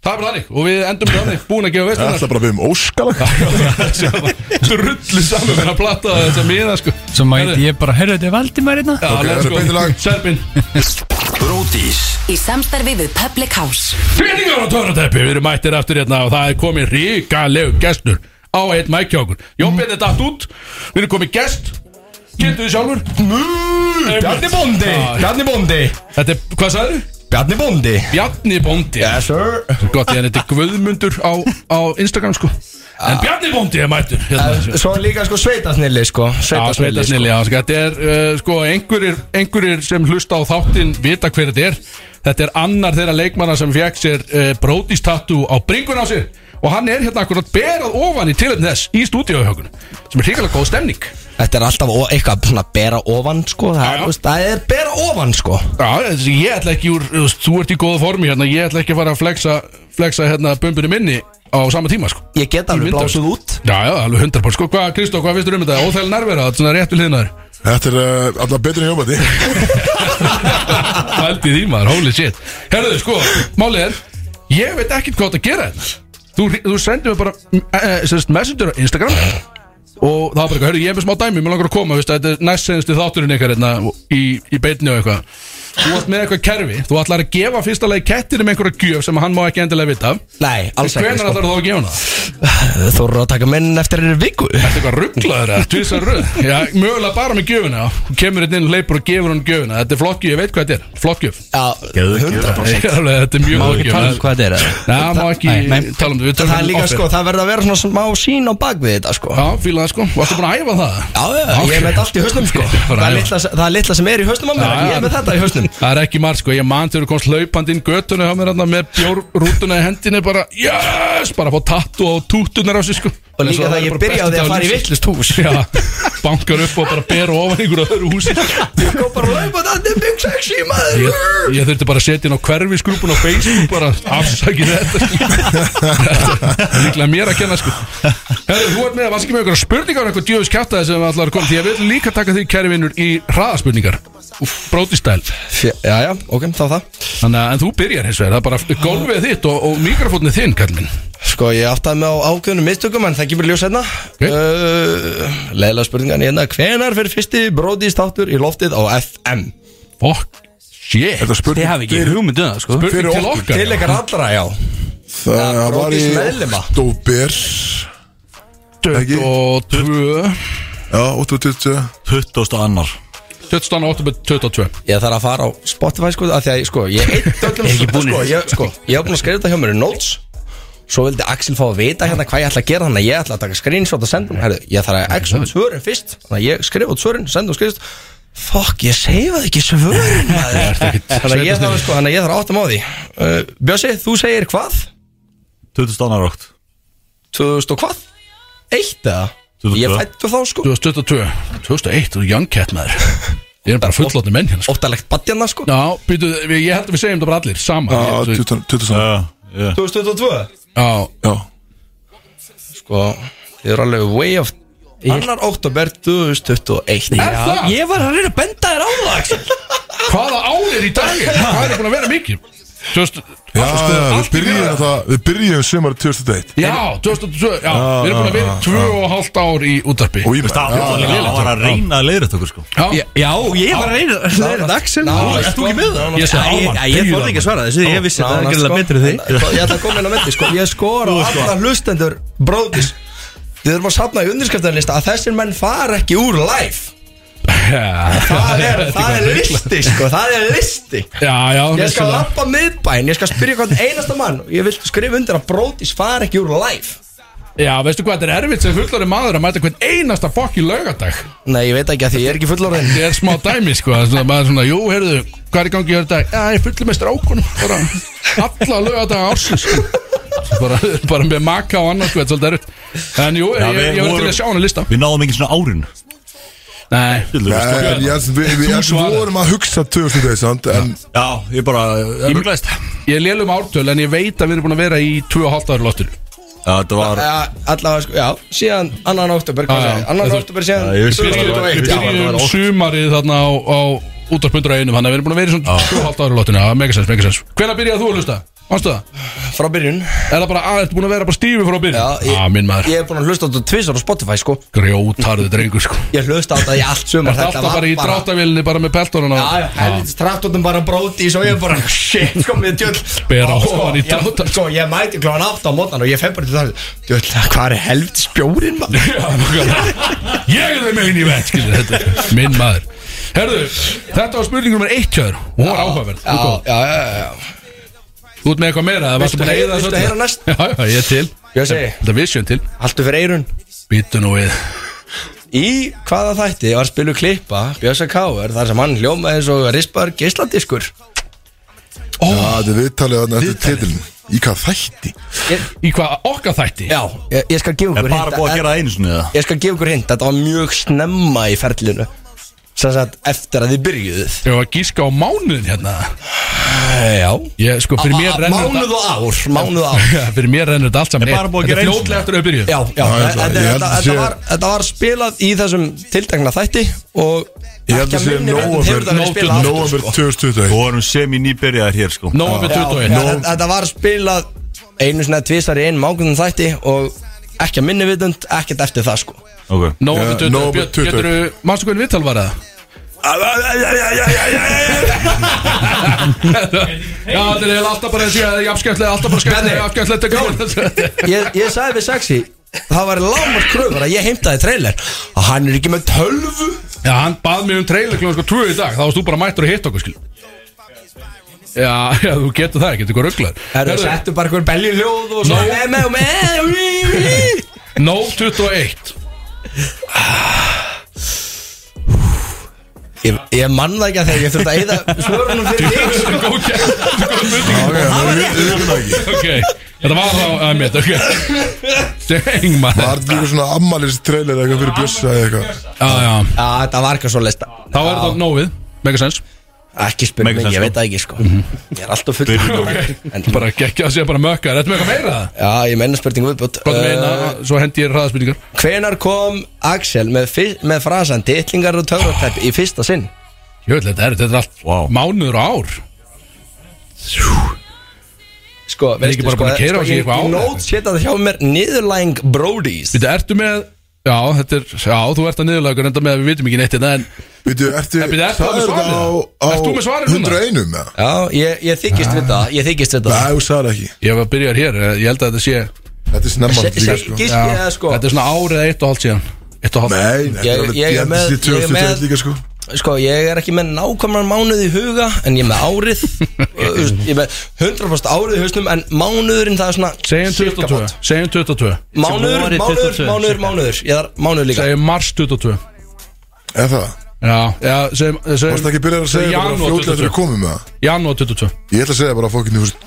[SPEAKER 2] Það er bara þannig og við endum með þannig Búin að gefa
[SPEAKER 1] Það
[SPEAKER 2] veist
[SPEAKER 1] er bara að byrja um óskalag
[SPEAKER 2] Ah. Þessi rullu saman fyrir að platta þetta miða sko
[SPEAKER 4] Svo mæti ég bara Herru, þetta er Valdimar hérna
[SPEAKER 2] Já,
[SPEAKER 1] Ok,
[SPEAKER 2] let's
[SPEAKER 1] þetta er
[SPEAKER 2] go.
[SPEAKER 1] beint í lag.
[SPEAKER 2] Serbin
[SPEAKER 5] Bródís
[SPEAKER 6] Í samstarfi við Public House
[SPEAKER 2] Finningar á törnateppi, við erum mættir aftur hérna og það er komið ríkalegu gestur á eitt mækjókur Jón Bjarni er datt út, við erum komið gest Kynntu þið sjálfur Bjarni Bóndi
[SPEAKER 5] Bjarni Bóndi
[SPEAKER 2] Þetta er, hvað sagðu?
[SPEAKER 5] Bjarni Bóndi
[SPEAKER 2] Bjarni Bóndi
[SPEAKER 5] Yes sir
[SPEAKER 2] Gott, ég hann heiti Guðmundur á, á Instagram sko En Bjarni Bóndi er mættur hérna.
[SPEAKER 5] Svo er líka sko sveitasnilli sko
[SPEAKER 2] Já, sveitasnilli, já, sko, þetta er uh, sko, einhverjir, einhverjir sem hlusta á þáttinn vita hver þetta er Þetta er annar þeirra leikmanna sem fekk sér uh, brótistatú á bringun á sér Og hann er hérna akkurat berað ofan í tilöfn þess í stúdíóhjókunum Sem er hrikalega góð stemning Já,
[SPEAKER 5] Þetta er alltaf ó- eitthvað svona bera ofan sko Það,
[SPEAKER 2] Já, já.
[SPEAKER 5] er, þú veist, það er bera ofan sko
[SPEAKER 2] þessi, ég ætla ekki úr, þú veist, þú ert í góða formi hérna Ég ætla ekki að fara að flexa, flexa hérna bumbunum minni á sama tíma sko
[SPEAKER 5] Ég get alveg
[SPEAKER 2] myndar.
[SPEAKER 5] blásið út
[SPEAKER 2] Já, já, alveg hundra pár, sko, hvað,
[SPEAKER 1] eh,
[SPEAKER 2] Kristó, hvað finnst þér um þetta? Óþæl nærvera, þetta er svona rétt við hliðnaður
[SPEAKER 1] Þetta er uh, alltaf betur en jómandi
[SPEAKER 2] Fældi því maður, holy shit Herðu, sko, málið er Ég veit ekkert hvað það gera þetta Þú, þú sendir mér bara uh, sérst, Messenger á Instagram Og það var bara eitthvað, herru, ég er með smá dæmi Mér langar að koma, veist, þetta er næst senstu þátturinn ykkar hérna, í, í beinni og eitthvað Þú ert með eitthvað kerfi Þú ætlar að gefa fyrsta leið kettinum einhverja gjöf sem hann má ekki endilega vita af.
[SPEAKER 7] Nei, alls ekki
[SPEAKER 2] Hvenær ætlar
[SPEAKER 7] sko.
[SPEAKER 2] þú að gefa hana?
[SPEAKER 7] Þú eru að taka menn eftir þeirri viku
[SPEAKER 2] Þetta er eitthvað rugglaður eða, tvisar röð Já, mögulega bara með gjöfuna já. Hún Kemur hérna inn, leipur og gefur hún gjöfuna Þetta er flokkjöf, ég veit hvað þetta er, flokkjöf
[SPEAKER 7] Já, hundra
[SPEAKER 2] Ég er alveg- [LAUGHS] Þetta er mjög
[SPEAKER 4] Má ekki tala um
[SPEAKER 2] flokkjöf
[SPEAKER 4] hvað þetta er eða?
[SPEAKER 2] Já, má ekki
[SPEAKER 4] Nei.
[SPEAKER 2] tala um þetta, við
[SPEAKER 7] Það
[SPEAKER 2] tölum
[SPEAKER 7] er líka
[SPEAKER 2] off-air.
[SPEAKER 7] sko, það verður að vera svona smá sín á bak við þetta sko
[SPEAKER 2] Já, fíla það sko, varstu búin að æfa það?
[SPEAKER 7] Já, já, ég er með þetta allt í hausnum sko
[SPEAKER 2] Ok, [LAUGHS] bara
[SPEAKER 7] Það er
[SPEAKER 2] æfa.
[SPEAKER 7] litla, það er litla sem er í hausnum á mér
[SPEAKER 2] Já,
[SPEAKER 7] Ég
[SPEAKER 2] já.
[SPEAKER 7] er með þetta í hausnum
[SPEAKER 2] Það er ekki margt sko, ég man þegar þú komst laupandi inn göttunni hjá mér hérna með bjórrútuna í hendinni bara, yes, bara að fá tattu á tútunar á sig sko
[SPEAKER 7] Og líka það ég byrjaði að fara í vittlust hús
[SPEAKER 2] Já, bankar upp og bara ber ofan ykkur á öðru húsi
[SPEAKER 7] [LAUGHS] Ég kom bara að laupa þetta er big sexy
[SPEAKER 2] Ég,
[SPEAKER 7] maður
[SPEAKER 2] ég þurfti bara að setja inn á hverfisgrúpun á Facebook bara afsakið þetta sko. Þetta er líklega mér að kenna sko Herðu, þú ert með að vanskið með einhverja spurningar eitthvað djöfus kjátaði sem við allar komum því ég vil líka taka því kæri vinnur í hraðaspurningar brótistæl
[SPEAKER 7] Fjö- Já, já, ok, þá það
[SPEAKER 2] Þannig að en þú byrjar hins vegar, það er bara gólfið þitt og, og mikrofónnið þinn, kall minn
[SPEAKER 7] Sko, ég áttaði mig á ákveðunum mistökum En það kemur ljós hérna uh, Leila spurningan hérna Hvenar fyrir fyrsti bróðistáttur í loftið á FM?
[SPEAKER 2] Fuck,
[SPEAKER 1] Þetta
[SPEAKER 2] shit
[SPEAKER 1] er
[SPEAKER 4] Þið
[SPEAKER 1] spurning
[SPEAKER 4] hafi ekki
[SPEAKER 1] fyrir-
[SPEAKER 4] hugmyndu það sko
[SPEAKER 2] Spurning
[SPEAKER 1] fyrir
[SPEAKER 2] til
[SPEAKER 1] okkur.
[SPEAKER 2] okkar
[SPEAKER 7] Til ykkar allra, já
[SPEAKER 1] Það
[SPEAKER 4] Ah,
[SPEAKER 7] Já,
[SPEAKER 1] var í
[SPEAKER 7] Brodís meðlima.
[SPEAKER 1] oktober Ekki?
[SPEAKER 2] og 2
[SPEAKER 1] Já, 8.20
[SPEAKER 3] 20. annar
[SPEAKER 2] 17. oktober 22
[SPEAKER 7] Ég þarf að fara á Spotify sko af Því að ég, sko, ég
[SPEAKER 4] [LAUGHS]
[SPEAKER 7] eitt öllum
[SPEAKER 4] ekki búnir.
[SPEAKER 7] sko, ég, sko, ég var búin að skrifa þetta hjá mér í notes Svo vildi Axel fá að vita hérna hvað ég ætla að gera Þannig að ég ætla að taka screenshot og senda hún Herðu, ég þarf að Axel svörin fyrst Þannig að ég skrifa út svörin, senda og skrifst Fuck, ég seifaði ekki
[SPEAKER 4] [LAUGHS]
[SPEAKER 7] svörin maður Þannig að ég þarf sko, þannig að ég þarf að áttum á því uh, Bjössi, þú segir hvað?
[SPEAKER 3] 20. annar átt
[SPEAKER 7] 2000 og hvað? Eitt eða?
[SPEAKER 3] 2002.
[SPEAKER 7] Ég fættu þá sko
[SPEAKER 2] 2022, 2001, þú er young cat maður Ég er bara fullotni menn hérna sko.
[SPEAKER 7] Óttalegt badjanna sko
[SPEAKER 2] Já, býtu, við- ég held að við segjum það bara allir Sama
[SPEAKER 1] Já,
[SPEAKER 2] Ég-
[SPEAKER 1] 20. 20.
[SPEAKER 3] Já, já
[SPEAKER 7] 2002
[SPEAKER 2] Já,
[SPEAKER 1] Já,
[SPEAKER 7] Sko, þið eru alveg way of Annar óttober 2021
[SPEAKER 2] Er það?
[SPEAKER 7] Ég var að reyna að benda þér á það Axel.
[SPEAKER 2] [LAUGHS] hvaða álir í dag er? Hvað er búin að vera mikið? 2000
[SPEAKER 1] já,
[SPEAKER 2] allt sko,
[SPEAKER 1] já, við
[SPEAKER 2] allt í
[SPEAKER 1] byrjum
[SPEAKER 2] fyrra.
[SPEAKER 1] það Við byrjum sumar 2001
[SPEAKER 2] Já, 2002, já, við erum búin að vera
[SPEAKER 1] já,
[SPEAKER 2] tvö og hálft ár í útarpi
[SPEAKER 1] Og ég
[SPEAKER 3] Veist,
[SPEAKER 1] með
[SPEAKER 3] Það það var að reyna að leiðrætt okkur sko
[SPEAKER 2] Já,
[SPEAKER 4] Já, ég var að reyna að
[SPEAKER 7] Nánast-
[SPEAKER 4] þetta Axel
[SPEAKER 7] nánast,
[SPEAKER 4] Ert þú ekki með það?
[SPEAKER 2] Ég sagði
[SPEAKER 4] Æ,
[SPEAKER 2] áðan,
[SPEAKER 4] æ, Ég þorði ekki að svara þessu, ég vissi það er
[SPEAKER 7] Nánast,
[SPEAKER 4] greiðlega
[SPEAKER 7] sko.
[SPEAKER 4] betur því
[SPEAKER 7] En, sko, Ég ætla að koma inn á myndi sko. Ég skora á alla hlustendur bróðis Þið erum að sapna í undirskriftarinnlista að þessir menn fara ekki úr live Það er, það er listi sko, það er listi
[SPEAKER 2] Já, já,
[SPEAKER 7] Ég skal
[SPEAKER 2] vissulega.
[SPEAKER 7] lappa miðbæn, ég skal spyrja hvern einasta mann og ég vil skrifa undir að bróðis fara ekki úr live
[SPEAKER 2] já, veistu hvað, þetta er erfitt sem fullari maður að mæta hvern einasta fokk í laugardag
[SPEAKER 7] Nei, ég veit ekki að því ég er ekki fullorðin
[SPEAKER 2] Þetta er smá dæmi, sko, það er svona, maður er svona, jú, heyrðu, hvað er í gangi í laugardag? Já, ég er fullur með strákunum, bara, alla laugardag ársins, sko bara, bara með maka og annars, sko, þetta er svolítið erfitt En jú,
[SPEAKER 3] Já,
[SPEAKER 2] ég,
[SPEAKER 3] við
[SPEAKER 2] ég, ég verður til
[SPEAKER 3] vorum-
[SPEAKER 2] að sjá hann að lista
[SPEAKER 3] Við náðum ekki svona árin
[SPEAKER 2] Nei,
[SPEAKER 1] En ég held- við- við held-
[SPEAKER 2] svarar.
[SPEAKER 1] vorum að hugsa 2001 sant? En
[SPEAKER 3] Já, ég bara Ég mjöglaðist
[SPEAKER 2] ég lélum ártöl, en ég veit að við erum búin að vera í 2,5 ára lottur
[SPEAKER 3] Það var
[SPEAKER 7] Já, allavega sko, já, síðan annan oktober, hvað
[SPEAKER 2] Já, já.
[SPEAKER 7] segir, annan
[SPEAKER 2] Þú-
[SPEAKER 7] oktober síðan
[SPEAKER 3] Já, ég vissi það.
[SPEAKER 2] Við
[SPEAKER 7] 2021, já,
[SPEAKER 2] byrjum sumarið þarna á, á útarpundur á einum Þannig að við erum búin að vera í svona 2,5 ára lotinu Já, megasens, megasens Hvenær byrjaði þú að hlusta? Ástu það?
[SPEAKER 7] frá byrjun
[SPEAKER 2] Er það bara, að, ertu búin að vera bara stífi frá byrjun?
[SPEAKER 7] Já,
[SPEAKER 2] Já, ah, minn maður
[SPEAKER 7] Ég er búin að hlusta á þetta tvisar á Spotify, sko
[SPEAKER 2] Grjótarðu drengur, sko
[SPEAKER 7] Ég hlusta á þetta í allt sumar,
[SPEAKER 2] Það er alltaf bara í dráttavílinni, bara með peltónuna
[SPEAKER 7] Já, já, helvits traktotum um bara bróti í svo ég er bara, shit, sko, mér djöll
[SPEAKER 2] Bera
[SPEAKER 7] Og sko,
[SPEAKER 2] ofan í
[SPEAKER 7] ég-
[SPEAKER 2] dráttar.
[SPEAKER 7] Sko, ég mæti klóðan átt á mótnan og ég fem bara til það Djöll, hvað er helvits bjórin, maður?
[SPEAKER 2] Ég er þeim einn í vett, skilur þetta er Minn maður Herðu, þetta var spurning nummer 1 hjá þér Hún var áhugaverð, þú
[SPEAKER 7] Já,
[SPEAKER 2] góð
[SPEAKER 7] já, já, já, já
[SPEAKER 2] Þú ert með eitthvað meira, það varstu
[SPEAKER 7] Viltu
[SPEAKER 2] búin að
[SPEAKER 7] heyra-
[SPEAKER 2] eyða þessu
[SPEAKER 7] viltu
[SPEAKER 2] öllu?
[SPEAKER 7] heyra næst?
[SPEAKER 2] Já, já, ég er til
[SPEAKER 7] Ég segi,
[SPEAKER 2] Þetta er visjón til
[SPEAKER 7] haltu fyrir eirun
[SPEAKER 2] Býtu nú við
[SPEAKER 7] Í hvaða þætti var spilu klippa Björsa Káur þar sem hann hljómaði eins og rispaður geisladiskur
[SPEAKER 1] það er viðtalið þarna eftir titilin Í hvað þætti?
[SPEAKER 2] Í hvað okkar þætti?
[SPEAKER 7] Já, ég, ég skal gefa
[SPEAKER 3] Er
[SPEAKER 7] ykkur
[SPEAKER 3] bara búið að gera það einu sinni eða?
[SPEAKER 7] Ég skal gefa ykkur hint, þetta var mjög snemma í ferlinu Sem sagt, eftir að þið byrjuðuð
[SPEAKER 2] Ég var að gíska á mánuðin hérna
[SPEAKER 7] Já
[SPEAKER 2] ég, Sko, fyrir mér rennur
[SPEAKER 7] Ah, Mánuð
[SPEAKER 2] [LAUGHS]
[SPEAKER 7] og ár, mánuð og ár
[SPEAKER 2] þetta Fyrir mér rennur þetta allt saman
[SPEAKER 3] Ég bara búið
[SPEAKER 2] Þetta
[SPEAKER 3] að gera
[SPEAKER 2] er
[SPEAKER 3] einu
[SPEAKER 2] fljótlega eftir að við byrjum
[SPEAKER 7] Já, já,
[SPEAKER 1] Já, ég held að-
[SPEAKER 7] þetta-
[SPEAKER 1] ég held
[SPEAKER 7] þetta
[SPEAKER 1] að
[SPEAKER 7] þetta
[SPEAKER 1] sé-
[SPEAKER 7] var- þetta var spilað í þessum tiltekna þætti Og
[SPEAKER 1] Ég held að sé nóvember Nóvember
[SPEAKER 2] sko.
[SPEAKER 1] 2020
[SPEAKER 3] vorum sem í nýbyrjaðar hér sko
[SPEAKER 2] Nóvember
[SPEAKER 7] Já,
[SPEAKER 2] 21.
[SPEAKER 7] já,
[SPEAKER 2] Nóvember-
[SPEAKER 7] Þetta var spilað einu svona tvisar í einum ákveðum þætti og ekki að minni vitund, ekkert eftir það sko
[SPEAKER 3] Ok.
[SPEAKER 2] Nóvember
[SPEAKER 1] Já,
[SPEAKER 2] 20
[SPEAKER 1] nóvember
[SPEAKER 2] Björn,
[SPEAKER 1] 20.
[SPEAKER 2] Geturðu, mannstu hvernig viðtal var það? Já, þetta er eiginlega alltaf bara að segja Jafnskemmtilega, alltaf bara skemmtilega, jafnskemmtilega
[SPEAKER 7] Ég, ég sagði við sexi Það var lámar kröfur að ég heimtaði trailer að hann er ekki með tölvu
[SPEAKER 2] [LAUGHS] Já, hann bað mér um trailer klokkan sko 2 í dag Þá varst þú bara mættur að hitta okkur, skil Já, já, þú getur það, getur ykkur rugglar
[SPEAKER 7] Herru, settu bara einhver belju hljóð og svo
[SPEAKER 2] Nó.
[SPEAKER 7] með, með, með
[SPEAKER 2] Nó 21
[SPEAKER 7] Ég, ég mann það ekki að þegar ég þurfti að eyða svörunum fyrir þig sko.
[SPEAKER 2] Góð gert, góð mynding [LAUGHS] Ok, þetta var þá að mitt, ok
[SPEAKER 1] Var
[SPEAKER 2] Steng maður
[SPEAKER 1] þetta líka svona ammalins trailer eitthvað fyrir bjössa eða eitthvað
[SPEAKER 2] Já, já,
[SPEAKER 7] Já, þetta var eitthvað svo leista
[SPEAKER 2] þá er þetta nóvið Megasens
[SPEAKER 7] Ekki spyr mig,
[SPEAKER 3] Megasens,
[SPEAKER 7] ég
[SPEAKER 3] sko.
[SPEAKER 7] veit það ekki sko Ég er alltaf full En
[SPEAKER 2] Bara gekkja að segja bara mökka, er þetta með eitthvað meira það?
[SPEAKER 7] Já, ég meina spurningu viðbútt
[SPEAKER 2] Hvað er meina, svo hendi ég hraðaspýtingar
[SPEAKER 7] Hvenar kom Axel með, fi- með frasan Dittlingar og töfratæp í fyrsta sinn?
[SPEAKER 2] Jöfnlega, þetta er, þetta er allt
[SPEAKER 3] Vá.
[SPEAKER 2] mánuður og ár
[SPEAKER 7] Sko,
[SPEAKER 2] Er ekki bara búin að keyra á sig
[SPEAKER 7] ég,
[SPEAKER 2] eitthvað
[SPEAKER 7] ég
[SPEAKER 2] á
[SPEAKER 7] nót sétt að það hjá mér Niðurlæng Brodies
[SPEAKER 2] Þetta ertu með, já, þetta er, já, þú ert að niðurlagur enda með að við vitum ekki neitt hérna, En
[SPEAKER 1] Býtu, ertu
[SPEAKER 2] Nei, bíddu, ertu
[SPEAKER 1] það
[SPEAKER 2] með
[SPEAKER 1] er
[SPEAKER 2] svarið?
[SPEAKER 1] þetta
[SPEAKER 2] hérna?
[SPEAKER 1] á, á
[SPEAKER 2] Ert þú með svarið núna?
[SPEAKER 1] 101 eða?
[SPEAKER 7] Já, ég, ég þykist við það Ég þykist við
[SPEAKER 1] Nei,
[SPEAKER 7] það
[SPEAKER 1] þú sagði ekki
[SPEAKER 2] ég var að byrja hér, eh, ég held að þetta sé
[SPEAKER 1] Þetta er snemma
[SPEAKER 7] Se-
[SPEAKER 1] líka
[SPEAKER 7] se-
[SPEAKER 1] sko
[SPEAKER 7] Giski eða sko
[SPEAKER 2] Þetta er svona árið eitt og hálft síðan Eitt og hálft
[SPEAKER 1] Nei, þetta
[SPEAKER 7] Ég-
[SPEAKER 1] er alveg
[SPEAKER 7] ég er
[SPEAKER 1] Ég held að
[SPEAKER 7] með-
[SPEAKER 1] sé
[SPEAKER 7] ég er með-
[SPEAKER 1] 2021 líka sko
[SPEAKER 7] Sko, ég er ekki með nákvæmlega mánuð í huga En ég er með
[SPEAKER 2] [LAUGHS]
[SPEAKER 7] árið Þú veist, Ég er með 100% árið í hausnum En mánuðurinn það er svona
[SPEAKER 2] Segjum
[SPEAKER 7] cirka
[SPEAKER 2] 22, segjum 22
[SPEAKER 7] Mánuður,
[SPEAKER 10] Vorið
[SPEAKER 7] mánuður,
[SPEAKER 10] 22, cirka.
[SPEAKER 7] mánuður, mánuður Ég þarf mánuður líka
[SPEAKER 2] Segjum mars 22
[SPEAKER 1] Er það?
[SPEAKER 2] Já, já, segjum,
[SPEAKER 1] Varst ekki
[SPEAKER 2] segjum
[SPEAKER 1] byrjað að segja þetta bara
[SPEAKER 2] Janúar
[SPEAKER 1] fljótlega þegar
[SPEAKER 2] 22.
[SPEAKER 1] við komum með það?
[SPEAKER 2] janúar 22
[SPEAKER 1] Ég ætla að segja bara fókinn, þú veist,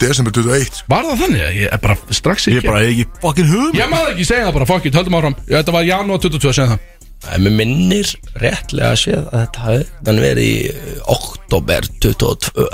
[SPEAKER 1] desember 21
[SPEAKER 2] Var það þannig? Ég er bara strax
[SPEAKER 3] Ég
[SPEAKER 2] ekki
[SPEAKER 3] bara hef ekki fucking hugum
[SPEAKER 2] Ég maður ekki segja það bara, fuck it, höldum áfram Já, Þetta var janúar 22, segjum það
[SPEAKER 7] En mér minnir réttlega að séð að þetta hafi Þannig verið í eh, oktober 22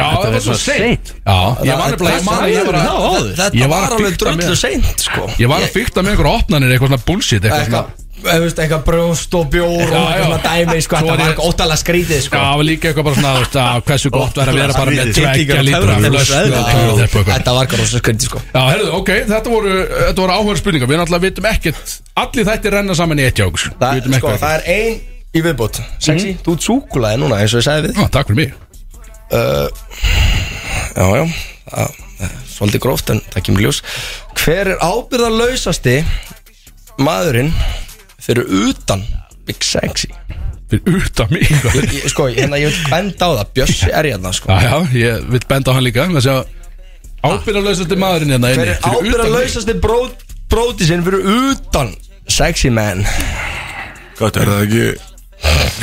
[SPEAKER 2] Já, þetta var svo seint Já, ég var nefnilega, ég man- ég var að-
[SPEAKER 7] Þetta
[SPEAKER 2] Ég var
[SPEAKER 7] var
[SPEAKER 2] að
[SPEAKER 7] alveg
[SPEAKER 2] fikta
[SPEAKER 7] drullu
[SPEAKER 2] með-
[SPEAKER 7] seint sko
[SPEAKER 2] Ég var að fykta með einhverja opnanir, eitthvað svona bullshit Eitthvað svona
[SPEAKER 7] Eitthvað eh, Þú veist, eitthvað brjóst og bjór og
[SPEAKER 2] Já,
[SPEAKER 7] eitthvað
[SPEAKER 2] já.
[SPEAKER 7] svona dæmi, sko,
[SPEAKER 2] Svo
[SPEAKER 7] þetta
[SPEAKER 2] var
[SPEAKER 7] var
[SPEAKER 2] ég-
[SPEAKER 7] eitthvað óttalega skrítið,
[SPEAKER 2] Já,
[SPEAKER 7] sko.
[SPEAKER 2] það var líka eitthvað bara svona, þú veist, að hversu gott verður að vera bara með
[SPEAKER 3] Skrítið.
[SPEAKER 2] tveggja lítra
[SPEAKER 3] Töfratæpi.
[SPEAKER 2] flösku
[SPEAKER 3] Já,
[SPEAKER 2] og töfratæpi og eitthvað.
[SPEAKER 7] Þetta var eitthvað rosa skrítið, sko.
[SPEAKER 2] Já, herðu, ok, þetta voru, þetta voru áhverð spurningar, við náttúrulega vitum ekkert, allir þættir renna saman í eitt hjá okkur, við
[SPEAKER 7] Það,
[SPEAKER 2] vitum
[SPEAKER 7] sko,
[SPEAKER 2] ekkert.
[SPEAKER 7] það er ein í viðbót. Sexy, þú ert súkulaði núna, eins og ég sagði við.
[SPEAKER 2] Já, takk fyrir mig.
[SPEAKER 7] Já, já, það er svolítið gróft, en það kemur í ljós. Hver er ábyrðarlausasti maðurinn fyrir utan Big Sexy?
[SPEAKER 2] Fyrir utan mig.
[SPEAKER 7] [LAUGHS] Ég- ég- Sko, hérna, ég vil benda á það, Bjössi er hérna, sko.
[SPEAKER 2] Já, já, ég vil benda á hann líka, þess að ábyrðarlausasti maðurinn hérna
[SPEAKER 7] Hver
[SPEAKER 2] inni.
[SPEAKER 7] er ábyrðarlausasti bróti sinn fyrir utan Sexy man?
[SPEAKER 1] Er það ekki,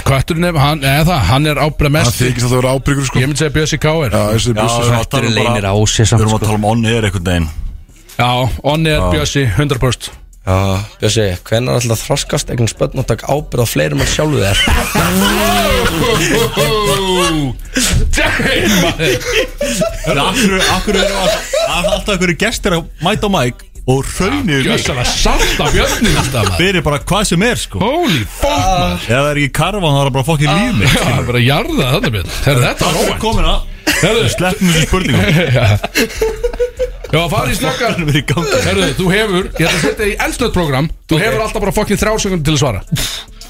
[SPEAKER 2] Kvætturinn er, hann, eða það, hann er ábyrðar
[SPEAKER 1] hann
[SPEAKER 2] mest.
[SPEAKER 1] þykist alltaf að vera ábyggur sko
[SPEAKER 2] Ég myndi segja Bjössi Káir.
[SPEAKER 1] Já, þessi
[SPEAKER 3] Já, við
[SPEAKER 1] bussi
[SPEAKER 3] erum að tala um
[SPEAKER 10] Hættir leynir
[SPEAKER 3] bara-
[SPEAKER 10] á sér
[SPEAKER 3] við
[SPEAKER 10] samt,
[SPEAKER 3] erum að
[SPEAKER 10] sko.
[SPEAKER 3] tala um onni er einhvern veginn
[SPEAKER 2] Já, onni er Bjössi, 100%.
[SPEAKER 7] Já, Bjössi, hvernig er alltaf þroskast eignan spötn og takk ábyrð á fleirum en sjálfu þér?
[SPEAKER 2] Damn, maður.
[SPEAKER 3] En af hverju- af hverju eru að- af Alltaf einhverju gestir að mæta á mæk Og raunir mig
[SPEAKER 2] Bjössi, það salta björnin alltaf, maður.
[SPEAKER 3] Fyrir bara hvað sem er sko
[SPEAKER 2] Holy fuck, maður.
[SPEAKER 3] Ef það er ekki karvan þá er það bara fokkin
[SPEAKER 4] Ah.
[SPEAKER 3] líf mig
[SPEAKER 2] Já, það er bara að jarða þarna björn Herra, þetta var
[SPEAKER 3] Það er
[SPEAKER 2] óvænt
[SPEAKER 3] komin að
[SPEAKER 2] Herðu,
[SPEAKER 3] Sleppum þessu spurningum
[SPEAKER 4] [LAUGHS]
[SPEAKER 2] já, farið í snakkar
[SPEAKER 3] Við erum í gangi
[SPEAKER 2] Herðu, þú hefur, ég ætla að setja þig í eldstöðt program Þú hefur alltaf bara fokkin þrjársekundum til að svara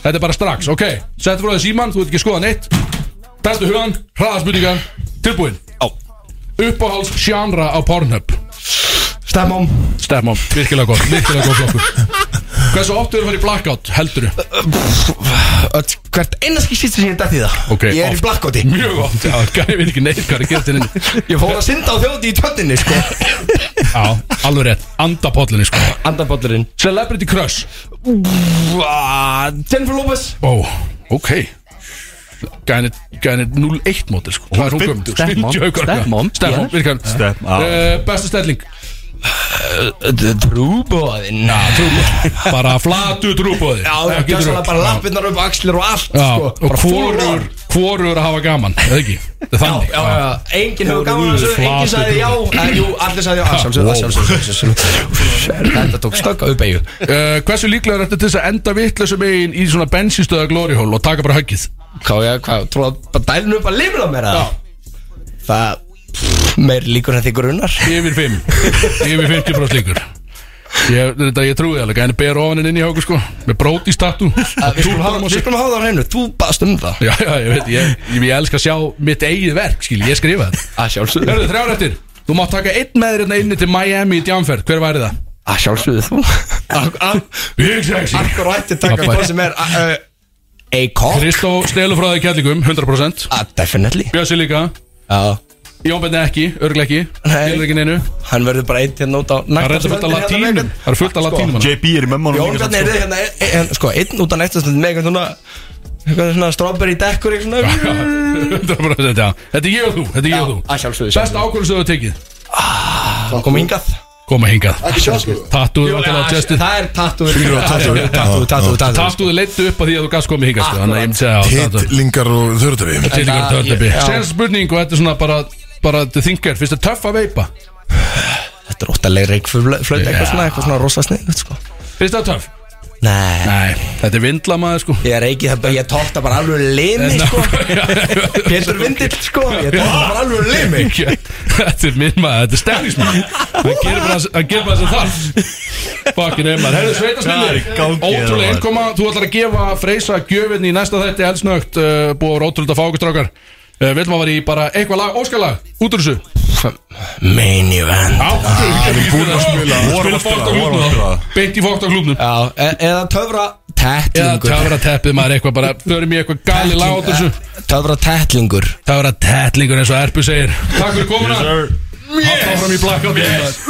[SPEAKER 2] Þetta er bara strax, ok Settu frá þig síman, þú ert ekki að skoða neitt Tættu hugan, hraðaspurningar Tilbúin
[SPEAKER 7] Já.
[SPEAKER 2] Uppáhalds sjánra á Pornhub
[SPEAKER 7] Stemmum
[SPEAKER 2] Stefmám, virkilega gott, virkilega gott flokkur Hversu oft eru að fara í blackout, heldur du?
[SPEAKER 7] Öll, Hvert einarski sýstir sem ég dætti það
[SPEAKER 2] Ok,
[SPEAKER 7] Ég er
[SPEAKER 2] oft.
[SPEAKER 7] í blackouti
[SPEAKER 2] Mjög oft, já, gæði við ekki neitt hvað er að hérna gera til henni
[SPEAKER 7] Ég fór að synda á þjóti í tjöndinni, sko
[SPEAKER 2] Já, alveg rétt, andapollinni sko
[SPEAKER 7] Andarbollurinn
[SPEAKER 2] Celebrity Crush
[SPEAKER 7] Jennifer Lopez
[SPEAKER 2] Ó, ok Gæðin er 0-1 mótil sko Hvað er hún gömd?
[SPEAKER 10] Stepmom, stepmom,
[SPEAKER 2] Stefmom,
[SPEAKER 10] já.
[SPEAKER 2] virkar
[SPEAKER 3] Step- á.
[SPEAKER 2] Eh, Besta stelling
[SPEAKER 7] Trúbóðinn
[SPEAKER 2] Já, trúbóði Bara flatu trúbóði
[SPEAKER 7] Já, gjössalega bara lappirnar upp á axlir og allt,
[SPEAKER 2] Já,
[SPEAKER 7] sko
[SPEAKER 2] og
[SPEAKER 7] Bara full
[SPEAKER 2] hvorur
[SPEAKER 7] on.
[SPEAKER 2] hvorur að hafa gaman eða ekki Það er þannig
[SPEAKER 7] Já, já, enginn hefur gaman að þessu, enginn sagði já, eh, jú, allir sagði já, að sjálfsögðu, að sjálfsögðu, að sjálfsögðu. Þetta tók stökk á uppeyju.
[SPEAKER 2] Uh, hversu líklega er þetta til þess að enda vittlösum megin í svona bensinstöða glory hole og taka bara höggið?
[SPEAKER 7] Hvað, já, hvað, trúið að bara dælinu upp að lifir á mér að? Það, pff, meir líkur en þig grunnar.
[SPEAKER 2] Yfir 5 Yfir 50 frá slíkur Ég, þetta, ég trúi alveg, en ber ofaninn inn í háku sko Með bróti statú
[SPEAKER 7] Við skulum hafa- við skulum hafa það á hreinu, þú baðst um það.
[SPEAKER 2] Já, já, ég veit, ég, ég, ég elska að sjá mitt eigið verk, skil, ég skrifa þetta
[SPEAKER 7] Að sjálfsögðu.
[SPEAKER 2] Hörðu, þrjár eftir Þú mátt taka einn með þér hérna inni til Miami í djánferð Hver væri það?
[SPEAKER 7] Að sjálfsögðu þú.
[SPEAKER 2] Ég sexy
[SPEAKER 7] Akkur ætti taka hvað sem er, uh, a cock?
[SPEAKER 2] Kristó stelur frá því kjærlingum, 100%
[SPEAKER 7] Ah, Definitely.
[SPEAKER 2] Bjössi líka
[SPEAKER 7] Já.
[SPEAKER 2] Jón Benni ekki, örglega ekki
[SPEAKER 7] Nei.
[SPEAKER 2] Skilur ekki neinu
[SPEAKER 7] Hann verður bara einn hérna út á
[SPEAKER 2] Það er reyndar fullt af latínum Það er fullt af
[SPEAKER 7] sko.
[SPEAKER 2] latínum hann.
[SPEAKER 3] JB er í mömmunum
[SPEAKER 7] Jón Bjarni er þið hérna e- e- en, sko, einn út af nættastund með eitthvað svona eitthvað svona strawberry dekkur eitthvað
[SPEAKER 2] Já,
[SPEAKER 7] svona
[SPEAKER 2] [LAUGHS] 100% já Þetta er ég og þú, þetta er ég og þú
[SPEAKER 7] að sjálfsögðu,
[SPEAKER 2] Besta ákvörðum sem þú hefur tekið
[SPEAKER 7] hann kom hingað
[SPEAKER 2] koma hingað Tattúið náttúrulega testið
[SPEAKER 7] það er tattúður
[SPEAKER 1] Fingur á tattúið.
[SPEAKER 7] tattúður tattúður tattúður
[SPEAKER 2] Tattúið leittu upp að því að þú gafst komið hingað sko, Þannig að ég myndi segja á tattúið
[SPEAKER 1] Hittlingar og þörðavi
[SPEAKER 2] Tillingar
[SPEAKER 7] Þetta-
[SPEAKER 2] törnabbi
[SPEAKER 7] já.
[SPEAKER 2] Sér spurning og þetta er svona bara bara til þingar, finnst það töff að veipa
[SPEAKER 7] þetta er óttalega reikflöð eitthvað svona eitthvað svona rosa snið sko.
[SPEAKER 2] finnst það töff?
[SPEAKER 7] nei
[SPEAKER 2] Nei, þetta er vindlamaður
[SPEAKER 3] [LAUGHS]
[SPEAKER 2] sko
[SPEAKER 7] ég er ekki það ég tókta bara alveg limi sko Pétur Vindill sko ég tókta bara alveg limi
[SPEAKER 2] Þetta er minn maður, þetta er stefnismæður Hann gerir bara það- hann gerir bara þess að það Fucking ef maður, herðu
[SPEAKER 3] Hvað er í
[SPEAKER 2] sveitasmillir
[SPEAKER 3] gangi hérna,
[SPEAKER 2] Ótrúlega
[SPEAKER 3] maður?
[SPEAKER 2] innkoma, þú ætlar að gefa Freysa gjöfinni í næsta þætti elsnögt uh, Búið að vera ótrúlega að fá okkur strákar uh, Vil maður vera í bara eitthvað lag, óskalag, út úr þessu
[SPEAKER 7] main event
[SPEAKER 2] Við búin að spila Spila
[SPEAKER 3] vorum að
[SPEAKER 2] fókt á
[SPEAKER 3] spila, vorum að
[SPEAKER 2] klúbnum
[SPEAKER 3] spila.
[SPEAKER 2] Beint í fókt á klúbnum
[SPEAKER 7] já e- eða töfra
[SPEAKER 2] Eða
[SPEAKER 7] tettlingur
[SPEAKER 2] töfra teppið maður eitthvað bara Förum í eitthvað gali lag út úr þessu
[SPEAKER 7] töfra tettlingur
[SPEAKER 2] Töfra tettlingur eins og Erpu segir Takk fyrir komuna Hátt áfram í blackout yes.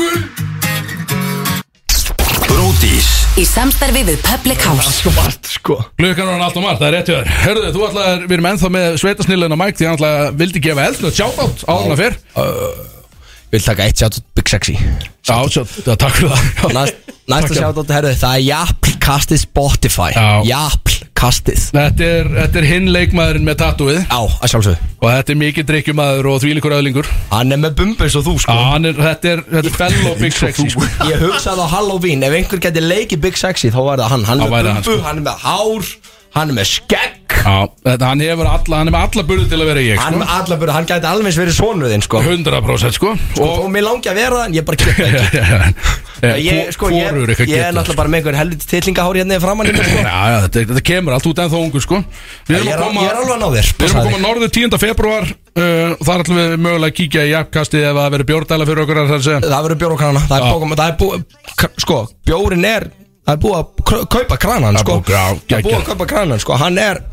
[SPEAKER 11] Bródís
[SPEAKER 6] Í samstarfi við Public House
[SPEAKER 7] sko margt sko
[SPEAKER 2] Glukkan var hann allt og margt, það er rétt hjá þér Hörðu, þú ætlaðir, við erum ennþá með sveitasnillin og Mike Því hann ætlaði vildi gefa eldnöð shoutout áðurna fyrr
[SPEAKER 7] Ég vil taka eitt sjátt Big Sexy
[SPEAKER 2] Já, sjá- já, takk fyrir það
[SPEAKER 7] Næst, Næsta
[SPEAKER 2] Takk.
[SPEAKER 7] sjátt herðu Það er Japl kastið Spotify
[SPEAKER 2] Já.
[SPEAKER 7] Japl kastið
[SPEAKER 2] Þetta er, þetta er hinn leikmaðurinn með tattúið
[SPEAKER 7] Já, að sjálfsögðu
[SPEAKER 2] Og þetta er mikið drikkjumaður og þvílíkur öðlingur
[SPEAKER 7] Hann er með bumbus og þú
[SPEAKER 2] Já,
[SPEAKER 7] sko
[SPEAKER 2] hann er, þetta er, þetta er fellow big sexy sko.
[SPEAKER 7] Ég hugsaði á Halloween Ef einhver geti leikið Big Sexy Þá var það hann Hann
[SPEAKER 2] Þá
[SPEAKER 7] er
[SPEAKER 2] væri
[SPEAKER 7] með
[SPEAKER 2] hann, sko.
[SPEAKER 7] bumbu, hann er með hár Hann er með skegg
[SPEAKER 2] Já, þetta, hann hefur alla, hann hefur alla burði til að vera ég
[SPEAKER 7] Hann
[SPEAKER 2] sko.
[SPEAKER 7] er allabur Hann geti alveg eins verið sonuðinn sko
[SPEAKER 2] 100% sko
[SPEAKER 7] Og, og mér langi að vera það En ég bara
[SPEAKER 2] [LAUGHS]
[SPEAKER 7] geta ekki Ég, sko, ég,
[SPEAKER 2] Hvorur
[SPEAKER 7] ég
[SPEAKER 2] eitthvað
[SPEAKER 7] er
[SPEAKER 2] getur
[SPEAKER 7] náttúrulega bara með einhver helviti titlingahár hérna í framan hérna, sko.
[SPEAKER 2] Já, já, þetta, þetta kemur allt út ennþá ungur sko Við erum
[SPEAKER 7] Ég
[SPEAKER 2] að
[SPEAKER 7] er al-
[SPEAKER 2] koma
[SPEAKER 7] ég er alveg að ná
[SPEAKER 2] Við
[SPEAKER 7] þér
[SPEAKER 2] erum að
[SPEAKER 7] passaði.
[SPEAKER 2] koma norður 10. februar uh, og þar ætlum við mögulega að kíkja í jafnkastið ef það verður bjórdæla fyrir okkur að það segja
[SPEAKER 7] Það verður bjór á krana Það er,
[SPEAKER 2] Já.
[SPEAKER 7] bókum, það er búið Sko, bjórin er Það er búið að krö- kaupa kranan
[SPEAKER 2] Það er
[SPEAKER 7] sko.
[SPEAKER 2] búið- já,
[SPEAKER 7] Það er búið að
[SPEAKER 2] geggjað.
[SPEAKER 7] kaupa kranan sko. Hann er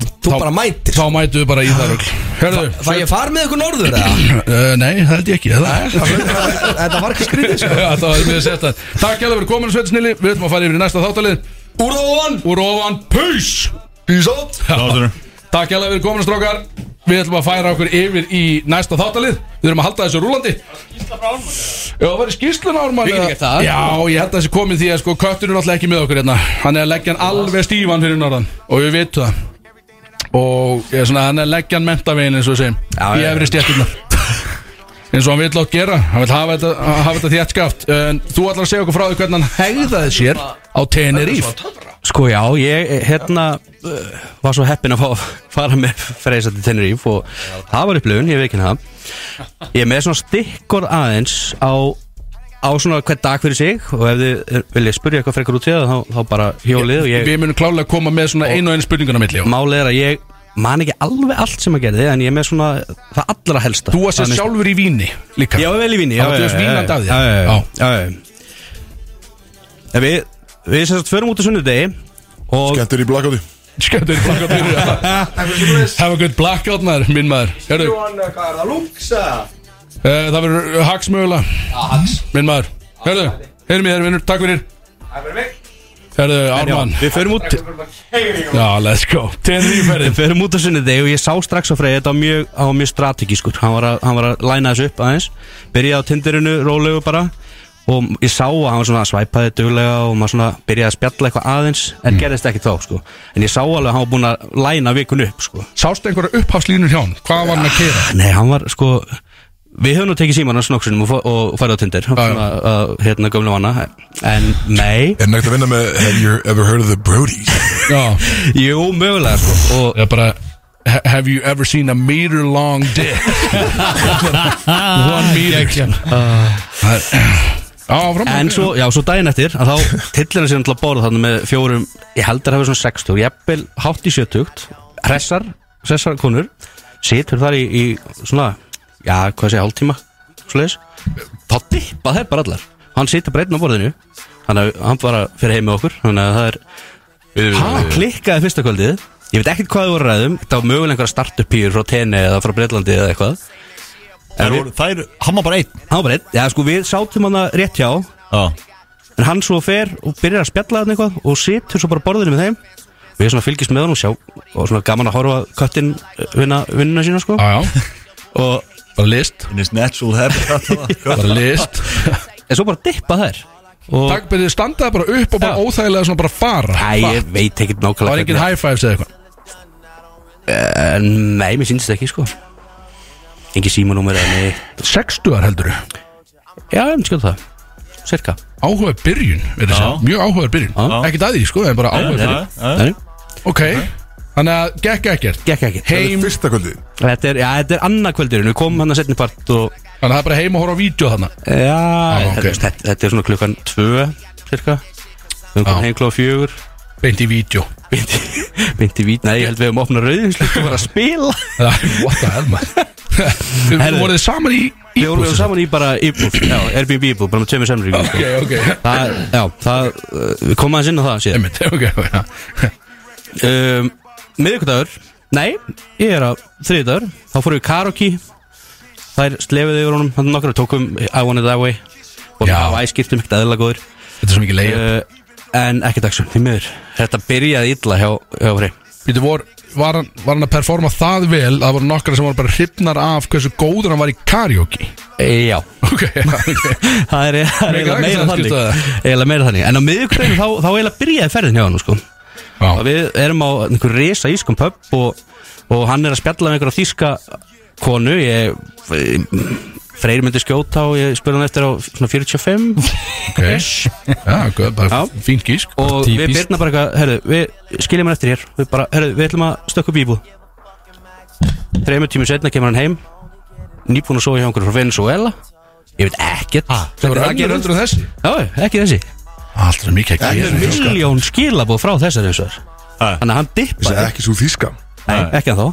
[SPEAKER 7] Þú bara mætir
[SPEAKER 2] Þá mætu við bara í það rögl Hörðu,
[SPEAKER 7] Það ég far með ykkur norður eða
[SPEAKER 2] uh, nei, það held ég ekki það
[SPEAKER 7] Þetta var ekki
[SPEAKER 2] [LAUGHS]
[SPEAKER 7] skrítið sko.
[SPEAKER 2] Já, það var mjög sett að Takk hjá fyrir komin Sveitisnili Við ætlum að fara yfir í næsta þáttalið
[SPEAKER 7] Úr og ofan
[SPEAKER 2] Úr ofan, peace!
[SPEAKER 7] Peace out
[SPEAKER 3] Náttúrulega
[SPEAKER 2] Takk hjá fyrir komin strókar Við ætlum að færa okkur yfir í næsta þáttalið Við erum að halda þessu rúlandi Já, það var í skýrslun ármann
[SPEAKER 12] Við getum gert það.
[SPEAKER 2] Já, ég held að þessi komið því að sko Köttur er náttúrulega ekki með okkur hérna Hann er að leggja hann alveg stífan fyrir norðan Og við vitum það Og ég, er svona, hann er að leggja hann mentavegin eins og við segjum Í efri stjættunar eins og hann vill átt gera Hann vil hafa þetta, hafa þetta þjættskaft En þú ætlar að segja okkur frá því hvernig hann hegðaði sér Á Tenerife
[SPEAKER 12] Sko já, ég eh, hérna uh, var svo heppin að fá að fara með freysa til Tenerife og það var upplöfun, ég veit ekki hann það Ég er með svona stikkor aðeins á, á svona hver dag fyrir sig og ef þið eh, viljið spyrja eitthvað frekar út í það þá, þá bara hjólið og ég
[SPEAKER 2] Við munum klálega að koma með svona einu og einu spurninguna milli já.
[SPEAKER 12] málið er að ég man ekki alveg allt sem að gerði en ég er með svona það allra helsta
[SPEAKER 2] Þú varst
[SPEAKER 12] Þannig-
[SPEAKER 2] sjálfur í víni líka [LAUGHS]
[SPEAKER 12] Já, vel í vinni
[SPEAKER 2] Já, þú varst vínandi af þér.
[SPEAKER 12] Já, já,
[SPEAKER 2] Já.
[SPEAKER 12] já, já, já. En Við, við sem sagt förum út á sunnudegi og
[SPEAKER 1] Skemmtur í blakkóti
[SPEAKER 2] Skemmtir blackout fyrir [LAUGHS] Have a good blackout maður, minn maður Hérðu,
[SPEAKER 7] Hvað er það, lúksa?
[SPEAKER 2] uh, það verður hax mögulega
[SPEAKER 7] Hax
[SPEAKER 2] Minn maður, hérðu, heyrðu mér, vinnur, takk fyrir Hérðu, Ármann
[SPEAKER 12] við förum út
[SPEAKER 2] Já, let's go
[SPEAKER 12] Við
[SPEAKER 2] Tenerife
[SPEAKER 12] förum út á sunnudegi og ég sá strax á Freyja þetta var mjög, hann var
[SPEAKER 7] sko.
[SPEAKER 12] mjög strategískur hann var, að, hann var að læna þessu upp aðeins byrjaði á tindirinu, rólegu bara
[SPEAKER 7] og ég sá að hann var svona að svæpaði duglega og maður svona byrjaði að spjalla eitthvað aðeins en gerðist ekki þá sko en ég sá alveg að hann var búin að læna vikun upp sko
[SPEAKER 2] Sástu einhverja upphafslínur hjá hann? Hvað var hann að keira?
[SPEAKER 7] [LAUGHS] Nei, hann var sko Við höfum nú tekið síman hans nokksunum og, fó- og farið á Tinder svona, uh, hérna gömlega vana en nei
[SPEAKER 1] Er nægt að vinna með Have you ever heard of the Brodies?
[SPEAKER 2] Já.
[SPEAKER 7] [LAUGHS] Jú, mögulega sko og
[SPEAKER 2] Já, bara ha- Have you ever seen a meter long dick? One meter Það er- [LAUGHS] Já, áfram
[SPEAKER 7] En svo, já, svo daginn eftir að [LAUGHS] þá tillir hann sér til að borða þannig með fjórum ég held að hafa svona 60, jafnvel hátt í 70, hressar hressar konur, situr þar í, í svona, já, hvað sé, hálftíma svoleiðis, þá dippa þær bara allar, hann situr bara einn á borðinu þannig að hann bara fyrir heim með okkur þannig að það er Hann klikkaði fyrsta kvöldið Ég veit ekkert hvað þau voru að ræðum Það var mögulega einhverja startupýr frá Tene eða frá Breitlandi eða eitthvað
[SPEAKER 3] Þær sko. voru-
[SPEAKER 7] þær, Hann var bara einn Hann var bara einn, já sko við sátum hann rétt hjá já. En hann svo fer og byrjar að spjalla hann eitthvað Og situr svo bara á borðinu með þeim Við svona fylgjast með hann og sjá Og svona gaman að horfa á köttinn eh, vinna vinnuna sína sko
[SPEAKER 2] Já, já
[SPEAKER 7] Og
[SPEAKER 2] Bara list
[SPEAKER 3] In his natural [LAUGHS] habitat
[SPEAKER 2] Bara list
[SPEAKER 7] En svo bara dippa þær Og
[SPEAKER 2] Takk byrðið standaði bara upp og bara óþægilega svona bara fara
[SPEAKER 7] Æ, ég veit ekkert nákvæmlega
[SPEAKER 2] Það var engin
[SPEAKER 7] hvernig-
[SPEAKER 2] high fives eða eitthvað
[SPEAKER 7] Eh, Nei, mér sýnst ekki sko Engi símanúmer eða neitt
[SPEAKER 2] 60 heldur
[SPEAKER 7] Já, ég myndi skjóta það Cirka
[SPEAKER 2] Áhuga byrjun, verður
[SPEAKER 3] Já.
[SPEAKER 2] það Mjög áhuga byrjun
[SPEAKER 7] Já.
[SPEAKER 2] Ekkert að því, sko, en bara áhuga byrjun
[SPEAKER 7] Nei,
[SPEAKER 2] Ok, þannig að gekk ekkert
[SPEAKER 7] gekk ekki
[SPEAKER 2] Heim,
[SPEAKER 1] Fyrsta kvöldi
[SPEAKER 7] Þetta er, já, þetta er annað kvöldurinn Við komum hann að setni part og
[SPEAKER 2] þannig að það er bara heim og horfa á vídeo þarna
[SPEAKER 7] Já,
[SPEAKER 2] Ah, ok.
[SPEAKER 7] þetta, þetta, þetta er svona klukkan tvö Cirka Við
[SPEAKER 2] Já.
[SPEAKER 7] komum heim klá fjögur
[SPEAKER 2] Beint í vídeo
[SPEAKER 7] [LAUGHS] Bindi vít Nei, ég held við hefum opnað rauðinslu og var að
[SPEAKER 2] [LAUGHS]
[SPEAKER 7] spila
[SPEAKER 2] What the hell, man Við
[SPEAKER 7] Herðu.
[SPEAKER 2] voruð þið saman í
[SPEAKER 7] Við vorum við vorum saman í bara íbúð Já, Airbnb íbúð Bara með tveimur semri
[SPEAKER 2] Ok, ok
[SPEAKER 7] Það, já, það uh, Við komum aðeins inn á það síðan
[SPEAKER 2] Einmitt, [LAUGHS] ok, já
[SPEAKER 7] um, miðvikudagur Nei, ég er á þriðdagur Þá fórum við karaoke Þær slefiði yfir honum Þannig nokkra tókum I want it that way Og
[SPEAKER 2] Já.
[SPEAKER 7] það var æskiptum ekkert aðeila góður
[SPEAKER 2] Þetta er svo mikið leið
[SPEAKER 7] uh, En ekki dagsum, því miður Þetta byrjaði illa hjá, hjá Frey
[SPEAKER 2] Býtu, vor, var, hann, var hann að performa það vel að það voru nokkara sem voru bara hrifnar af hversu góður hann var í karaoke [LAUGHS]
[SPEAKER 7] e, Já [LAUGHS]
[SPEAKER 2] Ok, [LAUGHS] ok
[SPEAKER 7] Það er, það er
[SPEAKER 2] Mikið
[SPEAKER 7] eiginlega meira
[SPEAKER 2] aðeins
[SPEAKER 7] þannig
[SPEAKER 2] samskipti að
[SPEAKER 7] Eiginlega meira þannig En á miðvikudaginn þá, þá eiginlega byrjaði ferðin hjá hann sko. Og
[SPEAKER 2] Já,
[SPEAKER 7] Við erum á einhver risa ískum pub og, og hann er að spjalla með einhverja þýska konu ég, Freyr myndi skjóta og ég spurði hann eftir á svona 45
[SPEAKER 2] ok Já, ok, bara
[SPEAKER 7] Já.
[SPEAKER 2] fín gísk
[SPEAKER 7] og við
[SPEAKER 4] Típist.
[SPEAKER 7] byrna bara eitthvað herru, við skiljum hann eftir hér við, bara, herru, við ætlum að stökka upp í íbúð þreymur tímur setna kemur hann heim nýbúin að sofa hjá einhverju frá Venezuela ég veit ekkert
[SPEAKER 2] Það voru önnur heldur en þessi
[SPEAKER 7] já, ekki þessi
[SPEAKER 2] Allt sem mikið að gera sko.
[SPEAKER 7] miljón skilabóð frá þessari eins og þar þannig að hann
[SPEAKER 1] Þessi
[SPEAKER 7] dippaði
[SPEAKER 1] ekki svo þýska
[SPEAKER 7] Nei, ekki að þá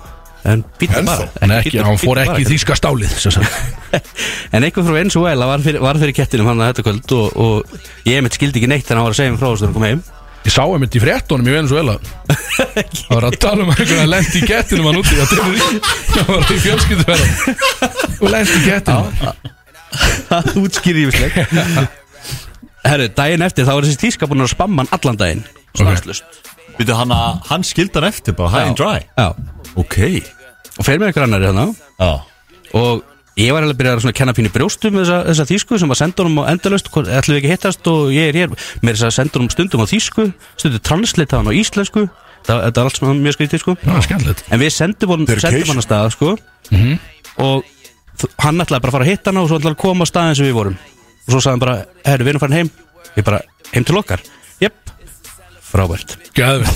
[SPEAKER 7] En býta
[SPEAKER 1] En
[SPEAKER 7] bara
[SPEAKER 1] þá?
[SPEAKER 2] En ekki,
[SPEAKER 7] bíddu-
[SPEAKER 2] hann fór
[SPEAKER 7] bíddu bara,
[SPEAKER 2] ekki í þýska stálið sem sagt.
[SPEAKER 7] [LAUGHS] En einhver frá Venezuela var fyrir, var fyrir kettinum hann að þetta kvöld og, og ég mitt skildi ekki neitt þannig að hann var að segja mér frá þessu þegar hann kom heim
[SPEAKER 2] Ég sá einmitt í fréttunum í Venezuela Það var að tala um einhvern að lendi í kettinum hann úti Það var í fjölskylduferðan Og lendi í kettinum
[SPEAKER 7] Það útskýri ég vislega Herru, daginn eftir þá var þessi tíska búin að spamma hann allan daginn Stanslust
[SPEAKER 3] Býtu hann að hann skildi hann eftir bara high and dry
[SPEAKER 7] Já,
[SPEAKER 3] Ok
[SPEAKER 7] og fer með einhver annari þannig
[SPEAKER 3] Já
[SPEAKER 7] og ég var alveg að byrja að svona kenna pínu brjóstum við þessa, þessa þýsku sem var sendunum á endalaust hvort- ætlum við ekki að hittast og ég er hér með þess að sendunum stundum á þýsku stundum translita hann á íslensku það, þetta er allt sem mjög skrítið sko
[SPEAKER 2] Það var skemmtilegt
[SPEAKER 7] en við sendum hann,
[SPEAKER 1] Dedication.
[SPEAKER 7] sendum hann að staða sko
[SPEAKER 2] Mhm.
[SPEAKER 7] og þ- hann ætlaði bara að fara að hitta hann og svo ætlaði að koma að staðin sem við vorum og svo sagði hann bara, herru við erum farin heim ég bara, heim til okkar, jöpp frábært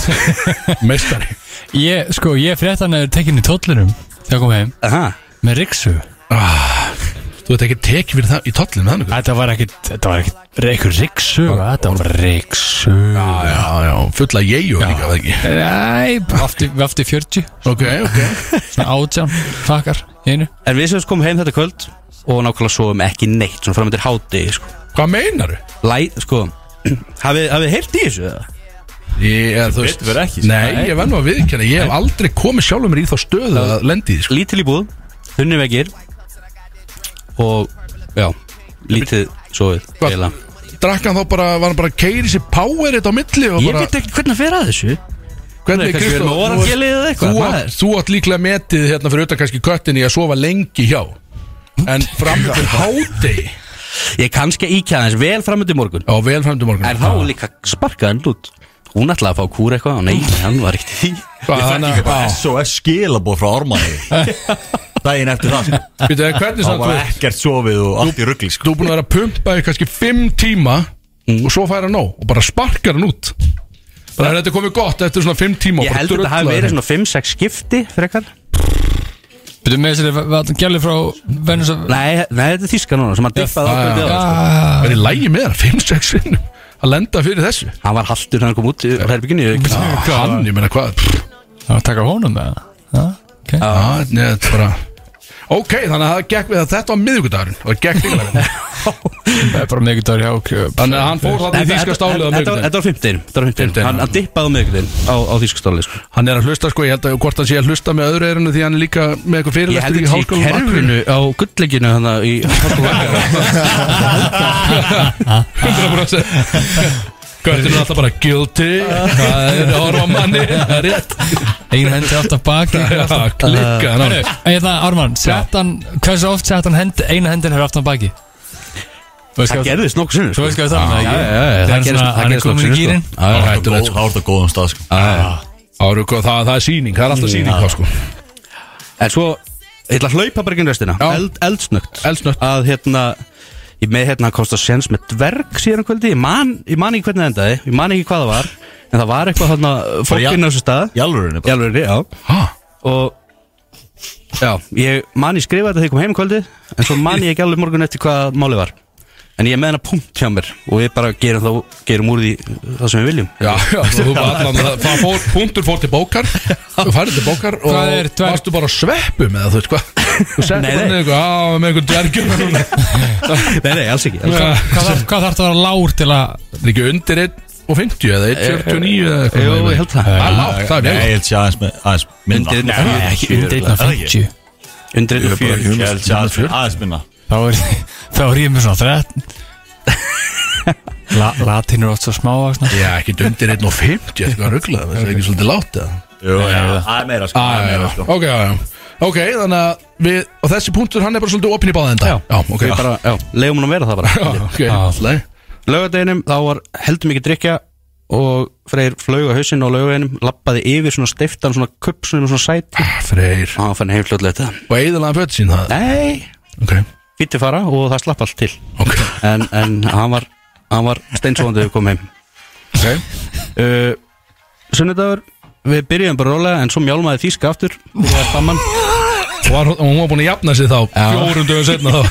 [SPEAKER 2] Gæðvett Meistari
[SPEAKER 4] Ég, sko, ég frétt hann að er tekinn í tóllinum Þegar ég kom heim
[SPEAKER 7] Aha.
[SPEAKER 4] Með riksu
[SPEAKER 2] Þú veit ekki tekið fyrir það í tollinu með hann ykkur?
[SPEAKER 4] Þetta var ekkit Þetta var ekkit Reikur riksu Þetta var riksu
[SPEAKER 2] Já, já, já, fulla ég og líka, það ekki
[SPEAKER 4] Eh, Æ, við aftur 40
[SPEAKER 2] Ok, ok
[SPEAKER 4] Svona átján Fakkar í Einu
[SPEAKER 7] en við sem sagt komum heim þetta kvöld og nákvæmlega svoum ekki neitt svona framöndir háti sko,
[SPEAKER 2] Hvað meinaru?
[SPEAKER 7] Læ, sko [CLEARS THROAT] hafið hafið þið heyrt í þessu eða?
[SPEAKER 2] Ég, eða, þú
[SPEAKER 3] Betur verið ekki
[SPEAKER 2] Nei, ég verð nú að viðkjanna Ég hef aldrei komið sjálfur mér í þá stöðu að lendi í því, sko
[SPEAKER 7] lítil í búð, þunni vegir og já lítið sofið
[SPEAKER 2] Hvað-
[SPEAKER 7] eiginlega.
[SPEAKER 2] Drakk hann þá bara, var hann bara að keiri sér powerið á milli og
[SPEAKER 7] ég
[SPEAKER 2] bara
[SPEAKER 7] veit ekki hvernig að fyrir að þessu
[SPEAKER 2] Hvernig,
[SPEAKER 7] kannski verið
[SPEAKER 2] Kristó,
[SPEAKER 7] með
[SPEAKER 2] þú
[SPEAKER 7] orðagélið eða
[SPEAKER 2] ert-
[SPEAKER 7] eitthvað,
[SPEAKER 2] þú
[SPEAKER 7] maður.
[SPEAKER 2] átt- þú átt líklega metið hérna fyrir utan kannski köttin í að sofa lengi hjá En fram til hádegi
[SPEAKER 7] Ég er kannski að íkja aðeins vel framöndu morgun
[SPEAKER 2] Já, vel framöndu morgun
[SPEAKER 7] En þá er líka sparkaði hann út Hún ætlaði að fá kúra eitthvað og nei, hann var ekkert í því.
[SPEAKER 3] Ég fætti ekki bara SOS skilabóð frá [LAUGHS] Ormanni Daginn eftir það sko.
[SPEAKER 2] Býtu, en hvernig
[SPEAKER 3] Það
[SPEAKER 2] samt
[SPEAKER 3] var
[SPEAKER 2] þú-
[SPEAKER 3] ekkert sofið og allt í ruggli sko.
[SPEAKER 2] Þú er búin að vera að pumpa í kannski 5 tíma Og svo fær hann nóg Og bara sparkar hann út Þannig að þetta er komið gott eftir svona 5 tíma og
[SPEAKER 7] Ég
[SPEAKER 2] bara
[SPEAKER 7] held að þetta hafi
[SPEAKER 2] drullaður
[SPEAKER 7] verið
[SPEAKER 2] heim.
[SPEAKER 7] svona 5-6 skipti frekar
[SPEAKER 4] Byrju með þessari, var þetta gælið frá Venus að...
[SPEAKER 7] Nei, nei þetta er þíska núna sem hann
[SPEAKER 2] já,
[SPEAKER 7] dippaði ákveðið á það,
[SPEAKER 2] Er í lægi með það 5-6 sinnum Að lenda fyrir þessu
[SPEAKER 7] sko. Hann var haltur þegar hann kom út úr herbygginu ég-
[SPEAKER 2] Hann, ég meina hvað pff,
[SPEAKER 4] Það var að taka honum með það. Já, ok.
[SPEAKER 2] já, nei, þetta er bara Ok, þannig að það gekk við að þetta var miðvikudagurinn og það gekk líka
[SPEAKER 4] [LAUGHS] Það er bara mikið dagur hjá okkur.
[SPEAKER 2] Þannig að hann fór þarna í
[SPEAKER 7] Þetta-
[SPEAKER 2] þýska
[SPEAKER 7] þetta-
[SPEAKER 2] stálið á
[SPEAKER 7] þetta var-
[SPEAKER 2] miðvikudaginn
[SPEAKER 7] Þetta var 15 Þetta var 15
[SPEAKER 2] Fimmtudaginn,
[SPEAKER 7] Hann
[SPEAKER 2] já.
[SPEAKER 7] hann dippaði á miðvikudaginn á, á þýska stálið sko.
[SPEAKER 2] Hann er að hlusta sko, ég held að hvort hann sé að hlusta með öðru eirinu því hann er líka með eitthvað
[SPEAKER 7] Ég held
[SPEAKER 2] fyrirlestur í
[SPEAKER 7] þetta í
[SPEAKER 2] hálskólum
[SPEAKER 7] kerfinu á gullleikinu Þannig að í
[SPEAKER 2] Hundra brosið Göttin er alltaf bara guilty Það er orða manni Það er rétt
[SPEAKER 4] Egin hendi alltaf
[SPEAKER 7] [LAUGHS]
[SPEAKER 4] baki.
[SPEAKER 2] Já, Klikka hann á
[SPEAKER 4] Herru, Hérna, Ármann, sett hann, hversu oft sett hann hendi, eina hendin hefur aftan baki? Þú veist
[SPEAKER 7] Það
[SPEAKER 4] hvað-
[SPEAKER 7] gerðist nokkuð sinnum sko.
[SPEAKER 4] Þú veist hvað það er,
[SPEAKER 7] já,
[SPEAKER 4] ekki?
[SPEAKER 7] já, já,
[SPEAKER 4] Það
[SPEAKER 7] það
[SPEAKER 4] er
[SPEAKER 7] gerist-
[SPEAKER 4] svona,
[SPEAKER 7] það
[SPEAKER 4] hann er
[SPEAKER 7] gerist
[SPEAKER 4] komin
[SPEAKER 7] nokkuð
[SPEAKER 4] í
[SPEAKER 7] sinnum,
[SPEAKER 4] gýrin.
[SPEAKER 7] sko. Já, já,
[SPEAKER 3] Það var á góðum stað sko.
[SPEAKER 2] Ah. Áru, hvað, það, það er síning, það er alltaf síning þá sko
[SPEAKER 7] En svo Ég ætla að hlaupa bara ekki restina
[SPEAKER 2] Já.
[SPEAKER 7] Eld, Eldsnögt
[SPEAKER 2] Eldsnöggt.
[SPEAKER 7] Að hérna Ég með hérna hann komst að séns með dverg síðan um kvöldi Ég man, ég man ekki hvernig það endaði Ég man ekki hvað það var En það var eitthvað þarna
[SPEAKER 3] já-
[SPEAKER 7] Fólkinn á þessu stað
[SPEAKER 3] Í alvörunni bara.
[SPEAKER 7] Jálfurinni, já Og Já, ég man ég skrifa þetta þegar ég kom heim um kvöldi En svo man ég ekki alveg morgun eftir hvað málið var En ég er með hana punkt hjá mér Og við bara gerum, þá, gerum úr því það sem við viljum
[SPEAKER 2] Já, [LAUGHS] já, þú var allan það- Það fór, punktur fór til bókar Þú færði til bókar og
[SPEAKER 4] Hvað er dverg?
[SPEAKER 2] varstu bara sveppu með það, þú veist hvað [LAUGHS] Þú settu bara
[SPEAKER 7] Nei, nei.
[SPEAKER 2] niður eitthvað, á, með einhvern [LAUGHS] dvergjum
[SPEAKER 7] Nei, nei, alls ekki, alls ekki.
[SPEAKER 4] Hvað þarf- Hvað þarf það að vera lágur til að...
[SPEAKER 2] Það er ekki undir 1 og 50 eða 1,49 eða eitthvað
[SPEAKER 7] Jú, ég held það.
[SPEAKER 2] Það er lágt, það er
[SPEAKER 3] Nei,
[SPEAKER 2] mjög
[SPEAKER 3] ég held sé aðeins með- aðeins minna
[SPEAKER 7] Undir einni
[SPEAKER 3] Nei,
[SPEAKER 7] fjögur.
[SPEAKER 3] ekki
[SPEAKER 4] Undir
[SPEAKER 3] fjögur, er það ekki?
[SPEAKER 4] 1.50.
[SPEAKER 7] Undir einu fjör
[SPEAKER 3] Ég held sé aðeins- aðeins minna
[SPEAKER 4] Þá er, þá er ég með svona
[SPEAKER 7] [LAUGHS]
[SPEAKER 4] 13 La, Latin er oft svo smávaksna
[SPEAKER 2] Já, ekki undir 1 og 50 eitthvað rugglaði, það er ekki svolítið lágt eða
[SPEAKER 3] Jú, já, aðeins meira
[SPEAKER 2] Já,
[SPEAKER 3] sko, aðeins
[SPEAKER 2] Ah, já,
[SPEAKER 3] meira,
[SPEAKER 2] já,
[SPEAKER 3] sko.
[SPEAKER 2] ok, já, já Ok, þannig að við, og þessi punktur hann er bara svolítið opinn í báða enda Já, ok
[SPEAKER 7] Við bara, já, leiðum hún að vera það
[SPEAKER 2] [LAUGHS] Já,
[SPEAKER 7] bara
[SPEAKER 2] ok, alltaf leið.
[SPEAKER 7] Laugadeginum þá var heldur mikið drikja og Freyr flög á hausinn á laugadeginum lappaði yfir svona steiftan svona kupsunum svona sæti
[SPEAKER 2] Ah, Freyr
[SPEAKER 7] og hann fann heim fljóðlega þetta
[SPEAKER 2] Og eðalega föt sín það
[SPEAKER 7] Nei,
[SPEAKER 2] Ok,
[SPEAKER 7] fýtti fara og það slapp allt til
[SPEAKER 2] ok,
[SPEAKER 7] en, en hann var, hann var steinsóðandi við komum heim
[SPEAKER 2] ok
[SPEAKER 7] uh, Sunnudagur, við byrjuðum bara rólega en svo mjálmaði þýska aftur og það er saman
[SPEAKER 2] Og var, og hún var búin að jafna sig þá Fjórum dögum setna þá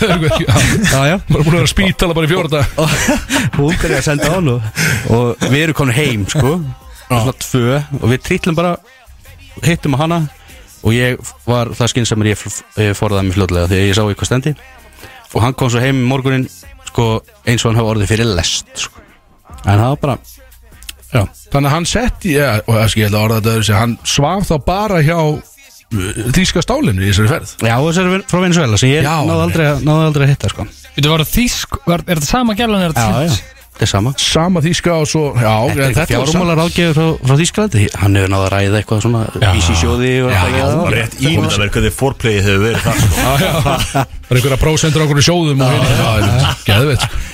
[SPEAKER 7] [LAUGHS] Já, já
[SPEAKER 2] Bara búin að vera að spítala bara í fjórða
[SPEAKER 7] og [LAUGHS] hún byrjaði að senda á hann og, og við erum komin heim sko svona tvö og við trýtlum bara hittum á hana og ég var það skinn sem ég eh, forðaði mig fljótlega því að ég sá eitthvað stendi og hann kom svo heim í morgunin sko eins og hann hafa orðið fyrir lest sko. en það var bara
[SPEAKER 2] Já, þannig að hann setti já, Og það skil að orða þetta öðru sér Hann svaf þá bara hjá uh, Þýska stálinu í þessari ferð
[SPEAKER 7] já þessar vin- frá Venezuela sem ég
[SPEAKER 2] Já,
[SPEAKER 7] náði aldrei, að- náði aldrei að hitta sko
[SPEAKER 4] Þetta var þýsk, var, er þetta sama gælan er þetta þýsk?
[SPEAKER 7] þetta er sama
[SPEAKER 2] Sama þýska og svo Já,
[SPEAKER 7] Þetta er
[SPEAKER 2] en
[SPEAKER 7] ekki
[SPEAKER 2] var samt-
[SPEAKER 7] fjármálar ágæður frá, frá Þýskalandi Hann hefur náða að ræða eitthvað svona Vísi sjóði og
[SPEAKER 2] Já,
[SPEAKER 7] eitthvað að gera.
[SPEAKER 3] Rétt ímyndaverð hvernig forplayið hefur verið það
[SPEAKER 7] [LAUGHS]
[SPEAKER 2] Já,
[SPEAKER 3] sko.
[SPEAKER 2] já. Það er einhverja prósendur okkur í sjóðum og hérna Geðveit sko.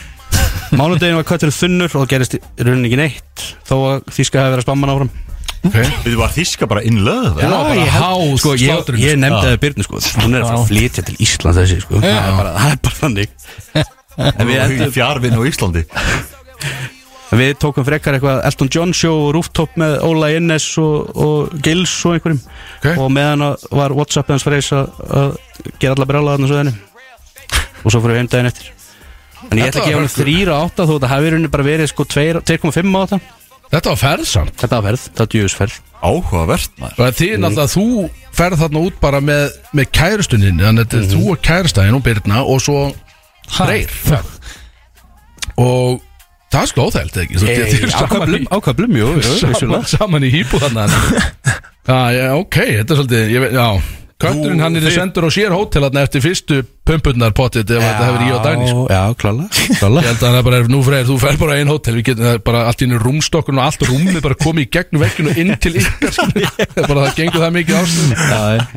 [SPEAKER 7] Mánudegin var kvætturinn þunnur og það gerist í rauninni ekki neitt þó að þýska hefði verið að spamma hann áfram
[SPEAKER 2] okay.
[SPEAKER 3] Við var þíska bara innlöð
[SPEAKER 2] Já, bara háð
[SPEAKER 7] sko, ég,
[SPEAKER 2] slátrun,
[SPEAKER 7] ég
[SPEAKER 2] sko.
[SPEAKER 7] nefndi það Byrnu sko, hún er að fara að flytja til Ísland þessi sko, það er bara, það er bara þannig En við,
[SPEAKER 3] Við
[SPEAKER 7] endum,
[SPEAKER 3] fjarvinn á Íslandi
[SPEAKER 7] við tókum frekar eitthvað Elton John show og rooftop með Óla Innes og, og Gils og einhverjum
[SPEAKER 2] Ok.
[SPEAKER 7] og meðan að- var Whatsapp hans fyrir að að gera alla brjála þarna svo þenni og svo fyrir heimdæðin eftir En ég
[SPEAKER 2] Þetta
[SPEAKER 7] ætla að
[SPEAKER 2] var
[SPEAKER 7] gefa hann
[SPEAKER 2] hörku.
[SPEAKER 7] 3 á 8 þó að það hafi í rauninni bara verið sko 2 2,5 á 8
[SPEAKER 2] Þetta var ferðsamt
[SPEAKER 7] Þetta var ferð, þetta var djúðisferð
[SPEAKER 3] Áhugavert maður
[SPEAKER 2] Það er því náttúrulega að þú ferð þarna út bara með, með kærustunin Þannig að þetta er þú og kærustæðin og Birna og svo Freyr Og það er sko óþælt ekki Þú veist, þið eru saman í-
[SPEAKER 7] ákvæmlum, jú,
[SPEAKER 2] [LAUGHS] saman, saman í hýbú þarna Já, já, ok, þetta er svolítið ég, veit- Já, Kötturinn hann er sendur á sér hótelarna eftir fyrstu pömpurnar potið ef þetta hefur í og dæni sko.
[SPEAKER 7] Já, klála,
[SPEAKER 2] [LAUGHS]
[SPEAKER 7] klála.
[SPEAKER 2] Ég held að það bara er nú fræðir, þú fer bara einn hótel Við getum það er bara allt í einu rúmstokkurinn og allt rúmið bara komið í gegnum vekkinu og inn til ykkar [LAUGHS] sko. Það er bara það gengur það mikið ástum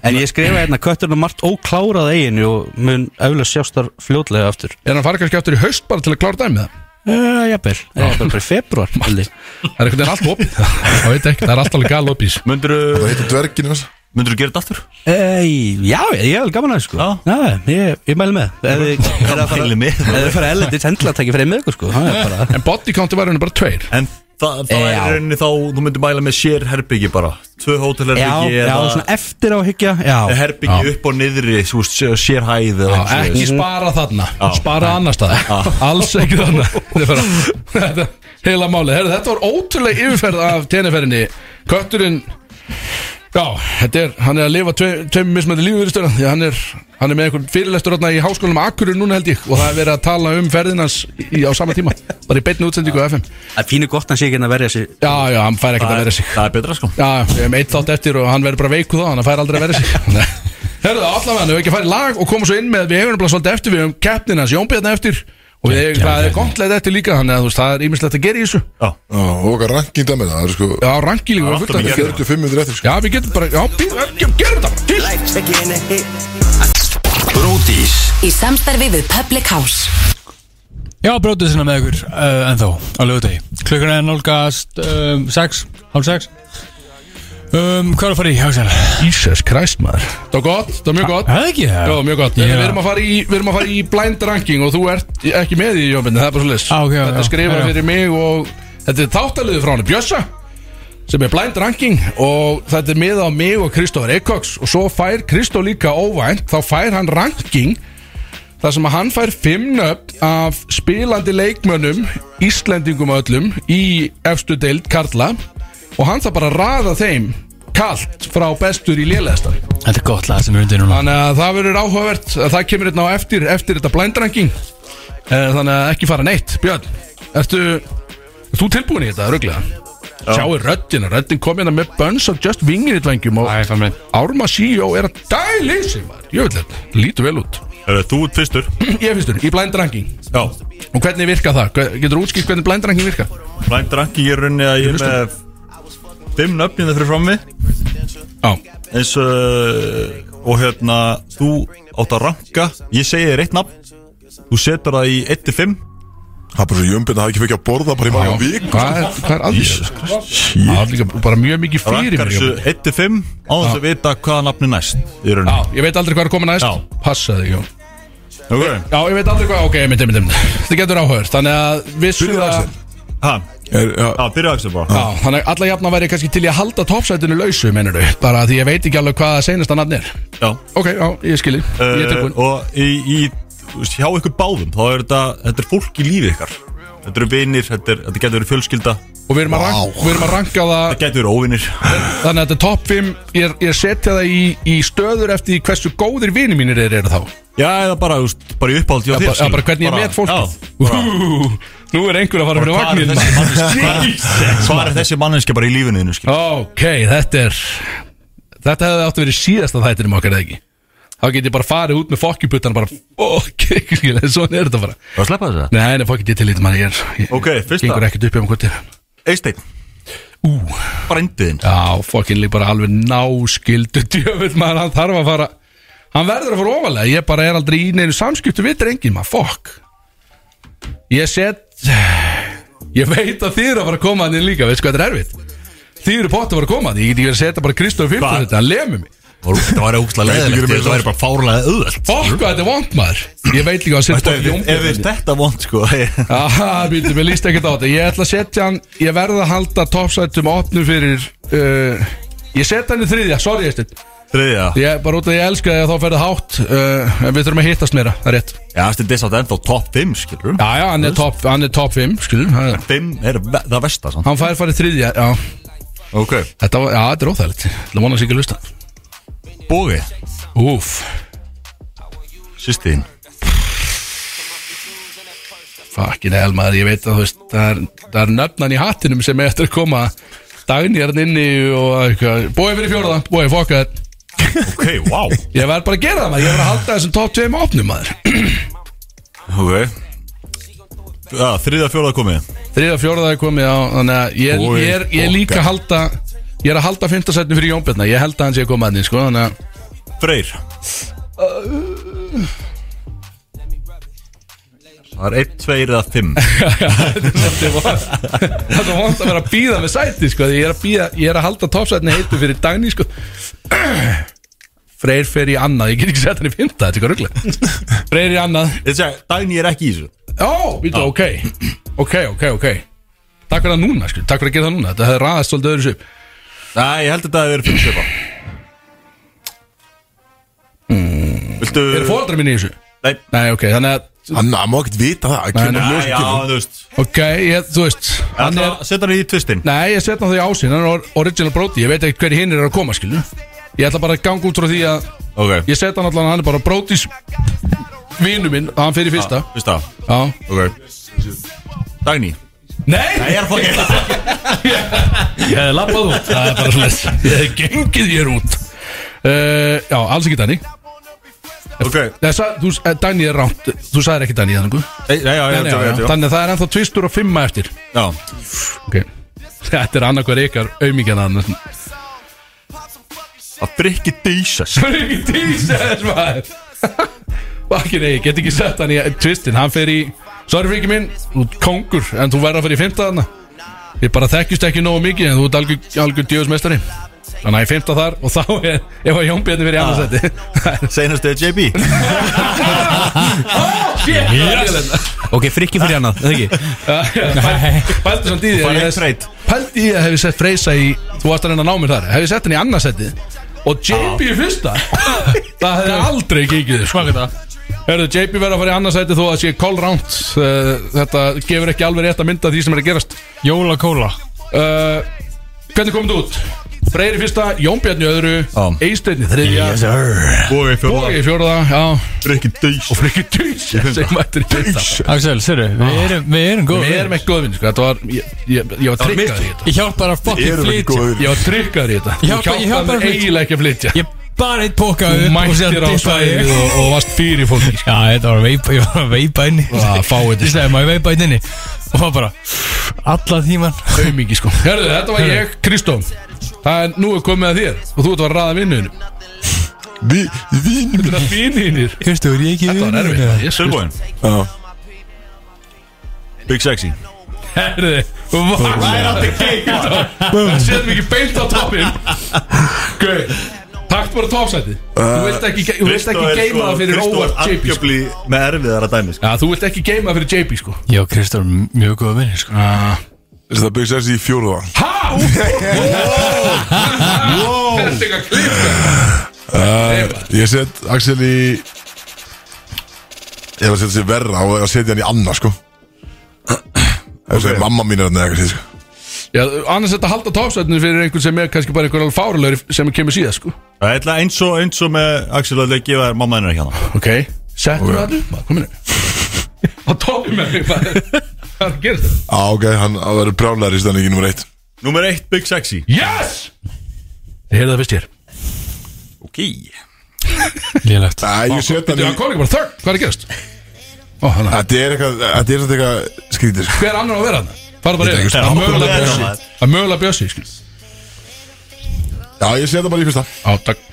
[SPEAKER 7] En ég skrifa hérna Kötturinn er margt óklárað eiginu og mun auðvitað sjást þar fljótlega aftur
[SPEAKER 2] Er hann farið kannski aftur í haust bara til að klára dæmið það?
[SPEAKER 7] Já, jafnvel, jafnvel bara í
[SPEAKER 2] [LAUGHS]
[SPEAKER 7] februar
[SPEAKER 2] Það er einhvern veginn allt [LAUGHS] opið Það veit ekki, það er alltaf gal opið
[SPEAKER 1] Það
[SPEAKER 3] Myndur
[SPEAKER 1] heitir dvergin þess
[SPEAKER 3] þú gera þetta aftur?
[SPEAKER 7] Eh, Já, ég ég hef gaman að þessu sko
[SPEAKER 3] Já.
[SPEAKER 7] Já, ég, ég mæli með Ef þið- ef þið fara-
[SPEAKER 3] Mæli með.
[SPEAKER 7] ef þið fara ellendis hendla að taka fyrir með ykkur sko Það er
[SPEAKER 2] [LAUGHS]
[SPEAKER 7] bara
[SPEAKER 2] En body counti var henni bara tveir
[SPEAKER 3] En það, það
[SPEAKER 7] Já.
[SPEAKER 3] er rauninni þá, þú myndir mæla með sér herbyggi bara Tvö
[SPEAKER 7] Já,
[SPEAKER 3] hótelherbyggi
[SPEAKER 7] já,
[SPEAKER 3] eða
[SPEAKER 7] svona eftir á að hyggja
[SPEAKER 2] Eh,
[SPEAKER 7] Já,
[SPEAKER 3] herbyggi upp og niðri, svo sér hæð eða
[SPEAKER 2] Já,
[SPEAKER 3] eitthvað
[SPEAKER 2] ekki
[SPEAKER 3] svoleiðis.
[SPEAKER 2] spara þarna Spara annar stað [LAUGHS] Alls ekki þarna Þetta er bara þetta er Heila máli Herra, Þetta var ótrúlega yfirferð af teniferinni Kötturinn Já, þetta er, hann er að lifa tve- tveim mismöndi lífið í stöðan Því að hann er, hann er með einhvern fyrirlestur þarna í háskólanum Akkurur núna held ég Og það er verið að tala um ferðinans í, á sama tíma Bara í beinni útsendingu á FM
[SPEAKER 7] það er fínu gott að hann sé ekki hérna að verja sig
[SPEAKER 2] Já, já, hann fær ekkert að vera sig
[SPEAKER 3] Það er betra sko
[SPEAKER 2] Já, við hefum eitt þátt eftir og hann verður bara veiku þá Hann fær aldrei að vera sig [LAUGHS] Herðu, allavega, við hefum ekki að fara í lag og koma svo inn með Við hefum bara svolítið eftir, við hefum keppnin hans Jónbjörn eftir Og við hefum, það er gonglega eftir líka Þannig að þú veist, það er ímislegt að gera í þessu
[SPEAKER 1] Já, og okkar rankinda með það, það er sko
[SPEAKER 2] Já, rangi líka, við fullt að
[SPEAKER 1] 45 minnir eftir sko
[SPEAKER 2] Já, við getum bara, já, býðum, gerum þetta bara Til.
[SPEAKER 5] Bródís
[SPEAKER 6] Í samstarfi við Public House
[SPEAKER 4] Já, brótið sinna með ykkur uh, en þá, á lögutegi Klukkan er nálgast um, 6, hálf 6 um, Hvað er að fara í, Hagsel?
[SPEAKER 2] Jesus Christ, maður Það var gott, það var mjög gott
[SPEAKER 4] Það er ekki það?
[SPEAKER 2] Já, mjög gott,
[SPEAKER 4] Já.
[SPEAKER 2] yeah. við, erum að fara í, við erum að fara í blind ranking og þú ert ekki með í jónbindin, það er bara svo
[SPEAKER 4] Á, ok, já,
[SPEAKER 2] Þetta
[SPEAKER 4] já.
[SPEAKER 2] skrifa
[SPEAKER 4] Já, já.
[SPEAKER 2] fyrir mig og þetta er þáttaliðu frá hann Bjössa sem er blind ranking og þetta er með á mig og Kristófur Eikoks og svo fær Kristó líka óvænt, þá fær hann ranking þar sem að hann fær fimm nöfn af spilandi leikmönnum Íslendingum öllum í efstu deild Karla og hann þarf bara að raða þeim kalt frá bestur í lélæðastan
[SPEAKER 4] Þetta er gott lag sem við erum til núna
[SPEAKER 2] Þannig að það verður áhugavert Það kemur hérna á eftir, eftir þetta blindranking Eh, Þannig að ekki fara neitt Björn, ertu ert Þú tilbúin í þetta, ruglega Sjáu röddina, röddin kom hérna með Buns of Just Wingin í dvengjum og
[SPEAKER 4] Æ, fann minn
[SPEAKER 2] Árma CEO er að dæli sig maður. Ég veit þetta, lítur vel út [CLEARS THROAT]
[SPEAKER 3] Herra, Þú ert fyrstur
[SPEAKER 2] Ég fyrstur, í blindranking
[SPEAKER 3] Já
[SPEAKER 2] Og hvernig virka það? Hve- Getur útskilt hvernig blindranking virka?
[SPEAKER 3] Blind ranking er rauninni að ég er með Fimm nöfnina fyrir frammi
[SPEAKER 2] Já,
[SPEAKER 3] eins og, og hérna þú átt að ranka ég segi þér eitt nafn þú setur það í 1-5
[SPEAKER 1] Það er bara svo jömbin að hafa ekki fekk að borða bara í marga vik
[SPEAKER 2] hvað er, hvað er aðeins? Það er líka bara mjög mikið fyrir
[SPEAKER 3] rankar
[SPEAKER 2] mér Jóhann.
[SPEAKER 3] þessu 1-5 á þess að vita hvaða nafni næst í
[SPEAKER 2] Já,
[SPEAKER 3] rauninni
[SPEAKER 2] ég veit aldrei hvað er komið
[SPEAKER 3] Já.
[SPEAKER 2] næst Passa þig, Jón
[SPEAKER 3] ok,
[SPEAKER 2] Já, ég veit aldrei hvað, ok, myndi, myndi, myndi Þetta getur áhörð, þannig að vissu
[SPEAKER 1] Byrjaðu,
[SPEAKER 2] að
[SPEAKER 1] Axel.
[SPEAKER 3] ha,
[SPEAKER 1] Er- já,
[SPEAKER 3] að byrja aðeins bara
[SPEAKER 2] Já, þannig að alla jafna væri kannski til í að halda toppsætinu lausu, mennur þú Bara því ég veit ekki alveg hvað að seinasta nafn er
[SPEAKER 3] já,
[SPEAKER 2] Ok, já, ég skilji, ég er
[SPEAKER 3] uh,
[SPEAKER 2] tilbúin
[SPEAKER 3] og í, í þú veist, hjá ykkur báðum þá er þetta, þetta er fólk í lífi ykkar þetta eru vinir, þetta, er, þetta getur verið fjölskylda
[SPEAKER 2] Og við erum að, rank, við erum að ranka það
[SPEAKER 3] það getur verið óvinir
[SPEAKER 2] Þannig að þetta er topp 5 Ég, ég setja það í, í stöður eftir því hversu góðir vini mínir eru er þá
[SPEAKER 3] já, eða bara, þú veist, bara í uppáhaldi hjá
[SPEAKER 2] Já, bara, já,
[SPEAKER 3] þér, skilur.
[SPEAKER 2] bara hvernig ég
[SPEAKER 3] Bara-
[SPEAKER 2] met fólkið
[SPEAKER 3] já,
[SPEAKER 2] Ú, [LAUGHS] Nú er einhver að fara fyrir
[SPEAKER 3] Hvar er
[SPEAKER 2] vagninn [LAUGHS]
[SPEAKER 3] þessi
[SPEAKER 2] maður.
[SPEAKER 3] manneskja- hvar- hvar er þessi manneskja bara í lífinu þínu, skilur?
[SPEAKER 2] Ok, þetta er Þetta hefði átt að vera í síðasta þættinum okkar eða ekki Þá get ég bara farið út með fokkjuputtan bara [LAUGHS] Fokk, skilja, svona er þetta bara
[SPEAKER 3] Var að sleppa þessu það?
[SPEAKER 2] Nei, nei, fokk, ég til lítið mann ég er ég,
[SPEAKER 3] Ok, fyrsta.
[SPEAKER 2] Gengur ekkert upp hjá um hvort
[SPEAKER 3] Eisteinn
[SPEAKER 2] Ú,
[SPEAKER 3] Brændiðinn
[SPEAKER 2] já, fokkin lík bara alveg náskildu Djöfull maður, hann þarf að fara Hann verður að fara ofalega Ég bara er aldrei í neinu samskiptu við drengin maður, fokk Ég set Ég veit að þið eru að fara að koma hann inn líka Veist hvað þetta er erfitt Þið eru potið að fara að koma hann Ég get ekki verið að setja bara Kristof 15
[SPEAKER 3] Hvað?
[SPEAKER 2] þetta, hann lemur mig
[SPEAKER 3] Það var ógustlega leðilegt Það var bara fárlega auðvelt
[SPEAKER 2] Fokk hvað þetta er vond maður Ég veit líka að setja bort
[SPEAKER 3] Ef við
[SPEAKER 2] Jónbjörn
[SPEAKER 3] þetta vond sko Ég
[SPEAKER 2] Aha, býttu, mér líst ekkert á þetta Ég ætla að setja hann, ég verð að halda toppsætum opnu fyrir uh, Ég setja hann í þriðja, sorry Eistinn
[SPEAKER 3] [LAUGHS] Þriðja
[SPEAKER 2] Ég bara út af að ég elska þig að þá ferði hátt uh, En við þurfum að hittast meira, það er rétt
[SPEAKER 3] Já, þetta er satt ennþá top 5 skilur
[SPEAKER 2] Já, já, hann er topp hann er topp 5, skilum það er-
[SPEAKER 3] 5 er ve- það versta samt
[SPEAKER 2] Hann fær farið þriðja, já
[SPEAKER 3] Ok
[SPEAKER 2] Þetta, var, já, þetta er óþægilegt Það vona að sig ekki að lusta
[SPEAKER 3] Bógi
[SPEAKER 2] Úf,
[SPEAKER 3] Sýstiðinn
[SPEAKER 2] fucking hell maður, ég veit að þú veist Það er, það er nöfnan í hattinum hérna sem er eftir að koma Dagný er hann inni og eitthvað Bói fyrir fjórða, bói, fokkaður
[SPEAKER 3] Ok, wow
[SPEAKER 2] Ég verð bara að gera það maður, ég verð að halda þessum top 2 opnum maður
[SPEAKER 3] Ok Já, þriða fjóða komið
[SPEAKER 2] Þriða fjóraða er komið á Þannig að ég,
[SPEAKER 3] Oj,
[SPEAKER 2] ég, er, ég er líka að halda Ég er að halda fymtasætni fyrir Jón Björna Ég held að hann sé að koma að því sko, Þannig að
[SPEAKER 3] Freyr Það er 1, 2 eða 5
[SPEAKER 2] það er svo vant að vera að býða með sæti sko, því ég, er að bíða, ég er að halda topsætni heitu fyrir dagni sko. Freyr fer í annað Ég get ekki sett hann í fymta, þetta er eitthvað rugglega Freyr í annað
[SPEAKER 3] Dæni er ekki í þessu
[SPEAKER 2] Ó, býtu, ok Ok, ok, ok Takk fyrir það núna, sko. takk fyrir að gera það núna Þetta hefði raðast svolítið öðru upp
[SPEAKER 3] Nei, ég held að þetta hefur verið 5 svipa
[SPEAKER 2] Mm.
[SPEAKER 3] Viltu
[SPEAKER 2] Eru fóreldrar minni í þessu?
[SPEAKER 3] Nei.
[SPEAKER 2] ok, þannig að
[SPEAKER 1] Hann hann má ekkert vita það, það kemur
[SPEAKER 2] Nei,
[SPEAKER 1] ljós
[SPEAKER 3] Nei,
[SPEAKER 1] í
[SPEAKER 3] já,
[SPEAKER 1] kemur.
[SPEAKER 3] þú veist
[SPEAKER 2] Ok, ég, þú veist Hann er
[SPEAKER 3] Sett hann í tvistin
[SPEAKER 2] Nei, ég setna þau ásinn, hann er or- original Brody Ég veit ekkert hverju hinn er að koma, skilju Ég ætla bara að ganga út frá því að
[SPEAKER 3] Ok,
[SPEAKER 2] Ég setna hann allan, hann er bara Brody's Vinu minn, hann fyrir fyrsta
[SPEAKER 3] fyrst af
[SPEAKER 2] Já
[SPEAKER 3] Ok Dagný
[SPEAKER 2] Nei,
[SPEAKER 3] er fokkin
[SPEAKER 2] ég hefði labbað út Það er bara sless Ég hefði gengið hér út uh, Já, alls ekki Dani
[SPEAKER 3] Ok
[SPEAKER 2] Nei, sa, þú, eh, Dani er ránt Þú sagðir ekki Dani þannig
[SPEAKER 3] Nei, já, já, já, já, já, já.
[SPEAKER 2] Þannig að það er ennþá tvistur og fimma eftir
[SPEAKER 3] já.
[SPEAKER 2] Ok Þetta er annarkvar ykkar auðmíkjana annars
[SPEAKER 3] Að drikki dísas
[SPEAKER 2] Það er ekki tísess maður Vakkin eigi, get ekki sett hann í tvistin Hann fer í, sorry fyrir minn Þú ert kongur, en þú verður að fyrir í fymtaðana Við bara þekkjumst ekki nógu mikið En þú ert algjör, algjör djöðsmestari Þannig að ég fymta þar og þá er Ef að Jón Bjarni fyrir í [LAUGHS] annarsætti
[SPEAKER 3] Seinast eða JB
[SPEAKER 7] Ok, frikki fyrir annað, eða
[SPEAKER 2] [LAUGHS]
[SPEAKER 7] ekki?
[SPEAKER 2] Pældi samt í því
[SPEAKER 3] Bara
[SPEAKER 2] að ég
[SPEAKER 3] einn
[SPEAKER 2] hef-
[SPEAKER 3] freyt
[SPEAKER 2] Pældi í því að hef ég sett Freysa í Þú varst að reyna að ná mér þar Hef ég sett hann í annarsætti Og JB í fyrsta Það hefði aldrei gengið sko. Hörðu, JP verður að fara í annarsætti þó að sé call round uh, Þetta gefur ekki alveg rétt að mynda því sem er að gerast
[SPEAKER 4] Jóla kóla
[SPEAKER 2] uh, Hvernig kom þetta út? Freyr í fyrsta, Jón Bjarni í öðru
[SPEAKER 3] Já.
[SPEAKER 2] Eisteinni þriðja
[SPEAKER 3] Bói
[SPEAKER 2] Og
[SPEAKER 3] fjóða
[SPEAKER 2] í fjórða, já
[SPEAKER 3] Drikki dís
[SPEAKER 2] Og frikki dýs sem mættir í fyrsta
[SPEAKER 4] Axel, sérðu, við erum, við erum góð
[SPEAKER 2] Ah. Við erum ekki góðvinn, sko, þetta var Ég, ég, ég var tryggaður í þetta
[SPEAKER 4] Ég hjálpar að fucking
[SPEAKER 1] Erum ekki
[SPEAKER 4] flytja
[SPEAKER 1] góðir
[SPEAKER 2] Ég var tryggaður í þetta
[SPEAKER 4] Ég hjálpa-
[SPEAKER 2] Þú
[SPEAKER 4] ég hjálpa
[SPEAKER 2] hjálpaði
[SPEAKER 4] þér
[SPEAKER 2] mér
[SPEAKER 4] flytja.
[SPEAKER 2] eiginlega ekki að flytja
[SPEAKER 4] Ég bara eitt póka
[SPEAKER 2] Þú
[SPEAKER 4] upp og
[SPEAKER 2] mættir
[SPEAKER 4] síðan
[SPEAKER 2] á
[SPEAKER 4] dippa ég.
[SPEAKER 2] svæðið og, og varst fyrir fólki sko.
[SPEAKER 4] Já, þetta var að veipa, ég var að veipa inni
[SPEAKER 2] Ah, fáið.
[SPEAKER 4] Ég segi, má ég veipa inni Og var bara, alla tíman
[SPEAKER 2] Aumingi sko Herðu, þetta var ég, Kristó Það er nú er komið að þér Og þú ert að fara að raða vinnuðinu
[SPEAKER 1] Vi, Vínum
[SPEAKER 2] Þetta er vinnuðinir
[SPEAKER 4] Kristu, er ég ekki
[SPEAKER 2] Þetta var erfitt maður, ég skil-
[SPEAKER 3] Sölbóin
[SPEAKER 1] Já.
[SPEAKER 3] Big sexy
[SPEAKER 2] Herðu, hvað Það séðum ekki beint á toppin Gauð Takk bara topsæti Þú vilt ekki, ge- þú vilt ekki geima
[SPEAKER 3] sko-
[SPEAKER 2] það fyrir óvart JP sko.
[SPEAKER 3] Kristó er sko með erfiðara dæmi sko
[SPEAKER 2] Já, þú vilt ekki geima það fyrir JP sko
[SPEAKER 4] Já, Kristu, mjög góða vinni, sko
[SPEAKER 2] Ah.
[SPEAKER 1] Þessi það byggst þessi í fjóruða
[SPEAKER 2] Há Þetta er eitthvað klipp
[SPEAKER 1] Ég set Axel í Ég var að setja sér verra og ég var að setja hann í annað [CLEARS THROAT] sko Þessi okay. mamma mín er hann eða eitthvað sko.
[SPEAKER 2] Já, annars þetta halda topsætinu fyrir einhvern sem er kannski bara einhver alveg fárulegur sem kemur síðan sko
[SPEAKER 3] Það er eitthvað eins og eins og með Axel að leggja þær mamma hennar hérna. ekki hana
[SPEAKER 2] Ok, settum við allir Maður, komin [LAUGHS] Á topi með mig maður. Hvað er að gera þetta?
[SPEAKER 1] Á Ah, ok, hann á verður brjálæður í stæðan ekki nummer eitt
[SPEAKER 3] Númer eitt Big Sexy
[SPEAKER 2] Yes! Ég heyrði það fyrst hér
[SPEAKER 3] Ok
[SPEAKER 4] Lélegt
[SPEAKER 1] Æ, Ah, ég set hann
[SPEAKER 2] Þetta
[SPEAKER 1] í
[SPEAKER 2] var komin ekki bara þörn, hvað er að gerast? Ó, hana
[SPEAKER 1] Þetta er eitthvað, þetta er samt eitthvað skrítið sko.
[SPEAKER 2] Hver annar á að vera hann? Farðu bara
[SPEAKER 1] Þetta er ekki
[SPEAKER 2] yfir Það er
[SPEAKER 3] stórt.
[SPEAKER 2] mögulega
[SPEAKER 3] Þetta er
[SPEAKER 2] bjössi
[SPEAKER 3] maður.
[SPEAKER 2] Það er mögulega bjössi, skil
[SPEAKER 1] Já, ég set hann bara í fyrsta
[SPEAKER 2] Á, takk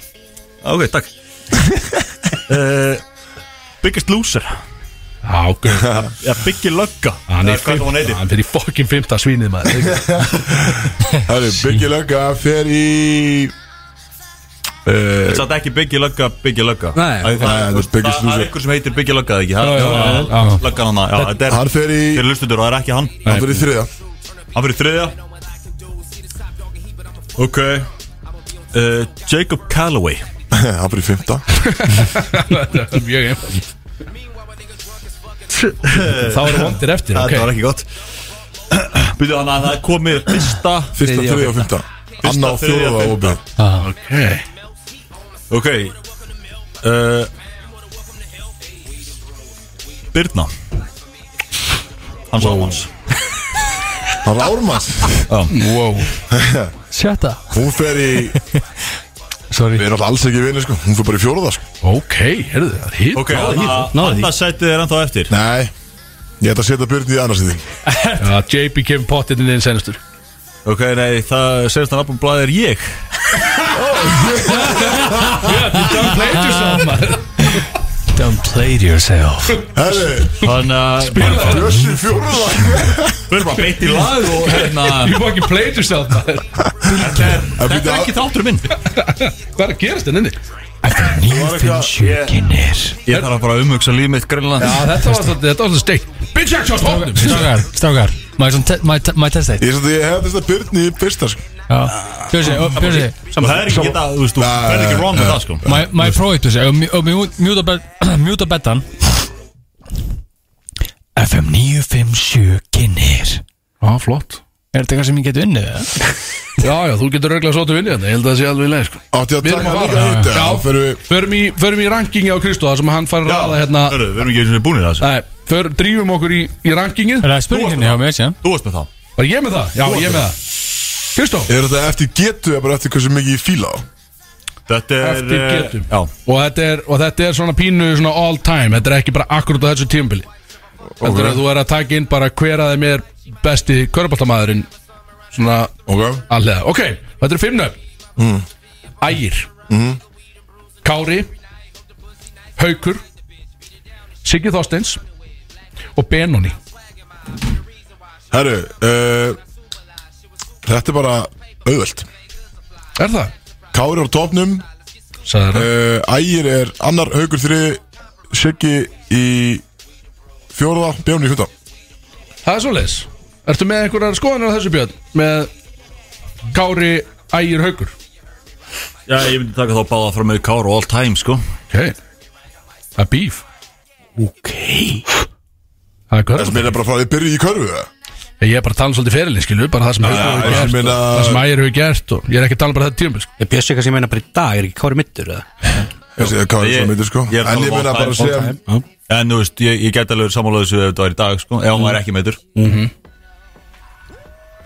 [SPEAKER 3] Ok, takk Eh, Biggest Loser
[SPEAKER 2] Á, guð [LAUGHS]
[SPEAKER 3] Já, Biggie Lugga
[SPEAKER 2] Ah, Hann
[SPEAKER 3] Eða
[SPEAKER 2] er
[SPEAKER 3] hvað hann
[SPEAKER 2] fimmta
[SPEAKER 3] heitir.
[SPEAKER 2] Hann fyrir fokkin fimmta svínið [LAUGHS] maður
[SPEAKER 1] Herri, Biggie Lögga fer í
[SPEAKER 3] Þetta er samt ekki Biggie Lugga, Biggie Lugga
[SPEAKER 7] Nei.
[SPEAKER 3] Það-
[SPEAKER 1] Nei,
[SPEAKER 3] Það
[SPEAKER 1] þetta er
[SPEAKER 3] það-
[SPEAKER 1] Biggest
[SPEAKER 3] það er
[SPEAKER 1] Loser.
[SPEAKER 3] einhver sem heitir Biggie Lugga, eða ekki
[SPEAKER 2] Já, já, já, já.
[SPEAKER 3] Lugga hann að Þetta er
[SPEAKER 1] Hann fer í,
[SPEAKER 3] fyrir lustendur og það er ekki hann
[SPEAKER 1] hann fer í þriða
[SPEAKER 3] Hann fyrir þriðja Ok uh, Jacob Calloway
[SPEAKER 1] [LAUGHS] Hann fer í fymta
[SPEAKER 2] Þetta er mjög einfalt Þá eru vondir eftir, ok
[SPEAKER 3] Þetta var ekki gott [CLEARS THROAT] Býtu hann að það er komið fyrsta
[SPEAKER 1] Fyrsta, þriða og fymta Anna og
[SPEAKER 3] þriðja,
[SPEAKER 1] fjóruða og
[SPEAKER 3] fimmta.
[SPEAKER 1] björn
[SPEAKER 2] Ok
[SPEAKER 3] Ok uh, Birna Hans Ámans
[SPEAKER 1] Hann [LAUGHS] Rármanns
[SPEAKER 2] Wow
[SPEAKER 4] Sjötta
[SPEAKER 1] Hún fer í Sorry. Við erum alltaf alls ekki vinni sko Hún fyrir bara í fjóruða sko
[SPEAKER 2] Ok, herðu það er hitt
[SPEAKER 3] Ok, annars sættu þér ennþá eftir
[SPEAKER 1] Nei, ég ætla að setja byrni í annars í því
[SPEAKER 2] Já, JB kemur pottinn inn senastur
[SPEAKER 3] Ok, nei, það segist að nafnum blæðir ég
[SPEAKER 4] [LAUGHS]
[SPEAKER 2] Ah.
[SPEAKER 4] Don't play to yourself
[SPEAKER 1] Herri,
[SPEAKER 3] Þannig að
[SPEAKER 1] Bjössi fjóruða
[SPEAKER 3] Við erum bara beitt í lag og hérna
[SPEAKER 2] You fucking played yourself maður.
[SPEAKER 1] Þetta
[SPEAKER 3] Þetta er ekki þáttur minn
[SPEAKER 2] Hvað er að gerast hérna þenni?
[SPEAKER 4] Kynir
[SPEAKER 3] Ég þarf bara að umhugsa líf mitt Grænland
[SPEAKER 2] Já, Ah, þetta var svolítið, þetta var svolítið steikt Bitch action pottinn
[SPEAKER 4] Strákar, strákar Má ég svona te- má ég te- má ég testa eitt
[SPEAKER 1] Ég, ég hef þess að byrni í fyrsta sko
[SPEAKER 4] Björsi, ó, Björsi
[SPEAKER 3] Það er ekki þetta, þú veist, þú
[SPEAKER 1] Nei,
[SPEAKER 3] verður ekki wrong með það sko
[SPEAKER 4] Má ég- má ég prófa eitt Björsi Og mjú- og mjú- mjúta [CLEARS THROAT] bet- Mjúta betan FM 957 Kynir
[SPEAKER 2] Já, flott
[SPEAKER 4] Er þetta eitthvað sem ég geti unnið? [LAUGHS] eða?
[SPEAKER 2] Já, já, þú getur röglega svo til vinni þetta Ég held að það sé alveg leið sko
[SPEAKER 1] Átti að
[SPEAKER 2] Við erum
[SPEAKER 1] taka
[SPEAKER 2] að
[SPEAKER 1] hann
[SPEAKER 2] fara.
[SPEAKER 1] líka hitt
[SPEAKER 2] Já.
[SPEAKER 1] Já, fyrir við
[SPEAKER 2] Förum í, förum í rankingi á Kristó Það sem hann fari að ræða hérna
[SPEAKER 3] hörru, Við erum ekki eins og búinir það sko.
[SPEAKER 2] Nei, för, drífum okkur í, í rankingið
[SPEAKER 4] Er það spurninginni hjá mér síðan?
[SPEAKER 3] Þú varst með það
[SPEAKER 2] Var ég með það? Já, ég með það Kristó
[SPEAKER 1] Er þetta eftir getu eða bara eftir hversu mikið ég fíla á?
[SPEAKER 3] Þetta er
[SPEAKER 2] Eftir
[SPEAKER 3] eh,
[SPEAKER 2] getum.
[SPEAKER 3] Já,
[SPEAKER 2] og þetta, er, og þetta er svona pínu svona all time Þetta er ekki bara akkurat á þessu tímbili Þetta er að þú er að taka inn bara hver að þeim er besti körbáltamaðurinn Svona
[SPEAKER 1] Ok
[SPEAKER 2] allega Ok, þetta er fimm nöfn Ægir Kári Haukur Siggi Þorsteins Og Benoni
[SPEAKER 1] Herru, uh, þetta er bara auðvöld
[SPEAKER 2] Er það?
[SPEAKER 1] Kári er á topnum
[SPEAKER 2] Sæður það
[SPEAKER 1] uh, Ægir er annar haugur þri Siggi í fjóruða, Björn í fjönda
[SPEAKER 2] Það er svoleiðis Ertu með einhverjar skoðanir á þessu björn? Með Kári Ægir Haukur
[SPEAKER 3] já ég myndi taka þá báða frá með Kár og all time sko
[SPEAKER 2] Ok Það er bíf
[SPEAKER 7] Ok
[SPEAKER 2] Það er
[SPEAKER 1] Það
[SPEAKER 2] körf
[SPEAKER 1] sem er bara frá að þið byrja í körfu eða?
[SPEAKER 2] Ég er bara að tala um svolítið ferilinn skilju Bara það sem
[SPEAKER 1] já,
[SPEAKER 2] Haukur hefur
[SPEAKER 1] ég
[SPEAKER 2] gert og
[SPEAKER 1] meina-
[SPEAKER 2] Það sem Ægir hefur gert og Ég er ekki að tala bara þetta tíum sko.
[SPEAKER 7] Ég bjössi eitthvað sem ég meina bara í dag, er ekki Kári mittur eða?
[SPEAKER 1] Þessi er Kári
[SPEAKER 3] Ég-
[SPEAKER 1] sem myndir sko
[SPEAKER 3] ég er að
[SPEAKER 1] En
[SPEAKER 3] tala
[SPEAKER 1] ég
[SPEAKER 3] um
[SPEAKER 1] meina
[SPEAKER 3] all
[SPEAKER 1] bara að
[SPEAKER 3] time,
[SPEAKER 1] segja
[SPEAKER 3] all En þú veist, ég, ég gæti alveg sammálaðu þessu ef þetta var í dag sko Ef hann var ekki meitur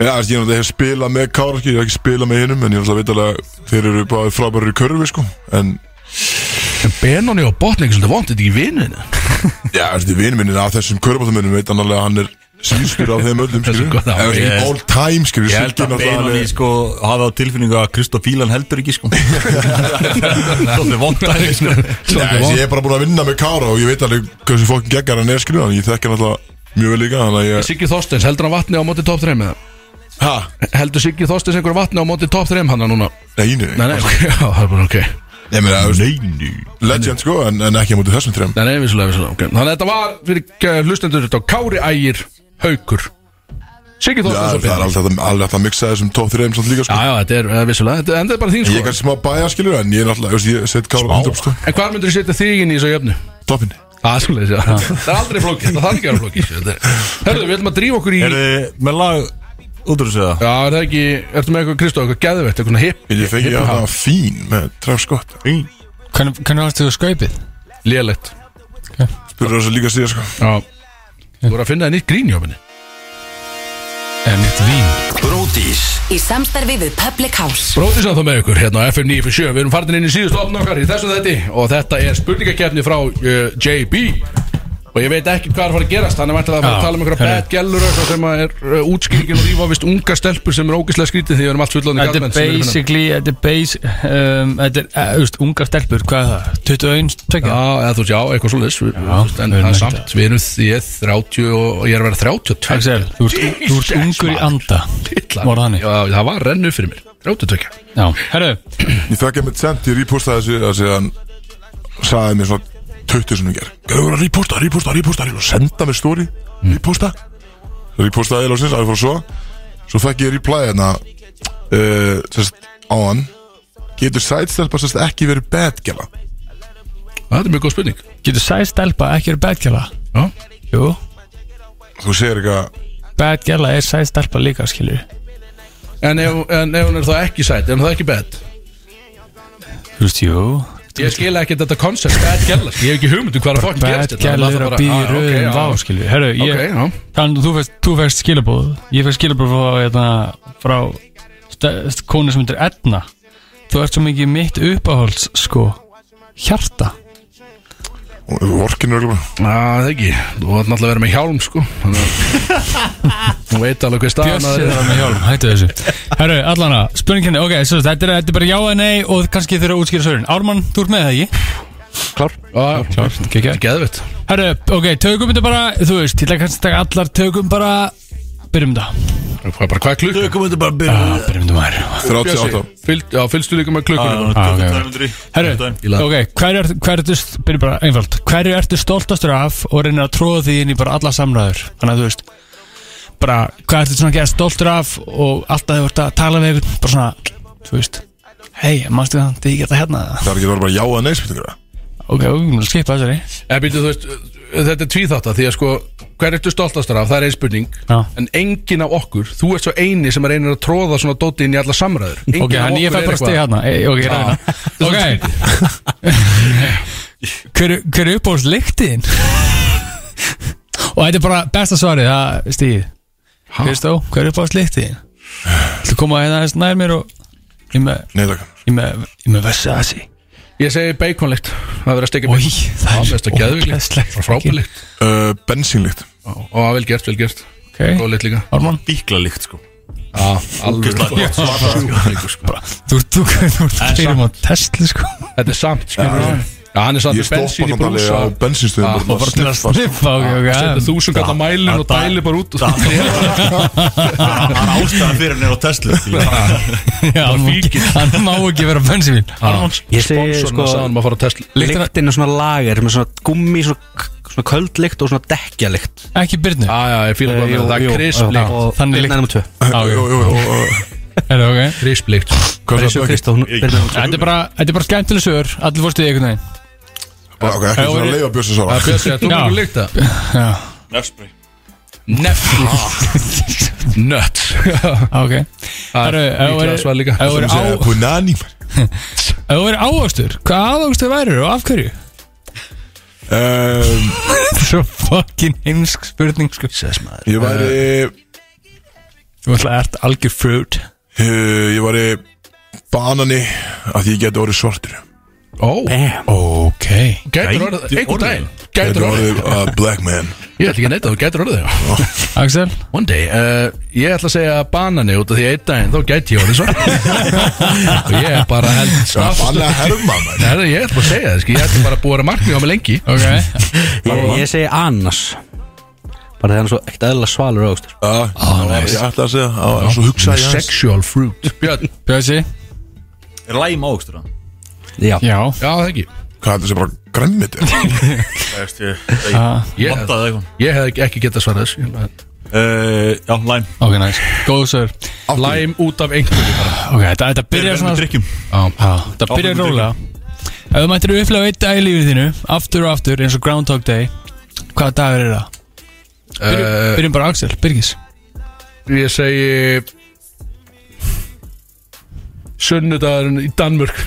[SPEAKER 1] Já, þessi, ég náttúrulega hef spilað með Kári ekki, Ég hef ekki spilað með hinum En ég náttúrulega veit alveg að þeir eru bara frábæri í körfu sko En
[SPEAKER 2] En Benoni og Botni er ekki svolítið vond Þetta
[SPEAKER 1] [LAUGHS]
[SPEAKER 2] er ekki vinninu
[SPEAKER 1] já, þessi vinur minn er af þessum körfbáttamennum Veit hann alveg að hann er sínskur af þeim öllum
[SPEAKER 2] Þessi
[SPEAKER 1] skilur
[SPEAKER 2] gott á,
[SPEAKER 1] Eða, skilur,
[SPEAKER 2] ég-
[SPEAKER 1] All time skilur
[SPEAKER 3] Ég held að Benoni sko hafa á tilfinningu að Kristoff Fílan heldur [LAUGHS] ekki sko Svolítið vond dæmi sko
[SPEAKER 1] Já,
[SPEAKER 2] Svolítið
[SPEAKER 1] þessi,
[SPEAKER 2] vond
[SPEAKER 1] ég er bara búin að vinna með Kára og ég veit alveg hversu fokkin geggar hann er skilur en ég þekki hann alltaf mjög vel líka þannig að ég
[SPEAKER 2] Siggi Þorsteins, heldur hann vatni á móti top 3 með
[SPEAKER 1] Hæ?
[SPEAKER 2] það? Heldur Siggi Þorsteins einhver vatni á móti top 3 hann núna?
[SPEAKER 1] Nei, nei,
[SPEAKER 2] Nei, nei, ok, já, það er bara ok Nei,
[SPEAKER 1] Ég meina, nei, legend sko en, en ekki á móti þessum trefum
[SPEAKER 2] nei, vissulega, vissulega, ok Þannig að þetta var fyrir eh, hlustendur þetta var Kári Ægir Haukur Siggi
[SPEAKER 1] Já,
[SPEAKER 2] Þorsteins
[SPEAKER 1] það er
[SPEAKER 2] og Benni
[SPEAKER 1] alveg hægt að- alveg hægt að mixa þessum top 3 samt líka
[SPEAKER 2] Já,
[SPEAKER 1] sko
[SPEAKER 2] já, þetta er eh, vissulega, þetta en þetta er bara þín
[SPEAKER 1] Ég er
[SPEAKER 2] sko
[SPEAKER 1] kannski smá bæja skilur en ég er alltaf, veist, ég set Kára undan sko
[SPEAKER 2] En hvað myndur þú setja þig inn í þessu jöfnu?
[SPEAKER 1] Toppin
[SPEAKER 2] Það er svolítið, já Það er aldrei flókið, þetta þarf ekki að vera flókið sko, þetta er- Herðu, við ætlum að drífa okkur í
[SPEAKER 3] Er
[SPEAKER 2] Já,
[SPEAKER 3] þið með lag útrús eða?
[SPEAKER 2] er það ekki, ertu með eitthvað Kristó, eitthvað geðveitt, eitthvað svona hipp
[SPEAKER 1] Ég fengi að það fín með tref skott Spurður
[SPEAKER 4] Hvernig hvernig varstu þú skaupið?
[SPEAKER 2] lélegt
[SPEAKER 1] þess að líka síðan sko
[SPEAKER 2] Já Þú voru að finna þér nýtt grín í opinni
[SPEAKER 4] Eða nýtt Eh, vín?
[SPEAKER 5] Bródís
[SPEAKER 6] Í samstarfi við Public House
[SPEAKER 2] Bróðis að þá með ykkur hérna á FM 957 Við erum farin inn í síðustu opn okkar í þessu þetti Og þetta er spurningakefni frá uh, JB Og ég veit ekki hvað er að fara að gerast Þannig væntanlega að fara
[SPEAKER 4] Já,
[SPEAKER 2] að tala um einhverja
[SPEAKER 4] herri.
[SPEAKER 2] bad gellur og eitthvað Sem að er uh, útskýringin og rífa vist unga stelpur Sem er ógeðslega skrítið því við erum allt fullandi
[SPEAKER 4] Þetta er basically, þetta er base um, Þetta er, eh, þú veist, ungar stelpur, hvað er það? 21,
[SPEAKER 2] Já,
[SPEAKER 4] 20?
[SPEAKER 2] eða þú veist, já, eitthvað svo leis En það
[SPEAKER 4] við erum
[SPEAKER 2] er
[SPEAKER 4] ekki
[SPEAKER 2] samt, við erum því 30 og og ég er að vera 32
[SPEAKER 4] Axel, þú ert, þú
[SPEAKER 2] Jesus,
[SPEAKER 4] ert ungur í
[SPEAKER 2] maður.
[SPEAKER 4] anda
[SPEAKER 2] Titlar.
[SPEAKER 4] Var það hannig?
[SPEAKER 2] Já, það var rennu fyrir mér 32
[SPEAKER 4] Já, herru,
[SPEAKER 1] Ég þekki með sent, ég repostaði þessu að segja hann sagði mér svona 20 sem ég ger Gerðu verið að reposta, reposta, reposta og senda mér stóri, reposta repostaði ég lásins, að ég fór að svo svo þekki ég reply hérna uh, sérst, á hann getur sætstelpa sérst ekki verið badgela
[SPEAKER 2] Það er mjög góð spurning
[SPEAKER 4] getur sæð stelpa ekki verið bad gæla?
[SPEAKER 2] Já,
[SPEAKER 4] Jú,
[SPEAKER 1] þú segir eitthvað,
[SPEAKER 4] bad gæla er sæð stelpa líka, skilur
[SPEAKER 2] En ef, en ef hún er þá ekki sæt, er hún þá ekki bad?
[SPEAKER 4] Þú veist, jú
[SPEAKER 2] Ég skil ekki þetta koncept, bad gæla Ég hef ekki hugmynd um hvað er að fokkin
[SPEAKER 4] Bad
[SPEAKER 2] gerst
[SPEAKER 4] gæla er að býja röðum vá, skilur Herru,
[SPEAKER 2] Ok,
[SPEAKER 4] ég,
[SPEAKER 2] já
[SPEAKER 4] þannig þú fæst, þú fæst skilabóð Ég fæst skilabóð frá, hérna, frá ste- konu sem myndir Edna Þú ert svo mikið mitt uppáhalds sko Hjarta
[SPEAKER 1] Vorkinu örgulega
[SPEAKER 2] Ah, Það er ekki, þú vart náttúrulega að vera með hjálm sko Þannig
[SPEAKER 4] [LAUGHS]
[SPEAKER 2] að- Hún veit alveg hver staðan
[SPEAKER 4] Bjössi er með hjálm, hættu þessu Herru, allana, spurninginni, hérna, ok, svo, þetta, er, þetta er bara já eða nei og kannski þurfa að útskýra svörin Ármann, þú ert með það ekki?
[SPEAKER 7] Klár
[SPEAKER 2] Klár,
[SPEAKER 4] Gekkjað
[SPEAKER 2] geðvitt
[SPEAKER 4] Herru, ok, tökum þetta bara, þú veist, ég ætla kannski að taka allar tökum bara Byrjum þetta
[SPEAKER 2] Hvað er bara hvað klukk?
[SPEAKER 3] Tökum þetta bara byrjum
[SPEAKER 4] ah, Byrjum þetta maður
[SPEAKER 1] 38
[SPEAKER 2] Fylg, Já, fylgstu líka með klukkunum
[SPEAKER 4] Ah, ok. Herru,
[SPEAKER 2] lag.
[SPEAKER 4] ok, hverju ertu, hver ertu, st- byrjum bara einfalt Hverju ertu stoltastur af og reynir að tróða því inn í bara alla samræður Þannig að þú veist, bara, hvað ertu svona að gera stoltur af og alltaf þú ert að tala við einhvern, bara svona, þú veist Hei, mannstu það, þið geta hérna eða?
[SPEAKER 1] Það er ekki að vera bara já að neysbyttingur
[SPEAKER 4] Ok, við erum að skipa þessari
[SPEAKER 2] Eða býttu, Eh, þú veist, þetta er tvíþátt að því að sko Hver ertu stoltastur af, það er ein spurning
[SPEAKER 4] Já.
[SPEAKER 2] En engin af okkur, þú ert svo eini sem reynir að tróða svona dóti inn í alla samræður Enginn
[SPEAKER 4] Ok,
[SPEAKER 2] af
[SPEAKER 4] hann ég
[SPEAKER 2] okkur er
[SPEAKER 4] fæ bara
[SPEAKER 2] eitthvað-
[SPEAKER 4] stig hérna e, Ok, ég ræðina Ok Hver, hver er uppáhalds lyktin? Og þetta er bara besta svarið Það stigið Kristó, hver er uppáhalds lyktin? Þú koma hérna aðeins nær mér og Ég með,
[SPEAKER 1] Nei takk
[SPEAKER 4] ég með, ég með Versace
[SPEAKER 2] Ég segi baconlegt, það verður að stekja
[SPEAKER 4] Í,
[SPEAKER 2] bacon
[SPEAKER 4] það
[SPEAKER 2] Það
[SPEAKER 4] er
[SPEAKER 2] er mest að geðvikt,
[SPEAKER 4] ógeðslegt.
[SPEAKER 2] frábælikt
[SPEAKER 1] Uh, Bensínlíkt
[SPEAKER 2] Og að vel gert, vel gert
[SPEAKER 4] Ok,
[SPEAKER 2] Góð lit líka
[SPEAKER 4] Ármann
[SPEAKER 3] Bíkla líkt sko
[SPEAKER 2] Alveg
[SPEAKER 3] Ógeðslega gott
[SPEAKER 2] Sjúkleikur, sko.
[SPEAKER 4] Þú ert, þú ert, þú ert Fyrir maður Tesla sko
[SPEAKER 2] Þetta er samt, skilur við Já, hann er samt
[SPEAKER 1] Ég
[SPEAKER 2] með
[SPEAKER 1] stoppa
[SPEAKER 2] bensín í
[SPEAKER 1] samt alveg á bensinstöðum
[SPEAKER 2] brúsa Já, og bara til að
[SPEAKER 4] Sniffa, ok, ok
[SPEAKER 2] Setja
[SPEAKER 4] já.
[SPEAKER 2] þúsund gata mælin og
[SPEAKER 3] það-
[SPEAKER 2] dæli bara út og
[SPEAKER 3] það-
[SPEAKER 2] [LAUGHS]
[SPEAKER 3] [LAUGHS] Það er ástæðan fyrir hann er á Tesla
[SPEAKER 4] Já, hann má ekki- Hann má ekki vera bensinvíl Ármann
[SPEAKER 7] Ég segi
[SPEAKER 2] Sponsorna
[SPEAKER 7] sko
[SPEAKER 2] sagði hann að fara á Tesla
[SPEAKER 4] Lyktina-
[SPEAKER 7] Lyktin er svona lager með svona gummi, svona, svona köldlykt og svona dekkjalykt
[SPEAKER 4] Ekki Byrnu
[SPEAKER 2] Já, já, ég
[SPEAKER 4] Eh,
[SPEAKER 2] fíla bara
[SPEAKER 7] Jú,
[SPEAKER 2] með það
[SPEAKER 7] jú,
[SPEAKER 2] er krisplikt
[SPEAKER 7] og-
[SPEAKER 4] Þannig
[SPEAKER 7] Birna
[SPEAKER 4] lykt.
[SPEAKER 7] er nummer tvö.
[SPEAKER 4] Er það ok?
[SPEAKER 2] Krisplikt
[SPEAKER 1] Hvað er
[SPEAKER 7] Þessi og
[SPEAKER 1] það?
[SPEAKER 7] Kristó, hún- Birna er nummer tvö.
[SPEAKER 4] Þetta er bara, þetta er bara skemmtileg sögur Allir fórstu í einhvern veginn
[SPEAKER 1] Ok, ekki
[SPEAKER 4] Já,
[SPEAKER 1] fyrir að
[SPEAKER 4] ég-
[SPEAKER 1] leiða bjössi svara
[SPEAKER 2] Það er bjössi að þú
[SPEAKER 4] Já.
[SPEAKER 2] mjög líkt það
[SPEAKER 3] Nefspray
[SPEAKER 4] [LAUGHS]
[SPEAKER 2] Nefn Nuts
[SPEAKER 4] Á, Ok
[SPEAKER 2] Það
[SPEAKER 4] Herru, ef
[SPEAKER 2] er
[SPEAKER 4] þú
[SPEAKER 2] líklega
[SPEAKER 4] væri-
[SPEAKER 2] svar líka
[SPEAKER 4] ef þú væri á-
[SPEAKER 1] Segja, Punani
[SPEAKER 4] Ef þú verið ávakstur, hvað ávakstur værir og af hverju?
[SPEAKER 1] um,
[SPEAKER 4] Svo fucking heimsk spurning sko Sess maður
[SPEAKER 1] Ég væri
[SPEAKER 4] Þú ætla að ert algjör fruit
[SPEAKER 1] uh, Ég væri banani að því ég geti orðið svartur
[SPEAKER 2] Ó,
[SPEAKER 7] Eh,
[SPEAKER 4] Ok
[SPEAKER 2] gætur orðið Einhvern daginn Gætur
[SPEAKER 1] Geti orðið
[SPEAKER 2] orðið
[SPEAKER 1] uh, black man
[SPEAKER 2] Ég ætla ekki að neyta þú gætur orðið já.
[SPEAKER 4] Axel
[SPEAKER 2] One day uh, Ég ætla að segja banani út af því einn daginn Þá gæti ég orðið
[SPEAKER 4] [LAUGHS]
[SPEAKER 2] svo Og ég er bara held
[SPEAKER 4] Sko,
[SPEAKER 1] Banna að herma maður.
[SPEAKER 2] Herra, ég ætla bara að segja það sko. Ég ætla bara að búa að markmið á mig lengi
[SPEAKER 4] Ok
[SPEAKER 7] Ég- Ég segi annars Bara þegar hann er svo ekkert eðla svalur sko. ágstur
[SPEAKER 1] Já, Ég ætla að segja á, Svo hugsa ég aðeins.
[SPEAKER 2] Sexual fruit Björn
[SPEAKER 4] Bjössi
[SPEAKER 3] Er læm ákstur það?
[SPEAKER 7] Já,
[SPEAKER 4] Já
[SPEAKER 2] Já, það ekki
[SPEAKER 1] Hvað er þessi bara grænmiti?
[SPEAKER 3] Það veist ég
[SPEAKER 2] Ég,
[SPEAKER 3] Vandaði eitthvað
[SPEAKER 2] ég hef ekki getað svarað þessu
[SPEAKER 3] Eh, Já, læm
[SPEAKER 4] Ok, nice Góð sögur
[SPEAKER 2] Læm út af einhverju bara
[SPEAKER 4] Ok, þetta, þetta byrjar svona
[SPEAKER 3] drikkjum
[SPEAKER 4] Já, þetta
[SPEAKER 3] Áfram
[SPEAKER 4] byrjar
[SPEAKER 3] með
[SPEAKER 4] rólega Ef þú mættir upplega einn dag í lífið þínu Aftur og aftur eins og Groundhog Day Hvaða dagur er það?
[SPEAKER 2] uh,
[SPEAKER 4] Byrjum bara á Axel, Byrgis
[SPEAKER 2] Ég segi Sunnudagurinn í Danmörk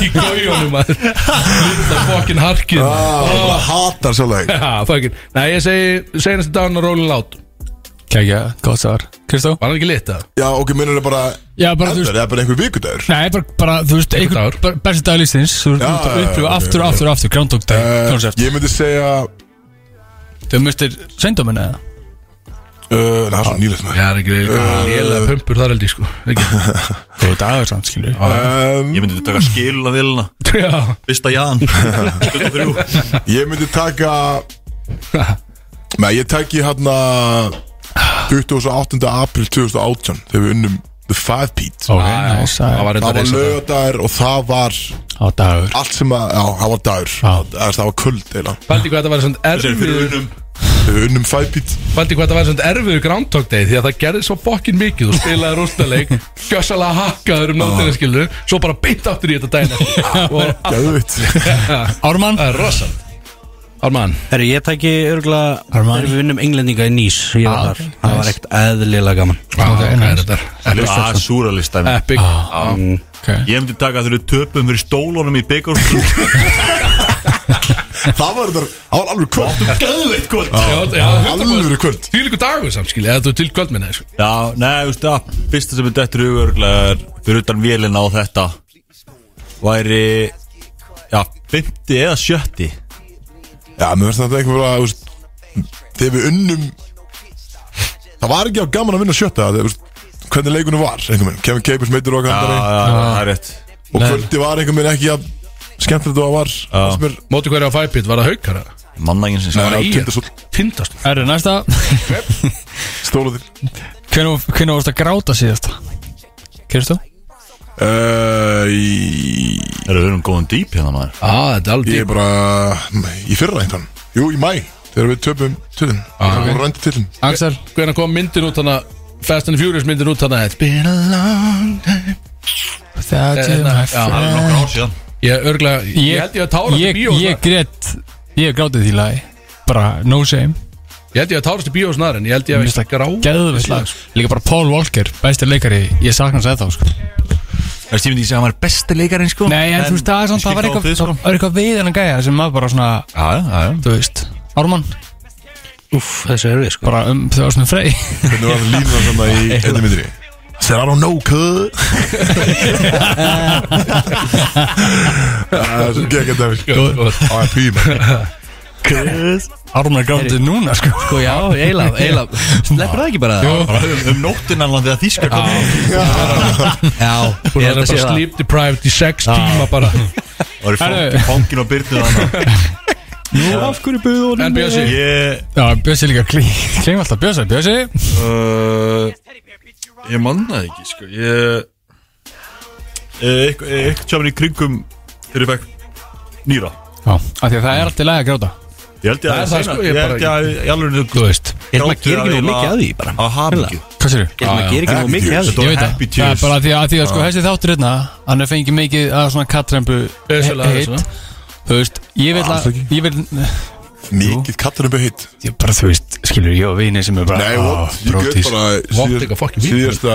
[SPEAKER 2] Í gaujónum maður Það er fokkin harkið maður.
[SPEAKER 1] Bara hatar sjálflega
[SPEAKER 2] Ha, fucking. Nei, ég segi Senast dagurinn að róla lát
[SPEAKER 4] Kækja, góð svar Kristó?
[SPEAKER 2] Var hann ekki lit það?
[SPEAKER 1] Já, ok, minnur það bara
[SPEAKER 4] Já, bara þú
[SPEAKER 1] Eldar,
[SPEAKER 4] veist
[SPEAKER 1] eða bara einhver vikudagur
[SPEAKER 4] Nei, bara, bara þú veist
[SPEAKER 2] Einhver
[SPEAKER 4] einhver
[SPEAKER 2] dagur.
[SPEAKER 4] bara besti dag lífsins Þú ert
[SPEAKER 1] Já,
[SPEAKER 4] út að
[SPEAKER 1] já,
[SPEAKER 4] upplifa
[SPEAKER 1] já,
[SPEAKER 4] aftur og
[SPEAKER 1] ok,
[SPEAKER 4] aftur og aftur Groundhog Day
[SPEAKER 1] Eh,
[SPEAKER 4] koncept
[SPEAKER 1] Ég myndi segja
[SPEAKER 4] Þau mistir sveindóminn eða?
[SPEAKER 1] uh, Það er svo nýlegt maður
[SPEAKER 2] Já, er ekki lit Lélega pumpur þar held ég sko Ekki
[SPEAKER 4] Góð dagur samt, skilur
[SPEAKER 1] [LAUGHS] um,
[SPEAKER 3] Ég myndi taka skiluna hérna. vilna
[SPEAKER 2] Já
[SPEAKER 3] Fyrsta jan 23
[SPEAKER 1] Ég myndi taka Nei, ég tæki hérna 28. april 2018 Þegar við unnum The Five Pete
[SPEAKER 4] Ok,
[SPEAKER 2] Það
[SPEAKER 4] nice Það
[SPEAKER 2] var
[SPEAKER 1] Það
[SPEAKER 2] reyndar
[SPEAKER 1] var
[SPEAKER 2] reisa það.
[SPEAKER 1] lögadagur og það var
[SPEAKER 4] á dagur
[SPEAKER 1] allt sem að, já, það var dagur Eða, Það var kvöld eila
[SPEAKER 2] Fældi hvað þetta var svona
[SPEAKER 3] Sér fyrir
[SPEAKER 2] erfiður
[SPEAKER 3] unum
[SPEAKER 1] Við unnum Five Pete
[SPEAKER 2] Fældi hvað þetta var svona erfiður Groundhog Day Því að það gerði svo fokkin mikið Þú spilaði rústaleik Gjössalega hakkaður um náttinu skilur Svo bara beint aftur í þetta daginn eftir. Og
[SPEAKER 1] [LAUGHS] Gæðvitt
[SPEAKER 4] Ármann
[SPEAKER 2] Það er rosalt Ármann
[SPEAKER 7] herru, ég tæki örgulega
[SPEAKER 4] Armani.
[SPEAKER 7] Þegar við vinnum englendinga í Nýs Ég var þar, það var ekkert eðlilega gaman
[SPEAKER 2] Það er þetta
[SPEAKER 3] Það er súralista
[SPEAKER 2] Epic
[SPEAKER 4] Ok
[SPEAKER 3] Ég myndi taka þegar við töpum fyrir stólunum í byggjum
[SPEAKER 1] Það var þetta, það var alveg kvöld
[SPEAKER 2] Gæðveitt kvöld
[SPEAKER 1] Já,
[SPEAKER 2] Já,
[SPEAKER 1] alvöru kvöld
[SPEAKER 2] Því líku dagur samt skilja Eða þú er til kvöld minna sko.
[SPEAKER 3] Já, neða, þú veist það Fyrsta sem er dettur í hugurglega er Fyrir utan vélina á þetta Væri Já, 50 eða 70
[SPEAKER 1] Já, mér finnst þetta eitthvað bara, þú veist, Þegar við unnum Það var ekki á gaman að vinna sjötta þegar, þú veist, Hvernig leikunum var, einhvern veginn Kevin Capers meitur okkar
[SPEAKER 3] Já,
[SPEAKER 1] andari
[SPEAKER 3] já, það er rétt
[SPEAKER 1] Og kvöldi var einhvern veginn ekki að Skemmtilegt og að var það sem er-
[SPEAKER 2] Móti hverja á fæpið Var það haukara
[SPEAKER 3] Mannægin
[SPEAKER 1] Það
[SPEAKER 3] sem sem
[SPEAKER 1] var
[SPEAKER 2] í-
[SPEAKER 1] tindastóll
[SPEAKER 2] Tindast
[SPEAKER 4] Erðu, næsta
[SPEAKER 1] Stóla þér
[SPEAKER 4] Hvernig vorst að gráta síðast? Kristof?
[SPEAKER 1] Uh, í-
[SPEAKER 3] Erum við erum góðum dýp hérna maður
[SPEAKER 2] Á, Ah, þetta er alveg
[SPEAKER 1] Ég er
[SPEAKER 2] dýp
[SPEAKER 1] bara Í fyrra einhvern Jú, í mæ Þegar við töpum tölun Það voru rændi tölun
[SPEAKER 4] Axel?
[SPEAKER 2] Hvernig kom myndin út hana Fast and Furious myndin út hana It's been a long time Eh,
[SPEAKER 4] Þetta er
[SPEAKER 2] hérna,
[SPEAKER 4] my
[SPEAKER 2] já.
[SPEAKER 3] Það er nokkur
[SPEAKER 4] friend
[SPEAKER 3] ár síðan
[SPEAKER 2] Ég örgla Ég held ég að tárast í
[SPEAKER 4] ég,
[SPEAKER 2] bíó
[SPEAKER 4] ég grét Ég hef grátið því lagi Bara no shame
[SPEAKER 2] Ég held ég að tárast í bíó snar En ég held ég að
[SPEAKER 4] Mér finnst
[SPEAKER 2] veist að grá
[SPEAKER 4] Geðvill lag sko. Líka bara Paul Walker Bæstir leikari Ég sakna hans eða þá sko.
[SPEAKER 3] Það er stífum því að hann var besti leikarinn sko
[SPEAKER 4] Nei en þú veist það er samt Það var eitthvað
[SPEAKER 3] Já,
[SPEAKER 4] Það var eitthvað við hennan gæja Sem maður bara svona
[SPEAKER 3] já, já, já
[SPEAKER 4] Þú veist Ármann
[SPEAKER 7] Úff, þessi er við sko
[SPEAKER 4] Bara um Þau var svona frey
[SPEAKER 1] Hvernig var það lína svona í [LAUGHS] einni myndri Said I don't know, [LAUGHS] cuz Það er Ah, svo geggjart af Á að pýma
[SPEAKER 4] Ármann er grátið núna sko
[SPEAKER 7] Sko já, eila,
[SPEAKER 4] [LAUGHS]
[SPEAKER 7] eila Eh, Sleppur það ekki bara það?
[SPEAKER 4] Jó.
[SPEAKER 3] Bara um- Um nóttina alveg þegar þýska kom
[SPEAKER 7] Já,
[SPEAKER 2] Hún
[SPEAKER 7] ég
[SPEAKER 2] er
[SPEAKER 7] held að
[SPEAKER 2] bara
[SPEAKER 7] sé það
[SPEAKER 2] sleep deprived í sex
[SPEAKER 4] Ah.
[SPEAKER 2] tíma bara
[SPEAKER 3] Það
[SPEAKER 4] Herru.
[SPEAKER 3] er fangin og byrnið hann [LAUGHS]
[SPEAKER 4] Nú af hverju byrðu honum
[SPEAKER 2] En Bjössi
[SPEAKER 3] Ég
[SPEAKER 4] Já Bjössi líka Kling alltaf Bjössi Bjössi
[SPEAKER 3] Uh, ég manna það ekki sko ég Eh, eitthvað eitthvað tjáminn í kringum þegar ég fekk nýra
[SPEAKER 4] Já af Því að það er alltaf lagi að gráta
[SPEAKER 3] ég held ég
[SPEAKER 2] Það er
[SPEAKER 3] að
[SPEAKER 2] það,
[SPEAKER 3] seinna.
[SPEAKER 2] sko, ég
[SPEAKER 3] ég
[SPEAKER 2] bara-
[SPEAKER 3] held ég að ég alveg
[SPEAKER 4] Þú veist
[SPEAKER 7] Ég held maður gerir ekki nú mikið að því bara
[SPEAKER 3] að hafa ekki
[SPEAKER 4] Hvað sér
[SPEAKER 7] Ég held maður gerir ekki nú mikið að því
[SPEAKER 3] þetta
[SPEAKER 4] Ég
[SPEAKER 3] var
[SPEAKER 4] veit það
[SPEAKER 3] happy
[SPEAKER 4] Það er
[SPEAKER 3] tears
[SPEAKER 4] bara því að, því að sko þessi þáttur hérna Hann er fengið mikið að svona kattrembu
[SPEAKER 2] Vissulega,
[SPEAKER 4] heit.
[SPEAKER 2] vissulega.
[SPEAKER 4] Þú veist, ég vil að Ég vil,
[SPEAKER 1] Mikið kattunum beð hitt
[SPEAKER 4] ég bara þú veist, skilur ég og vini sem er bara
[SPEAKER 1] Nei,
[SPEAKER 4] á,
[SPEAKER 1] what? Ég
[SPEAKER 4] brótis.
[SPEAKER 1] gef bara
[SPEAKER 2] Vont
[SPEAKER 1] síðast-
[SPEAKER 2] eitthvað fucking mikið.
[SPEAKER 1] Síðasta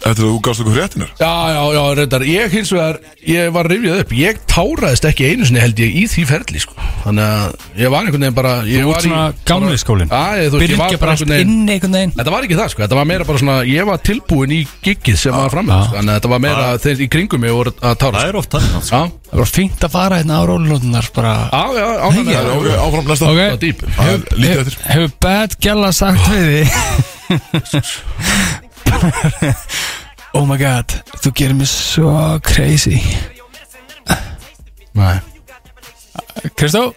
[SPEAKER 1] Eftir að þú gafst okkur fréttinar
[SPEAKER 2] Já, já, já, reyndar, ég hins vegar, ég var rifjað upp, ég táraðist ekki einu sinni held ég í því ferli, sko Þannig að ég var einhvern veginn bara Þú
[SPEAKER 4] ert svona gamli skólinn.
[SPEAKER 2] Já, ég- þú veist, ég var
[SPEAKER 4] Byrgja
[SPEAKER 2] bara
[SPEAKER 4] bara allt
[SPEAKER 2] einhvern veginn
[SPEAKER 4] inni einhvern veginn
[SPEAKER 2] Þetta var ekki það, sko, þetta var meira bara svona, ég var tilbúin í giggið sem var framlega,
[SPEAKER 4] já.
[SPEAKER 2] sko Þannig að þetta var meira þeir í kringum mig voru að tára,
[SPEAKER 3] það
[SPEAKER 2] sko
[SPEAKER 3] er oft þannig sko.
[SPEAKER 2] Já,
[SPEAKER 4] Það er bara fínt að fara hérna á rólunótunar bara
[SPEAKER 2] já, já, ánægðan
[SPEAKER 1] Það er ok, áfram næsta
[SPEAKER 4] Ok.
[SPEAKER 2] Það var dýp
[SPEAKER 1] Það er lítið
[SPEAKER 4] Hefur
[SPEAKER 1] eftir
[SPEAKER 4] hefur bad gæla sagt við þig [LAUGHS] Oh my god Þú gerir mig svo crazy
[SPEAKER 2] Nei,
[SPEAKER 4] Kristó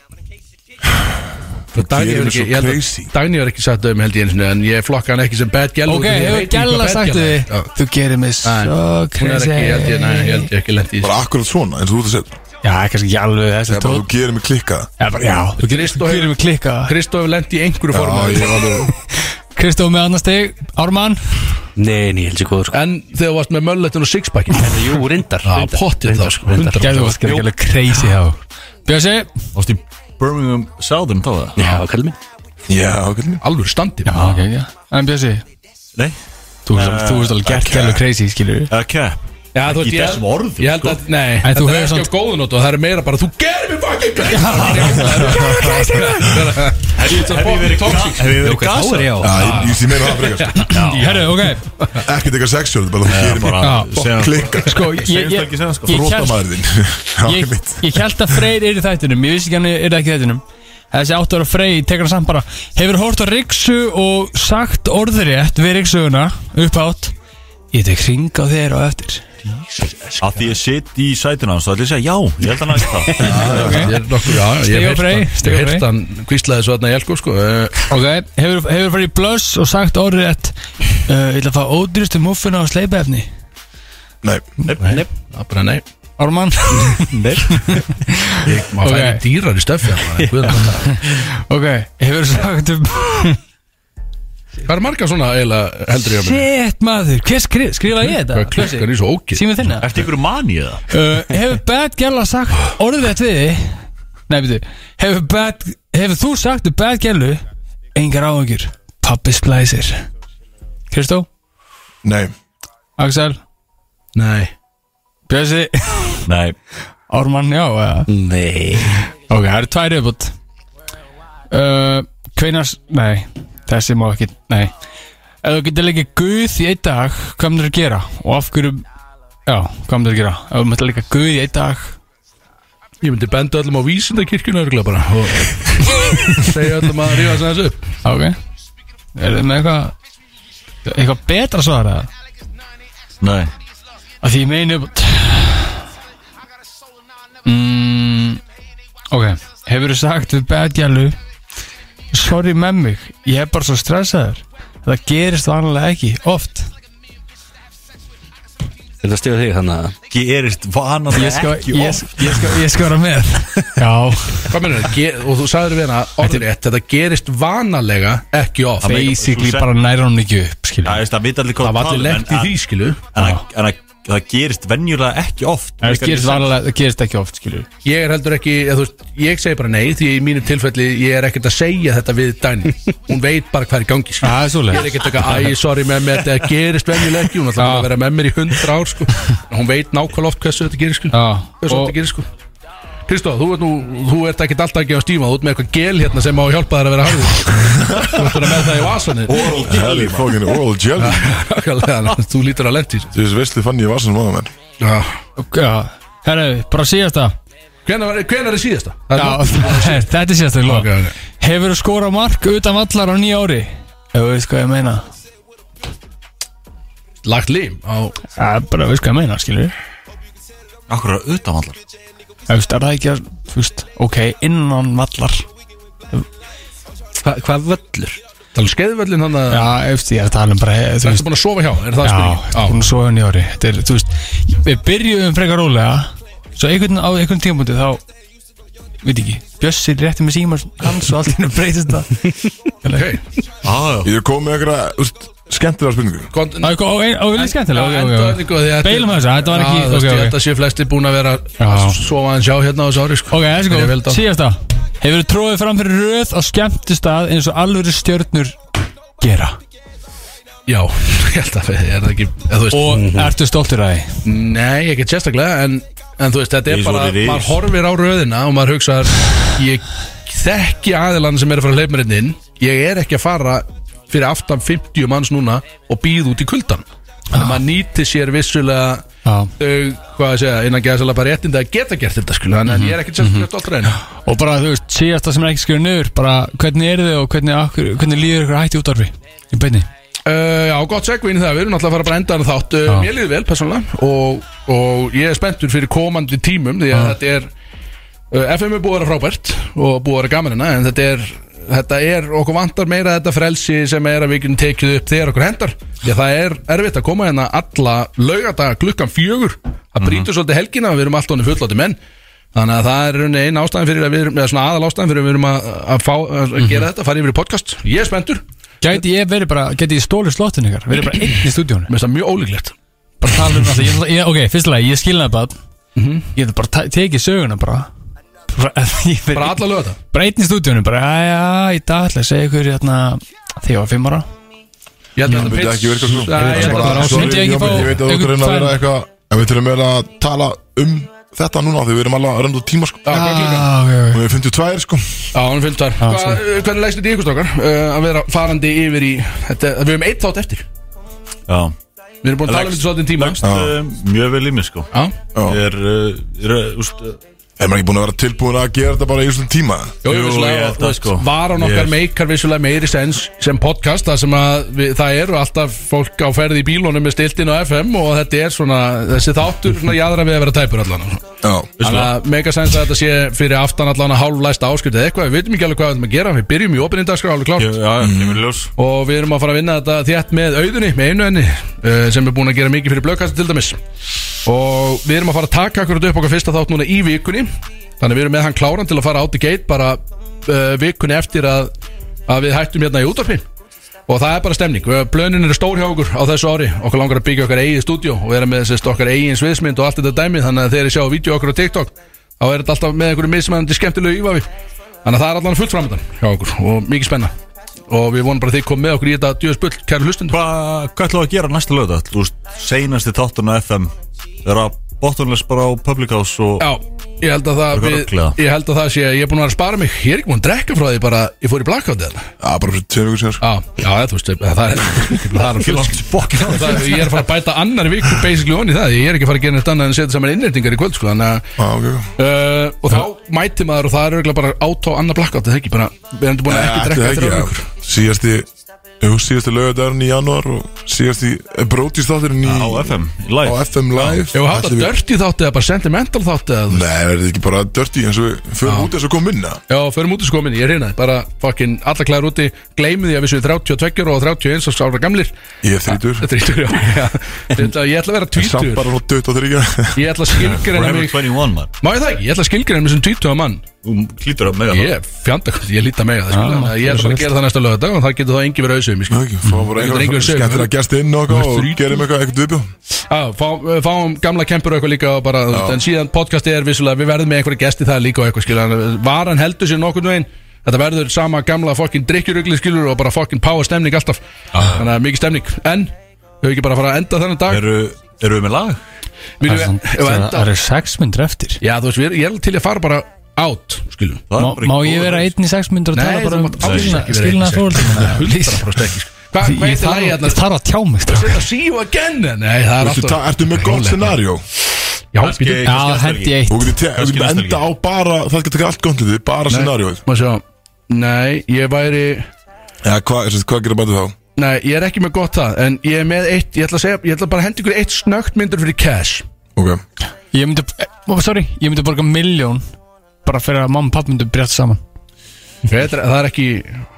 [SPEAKER 2] það Dagný
[SPEAKER 1] gerir mig
[SPEAKER 2] hefur ekki,
[SPEAKER 1] svo
[SPEAKER 2] ég held
[SPEAKER 1] crazy.
[SPEAKER 2] að Dagný hefur ekki sagt um held ég einu sinni, en ég flokka hann ekki sem bad gæla
[SPEAKER 4] Ok, hefur gæla sagt við þig
[SPEAKER 2] Hún
[SPEAKER 4] Þú gerir mig svo
[SPEAKER 2] er
[SPEAKER 4] crazy
[SPEAKER 2] ekki, ég held ég,
[SPEAKER 4] hérna,
[SPEAKER 2] nei, ég held ég ekki lent í þessu.
[SPEAKER 1] Bara akkurat svona eins og þú ert að segja
[SPEAKER 4] Já, kannski ekki alveg þessi
[SPEAKER 1] Það er bara þú gerir mig klikkað
[SPEAKER 4] tótt Já, þú gerir
[SPEAKER 2] Kristó
[SPEAKER 4] þú gerir
[SPEAKER 2] hefur-
[SPEAKER 4] mig klikka
[SPEAKER 2] Kristó hefur lent í einhverju
[SPEAKER 1] Já,
[SPEAKER 2] formu
[SPEAKER 1] ég var alveg
[SPEAKER 4] Kristó með annars steg, Ármann
[SPEAKER 7] Nei, nei, ég held sér góður sko
[SPEAKER 2] En þegar þú varst með mölletin og sixpackin
[SPEAKER 7] Jú, reyndar
[SPEAKER 2] Eh, Já,
[SPEAKER 7] reyndar,
[SPEAKER 2] pottið
[SPEAKER 7] reyndar,
[SPEAKER 2] þá, sko,
[SPEAKER 7] reyndar.
[SPEAKER 2] 100%.
[SPEAKER 4] Gæðu þú gerir ekki alveg crazy hjá Bjössi
[SPEAKER 3] ást í Birmingham Southern þá það
[SPEAKER 7] Já, kallið minn
[SPEAKER 1] Já, ok
[SPEAKER 2] Alvöru standi
[SPEAKER 4] Já, ok, já En Bjössi, Uh,
[SPEAKER 3] nei
[SPEAKER 4] þú veist alveg- þú veist alveg gert gælu crazy, skilur
[SPEAKER 3] eða cap
[SPEAKER 2] Já, þú
[SPEAKER 3] Ekki
[SPEAKER 2] veist,
[SPEAKER 3] í þessum orðum,
[SPEAKER 2] Ég held að, nei,
[SPEAKER 4] En þú
[SPEAKER 2] þetta er
[SPEAKER 4] hefur
[SPEAKER 2] ekki
[SPEAKER 4] samt-
[SPEAKER 2] á góðu nótu Það er meira bara, þú gerir mig fucking
[SPEAKER 4] [LAUGHS]
[SPEAKER 2] crazy Þú veist,
[SPEAKER 3] hef ég verið ga- hef ég verið
[SPEAKER 7] Þá er
[SPEAKER 3] gasa
[SPEAKER 7] ég á
[SPEAKER 1] Já, ég, ég, ég meina það frekar sko. [LAUGHS]
[SPEAKER 4] Herru, [LAUGHS] ok,
[SPEAKER 1] Ekkert eitthvað sexuál Bara þú gerir mig
[SPEAKER 4] Já.
[SPEAKER 3] segja
[SPEAKER 1] klikkað
[SPEAKER 4] sko ég, ég,
[SPEAKER 3] Segist ekki segja, sko.
[SPEAKER 4] ég,
[SPEAKER 1] Róta
[SPEAKER 4] hélt-
[SPEAKER 1] maður þinn [LAUGHS] Já,
[SPEAKER 4] ég,
[SPEAKER 1] einmitt.
[SPEAKER 4] ég held að Freyr er í þættinum Ég vissi ekki hann er ekki í þættinum Þessi áttu ára Freyr tekur hann samt bara Hefur hórt á Riksu og sagt orðrétt Við Riksuguna upphátt Ég tek hring á þér og eftir
[SPEAKER 3] sko, að því ég sitt í sætinu hans þá ætlum ég að segja já ég held að næst það
[SPEAKER 4] Stig á Frey, stig á
[SPEAKER 2] Ég
[SPEAKER 4] Frey.
[SPEAKER 2] heirt hann kvíslaði svo þarna í elko sko eh,
[SPEAKER 4] Ok, hefur, hefur farið í blöss og sagt orðrétt uh, Ég ætla að fá ódýrstu muffuna á sleipefni
[SPEAKER 1] Nei,
[SPEAKER 2] Það er bara nei
[SPEAKER 4] Ármann
[SPEAKER 2] Maður
[SPEAKER 4] Ok.
[SPEAKER 2] færi dýrar í stöfi
[SPEAKER 4] [LAUGHS]
[SPEAKER 2] hérna, guð minn.
[SPEAKER 4] [LAUGHS] Ok, hefur sagt um
[SPEAKER 2] Hvað er marga svona eiginlega heldur ég að minna?
[SPEAKER 4] Shit maður, hver skrif, skrifa ég
[SPEAKER 2] Hvað klikkar
[SPEAKER 4] þetta?
[SPEAKER 2] í svo ókið?
[SPEAKER 4] Símið þinna
[SPEAKER 3] eftir ykkur manni eða
[SPEAKER 4] Uh, hefur Bad Gella sagt orðið við þig Nei, byrju Hefur Bad Hefur þú sagt við Bad Gellu Engar áhengjur Pappi splæsir Kristó
[SPEAKER 1] nei
[SPEAKER 4] Axel
[SPEAKER 2] Nei
[SPEAKER 4] Bjössi
[SPEAKER 3] nei
[SPEAKER 4] Ármann, já uh,
[SPEAKER 7] Nei
[SPEAKER 4] Ok, Ok, það eru tvær viðbútt uh, Hvenas, nei Þessi má ekki, nei Ef þú getur leikið Guð í einn dag Hvað myndir að gera? Og af hverju Já, hvað myndir að gera? Ef þú myndir leikið Guð í einn dag
[SPEAKER 2] Ég myndi benda öllum á vísindakirkjunu örgulega bara og segja öllum að rífa þess aðeins upp
[SPEAKER 4] Ok Er þið með eitthvað Eitthvað betra svar eða?
[SPEAKER 3] Nei
[SPEAKER 4] Að því ég meini upp mm, Ok Hefur þú sagt við bedjalu Sorry með mig Ég er bara svo stressaður Það gerist vanlega ekki, oft
[SPEAKER 7] Þetta stíða þig þannig að
[SPEAKER 3] Gerist
[SPEAKER 4] Ég
[SPEAKER 3] vanalega
[SPEAKER 4] skal,
[SPEAKER 3] ekki
[SPEAKER 4] ég,
[SPEAKER 3] oft
[SPEAKER 4] ég, skal, ég skal vera [LAUGHS] með Já
[SPEAKER 2] Hvað mennur þetta? Og þú sagður við hana orðrétt Þetta gerist vanalega ekki oft
[SPEAKER 3] Það meikar-
[SPEAKER 4] Basically
[SPEAKER 3] þú
[SPEAKER 4] bara næra hún ekki upp skilur.
[SPEAKER 3] Já, veist, það veit allir hvað
[SPEAKER 2] Það var allir
[SPEAKER 3] tala um, en-
[SPEAKER 2] lent í því sko. skilu
[SPEAKER 3] En, en, en, en það gerist venjulega ekki oft
[SPEAKER 4] Það gerist, vanlega, það gerist ekki oft skilur.
[SPEAKER 2] Ég er heldur ekki, eða, þú veist, ég segi bara nei Því í mínu tilfelli ég er ekkert að segja þetta við Dani Hún veit bara hvað er í gangi skilu
[SPEAKER 4] Það er
[SPEAKER 2] Ég
[SPEAKER 4] svoleið
[SPEAKER 2] er ekkert eitthvað, æ, sorry með mér, þetta gerist venjuleg ekki Hún ætlaði bara að vera með mér í hundra ár sko Hún veit nákvæmlega oft hversu þetta gerir skilu
[SPEAKER 4] Já,
[SPEAKER 2] Hversu
[SPEAKER 4] og-
[SPEAKER 2] þetta gerir sko Kristóð, þú ert nú, þú ert ekkert alltaf að gefa stíma Þú ert með eitthvað gel hérna sem á að hjálpa þér að vera harður Þú ert bara með það í vasanir
[SPEAKER 3] Oral jelly man.
[SPEAKER 1] Fucking oral jelly
[SPEAKER 4] [LAUGHS]
[SPEAKER 2] Nákvæmlega, þú lítur sko. að lendi
[SPEAKER 1] Þessi veistli fann ég var svona maður menn
[SPEAKER 4] Ok, já. Herru, bara síðasta
[SPEAKER 2] Hvenær hvenær er síðasta? Það er
[SPEAKER 4] Já,
[SPEAKER 2] nú-
[SPEAKER 4] [LAUGHS] Þetta er síðasta í lok
[SPEAKER 2] Ok, ok.
[SPEAKER 4] Hefur þú skorað mark utan vallar á nýja ári? Ef þú veist hvað ég meina
[SPEAKER 2] Lagt lim á
[SPEAKER 4] Það er bara, veist hvað ég meina, skilur við
[SPEAKER 3] Akkur er utanvallar
[SPEAKER 4] Þú veist, er það ekki að, þú veist, ok, innan vallar
[SPEAKER 7] Hva, Hvað völlur?
[SPEAKER 2] Talum skeiðvöllin hann að
[SPEAKER 4] Já, eftir ég er að tala um bara, eh, þú
[SPEAKER 2] Það
[SPEAKER 4] veist
[SPEAKER 2] ertu búin að sofa hjá, er það spurning?
[SPEAKER 4] Já, hún svo hann í ári Þetta er, þú veist, við byrjuðum frekar rólega Svo einhvern, á einhvern tímapunkti þá Veit ekki, Bjössi rétti með síma hans og allt hérna breytist
[SPEAKER 2] [LAUGHS]
[SPEAKER 4] það
[SPEAKER 2] Ok,
[SPEAKER 3] ah,
[SPEAKER 1] Ég er komið með eitthvað skemmtilega spurningu
[SPEAKER 2] Kont-
[SPEAKER 4] Á, eitthvað- Á, ein- á, vilja skemmtilega
[SPEAKER 2] Já,
[SPEAKER 4] ok,
[SPEAKER 2] enda
[SPEAKER 4] ok, ok.
[SPEAKER 2] öðningu, því að-
[SPEAKER 4] Beilum þessu, þetta var ekki
[SPEAKER 2] Já, þú veist,
[SPEAKER 4] ok,
[SPEAKER 2] ég
[SPEAKER 4] ok.
[SPEAKER 2] held að sé flesti búin að vera
[SPEAKER 4] Já.
[SPEAKER 2] að sofa hans hjá hérna á þessu ári sko.
[SPEAKER 4] Ok, þessi
[SPEAKER 2] Ég
[SPEAKER 4] góð,
[SPEAKER 2] held að-
[SPEAKER 4] síðasta Hefur þú tróðið fram fyrir röð á skemmtistað eins og alvöru stjörnur gera
[SPEAKER 2] Já, [LAUGHS] ég held að ég er það ekki eða, þú veist, mm.
[SPEAKER 4] Og ertu stoltur að því?
[SPEAKER 2] Nei, ekki sérstaklega en, en þú veist, þetta er
[SPEAKER 3] Is
[SPEAKER 2] bara
[SPEAKER 3] what it is.
[SPEAKER 2] maður horfir á röðina og maður hugsaðar ég þekki aðilann sem er að fara að hleypa mér hérna inn ég er ekki að fara fyrir aftan 50 manns núna og býð út í kuldan þannig að
[SPEAKER 4] Ah.
[SPEAKER 2] maður nýti sér vissulega
[SPEAKER 4] Já.
[SPEAKER 2] þau, hvað að segja, innan geðsala bara réttindi að geta gert þetta skilur, þannig að ég er ekki sérstaklega stoltur að henni
[SPEAKER 4] Og bara þú veist, síðasta sem er ekki skrifað niður bara hvernig er þið og hvernig, akkur, hvernig líður ykkur hætti útvarfi í beinni
[SPEAKER 2] Uh, já, gott segvi inn í það, við erum náttúrulega að fara bara að enda hann þátt uh,
[SPEAKER 4] Já.
[SPEAKER 2] Mér liði vel persónulega og, og ég er spenntur fyrir komandi tímum Því að þetta er uh, FM er búið að vera frábært og búið að vera gaman hérna En þetta er, þetta er, okkur vantar meira þetta frelsi sem er að við getum tekið upp þegar okkur hendar Því að það er erfitt að koma hérna alla laugardag klukkan fjögur Það brýtur svolítið helgina, við erum allt honum fullóti menn Þannig að það er rauninni einn ástæðan fyrir að við erum, eða svona aðal ástæðan fyrir að við erum að, að, fá, að gera þetta, fara yfir í podcast Ég er spenntur,
[SPEAKER 4] Gæti ég verið bara, gæti ég stólið slottin ykkar Verið bara einn í stúdíónu
[SPEAKER 2] mér finnst það mjög ólíklegt
[SPEAKER 4] Bara tala um alltaf, ég, ég, ok, fyrstulega, ég skilna það bara
[SPEAKER 2] Mhm.
[SPEAKER 4] Ég get bara ta- tekið söguna bara Bara, [LAUGHS] ég fer-
[SPEAKER 2] Bara alla lögða
[SPEAKER 4] bara einn í stúdíónu Bara, aðja, í dag ætla ég að segja ykkur hérna, Þegar ég var fimm ára
[SPEAKER 2] Ég
[SPEAKER 1] Það
[SPEAKER 2] held að þetta
[SPEAKER 1] myndi
[SPEAKER 2] pitch-
[SPEAKER 1] ekki virka svona.
[SPEAKER 2] Nei, ég held að
[SPEAKER 4] bara-
[SPEAKER 2] bara
[SPEAKER 1] Sorry,
[SPEAKER 4] myndi ég ekki
[SPEAKER 1] Jómi,
[SPEAKER 4] fá
[SPEAKER 1] Ég veit að þú ert að
[SPEAKER 4] einhvern
[SPEAKER 1] reyna að vera
[SPEAKER 4] tvær-
[SPEAKER 1] eitthvað En við þurfum eiginlega að tala um þetta núna Þegar við erum alveg að rönda út tíma sko
[SPEAKER 2] Já, hvað er klukkan?
[SPEAKER 4] ah, ok, ok
[SPEAKER 1] Hún er 52 sko
[SPEAKER 2] Já, hann fylgst þar
[SPEAKER 4] Já,
[SPEAKER 2] Hvað- Hvernig leggst þetta í ykkur stokkar? Uh, Að vera farandi yfir í þetta, Við höfum eitt þátt eftir
[SPEAKER 3] Já
[SPEAKER 2] Við erum búin að tala um
[SPEAKER 3] Leggst-
[SPEAKER 2] þetta svolítið tíma
[SPEAKER 3] Leggst, eh, Mjög vel í mig sko
[SPEAKER 2] Já,
[SPEAKER 3] Ég er, uh, er uh, úst, uh,
[SPEAKER 1] Er maður ekki búin að vera tilbúin að gera þetta bara í svona tíma
[SPEAKER 2] jú,
[SPEAKER 3] Jú,
[SPEAKER 2] jú,
[SPEAKER 3] ég
[SPEAKER 2] vissulega
[SPEAKER 3] held
[SPEAKER 2] og, þú
[SPEAKER 3] það,
[SPEAKER 2] veist,
[SPEAKER 3] sko.
[SPEAKER 2] Varan okkar
[SPEAKER 3] Ég-
[SPEAKER 2] meikar vissulega meiri sens sem podcast Það sem að við, það eru alltaf fólk á ferði í bílunum með stiltin á FM Og þetta er svona, þessi þáttur svona jæðra við að vera tæpur allan
[SPEAKER 1] Já
[SPEAKER 2] Þannig að mega sens að þetta sé fyrir aftan allan að hálflæsta áskrift eða eitthvað Við veitum ekki alveg hvað við ætlum að gera Við byrjum í opinindagskra alveg klárt
[SPEAKER 3] ég, Já, ég kemur í ljós
[SPEAKER 2] og við erum að fara að vinna þetta þétt með auðunni, með einu henni uh, sem er búin að gera mikið fyrir blökkast til dæmis og við erum að fara að taka akkurat upp okkar fyrsta þátt núna í vikunni þannig við erum með hann kláran til að fara out the gate bara uh, vikunni eftir að, að við hættum hérna í útarpi og það er bara stemning, Við- plönin eru stór hjá okkur á þessu ári, okkur langar að byggja okkar eigið stúdíó og vera með sérst, okkar eigin sviðsmynd og allt þetta dæmi þannig að þegar ég sjá vídeo okkur á TikTok þá er þetta alltaf með einhverju mismæðandi skemmtilegu ívafi þannig að það er allan fullt framöndan hjá okkur og mikið spenna og við vonum bara að þið komið með okkur í þetta djöðsbull, kæru hlustundur
[SPEAKER 3] Hva, Hvað ætlum við að gera næsta lögða? Þú veist, seinasti þátturinn á FM Þegar að bottomless bara á Public House og
[SPEAKER 2] Já, ég held að það
[SPEAKER 3] Bara
[SPEAKER 2] við,
[SPEAKER 3] ruglaða.
[SPEAKER 2] Ég held að það sé að ég er búin að vera að spara mig Ég er ekki búin að drekka frá því bara Ég fór í blackout eða
[SPEAKER 1] Já, bara fyrir tveir vikur sér
[SPEAKER 2] Já, já, þú veist Það er Það er
[SPEAKER 3] Ekki langt í bókin á
[SPEAKER 2] Það er, ég er að fara að bæta annar viku basically onni það, ég er ekki að fara að gera neitt annað en setja saman innreitingar í kvöld sko, þannig að
[SPEAKER 1] Já, ok, ok
[SPEAKER 2] Uh, og þá mæti maður og það er auðvitað bara átá annað blackout, það ekki bara, við erum búin að ekki
[SPEAKER 1] Ætli
[SPEAKER 2] drekka
[SPEAKER 1] það
[SPEAKER 2] eftir
[SPEAKER 1] Eh, já.
[SPEAKER 2] öðru ykkur
[SPEAKER 1] Síðasti Jú, síðasti lögadagurinn í janúar og síðasti brótistátturinn í
[SPEAKER 3] á FM,
[SPEAKER 1] á
[SPEAKER 3] live
[SPEAKER 1] FM Live
[SPEAKER 2] Ef við hafa
[SPEAKER 1] Ætli
[SPEAKER 2] þetta dörti þátt eða bara sentimental þátt eða þú veist.
[SPEAKER 1] Nei, verður ekki bara dirty eins og við förum út eins og komum inn að
[SPEAKER 2] Já, förum út í skominni, ég er hérna bara fucking alla klæður úti, gleymi því að við séum 32 og 31 ára gamlir
[SPEAKER 1] Ég er þrítur
[SPEAKER 2] Þetta er ítur, já, já. Þetta, Ég ætla að vera
[SPEAKER 1] Samt
[SPEAKER 2] tvítur
[SPEAKER 1] bara svona dött og
[SPEAKER 2] [LAUGHS]
[SPEAKER 1] þryggja
[SPEAKER 2] Ég ætla að skilgreina
[SPEAKER 3] Forever
[SPEAKER 2] mig
[SPEAKER 3] 21 man
[SPEAKER 2] Má ég það ekki? Ég ætla að skilgreina mig sem tvítuða mann
[SPEAKER 3] Þú klítur að mega
[SPEAKER 2] Ég er fjandakvæmt, ég líti að mega það skilurðu. Þannig að Ég er bara að gera það næsta lögadag og það getur þá engi verið um, auðsum
[SPEAKER 1] Ná ekki, fá bara
[SPEAKER 2] Mm. Þetta er
[SPEAKER 1] eitthvað
[SPEAKER 2] einhver sögur.
[SPEAKER 1] skemmtilega gæst inn og, eitthvað og gerum eitthvað eitthvað viðbjó
[SPEAKER 2] Já, fá, eh, fáum gamla kempur og eitthvað líka og bara, þú veist, en síðan podcastið er vissulega við verðum með einhverja gesti það líka og eitthvað skilur en varan heldur sér nokkurn veginn þetta verður sama gamla fokkin drikkjurugli skilur og bara fokkin power stemning alltaf þannig að mikið stemning, en við höfum ekki bara að fara að enda þennan dag
[SPEAKER 3] Eru, eru við með lag?
[SPEAKER 2] Viljum við,
[SPEAKER 4] Það er samt-
[SPEAKER 2] ef að
[SPEAKER 4] það
[SPEAKER 2] enda
[SPEAKER 4] eru sex myndir eftir
[SPEAKER 2] Já, þú veist, við, ég er til að fara bara out skilur
[SPEAKER 3] Það er
[SPEAKER 4] Má,
[SPEAKER 3] bara
[SPEAKER 4] má
[SPEAKER 3] ekki
[SPEAKER 4] ég
[SPEAKER 3] góð
[SPEAKER 4] vera
[SPEAKER 3] lag.
[SPEAKER 4] einn í sex myndir og
[SPEAKER 2] Nei,
[SPEAKER 4] tala
[SPEAKER 2] þú
[SPEAKER 4] bara um
[SPEAKER 2] mátt alls ekki vera
[SPEAKER 4] skilna
[SPEAKER 2] einn í sex
[SPEAKER 4] fórhaldum
[SPEAKER 2] Hva, Hvað
[SPEAKER 4] Ég
[SPEAKER 2] heitir lagi hérna?
[SPEAKER 4] þarf ég þarf að tjá mig strákar.
[SPEAKER 2] Þetta síu að genna Nei, það er
[SPEAKER 1] Viltu ta-
[SPEAKER 2] alltaf
[SPEAKER 1] Ertu með gott scenarió?
[SPEAKER 2] Já,
[SPEAKER 3] Kannski-
[SPEAKER 2] býtum
[SPEAKER 4] Já,
[SPEAKER 3] kannski
[SPEAKER 4] hendi ég
[SPEAKER 1] Þú
[SPEAKER 4] eitt
[SPEAKER 1] getur te- þú
[SPEAKER 3] Kannski
[SPEAKER 1] getur
[SPEAKER 3] næsta
[SPEAKER 1] enda á bara, það skal taka allt gott liðið, bara scenarió
[SPEAKER 2] Má sjá Nei, ég væri
[SPEAKER 1] Já, hvað sem sagt, hvað gerir bætið þá?
[SPEAKER 2] Nei, ég er ekki með gott það En ég er með eitt, ég ætla að segja Ég ætla bara að henda ykkur eitt snögt myndur fyrir cash
[SPEAKER 1] Ok,
[SPEAKER 4] Ég myndi, oh, sorry, ég myndi borga miljón bara fyrir að mamma og papp myndi breyta saman
[SPEAKER 2] Þetta, er- Það er ekki,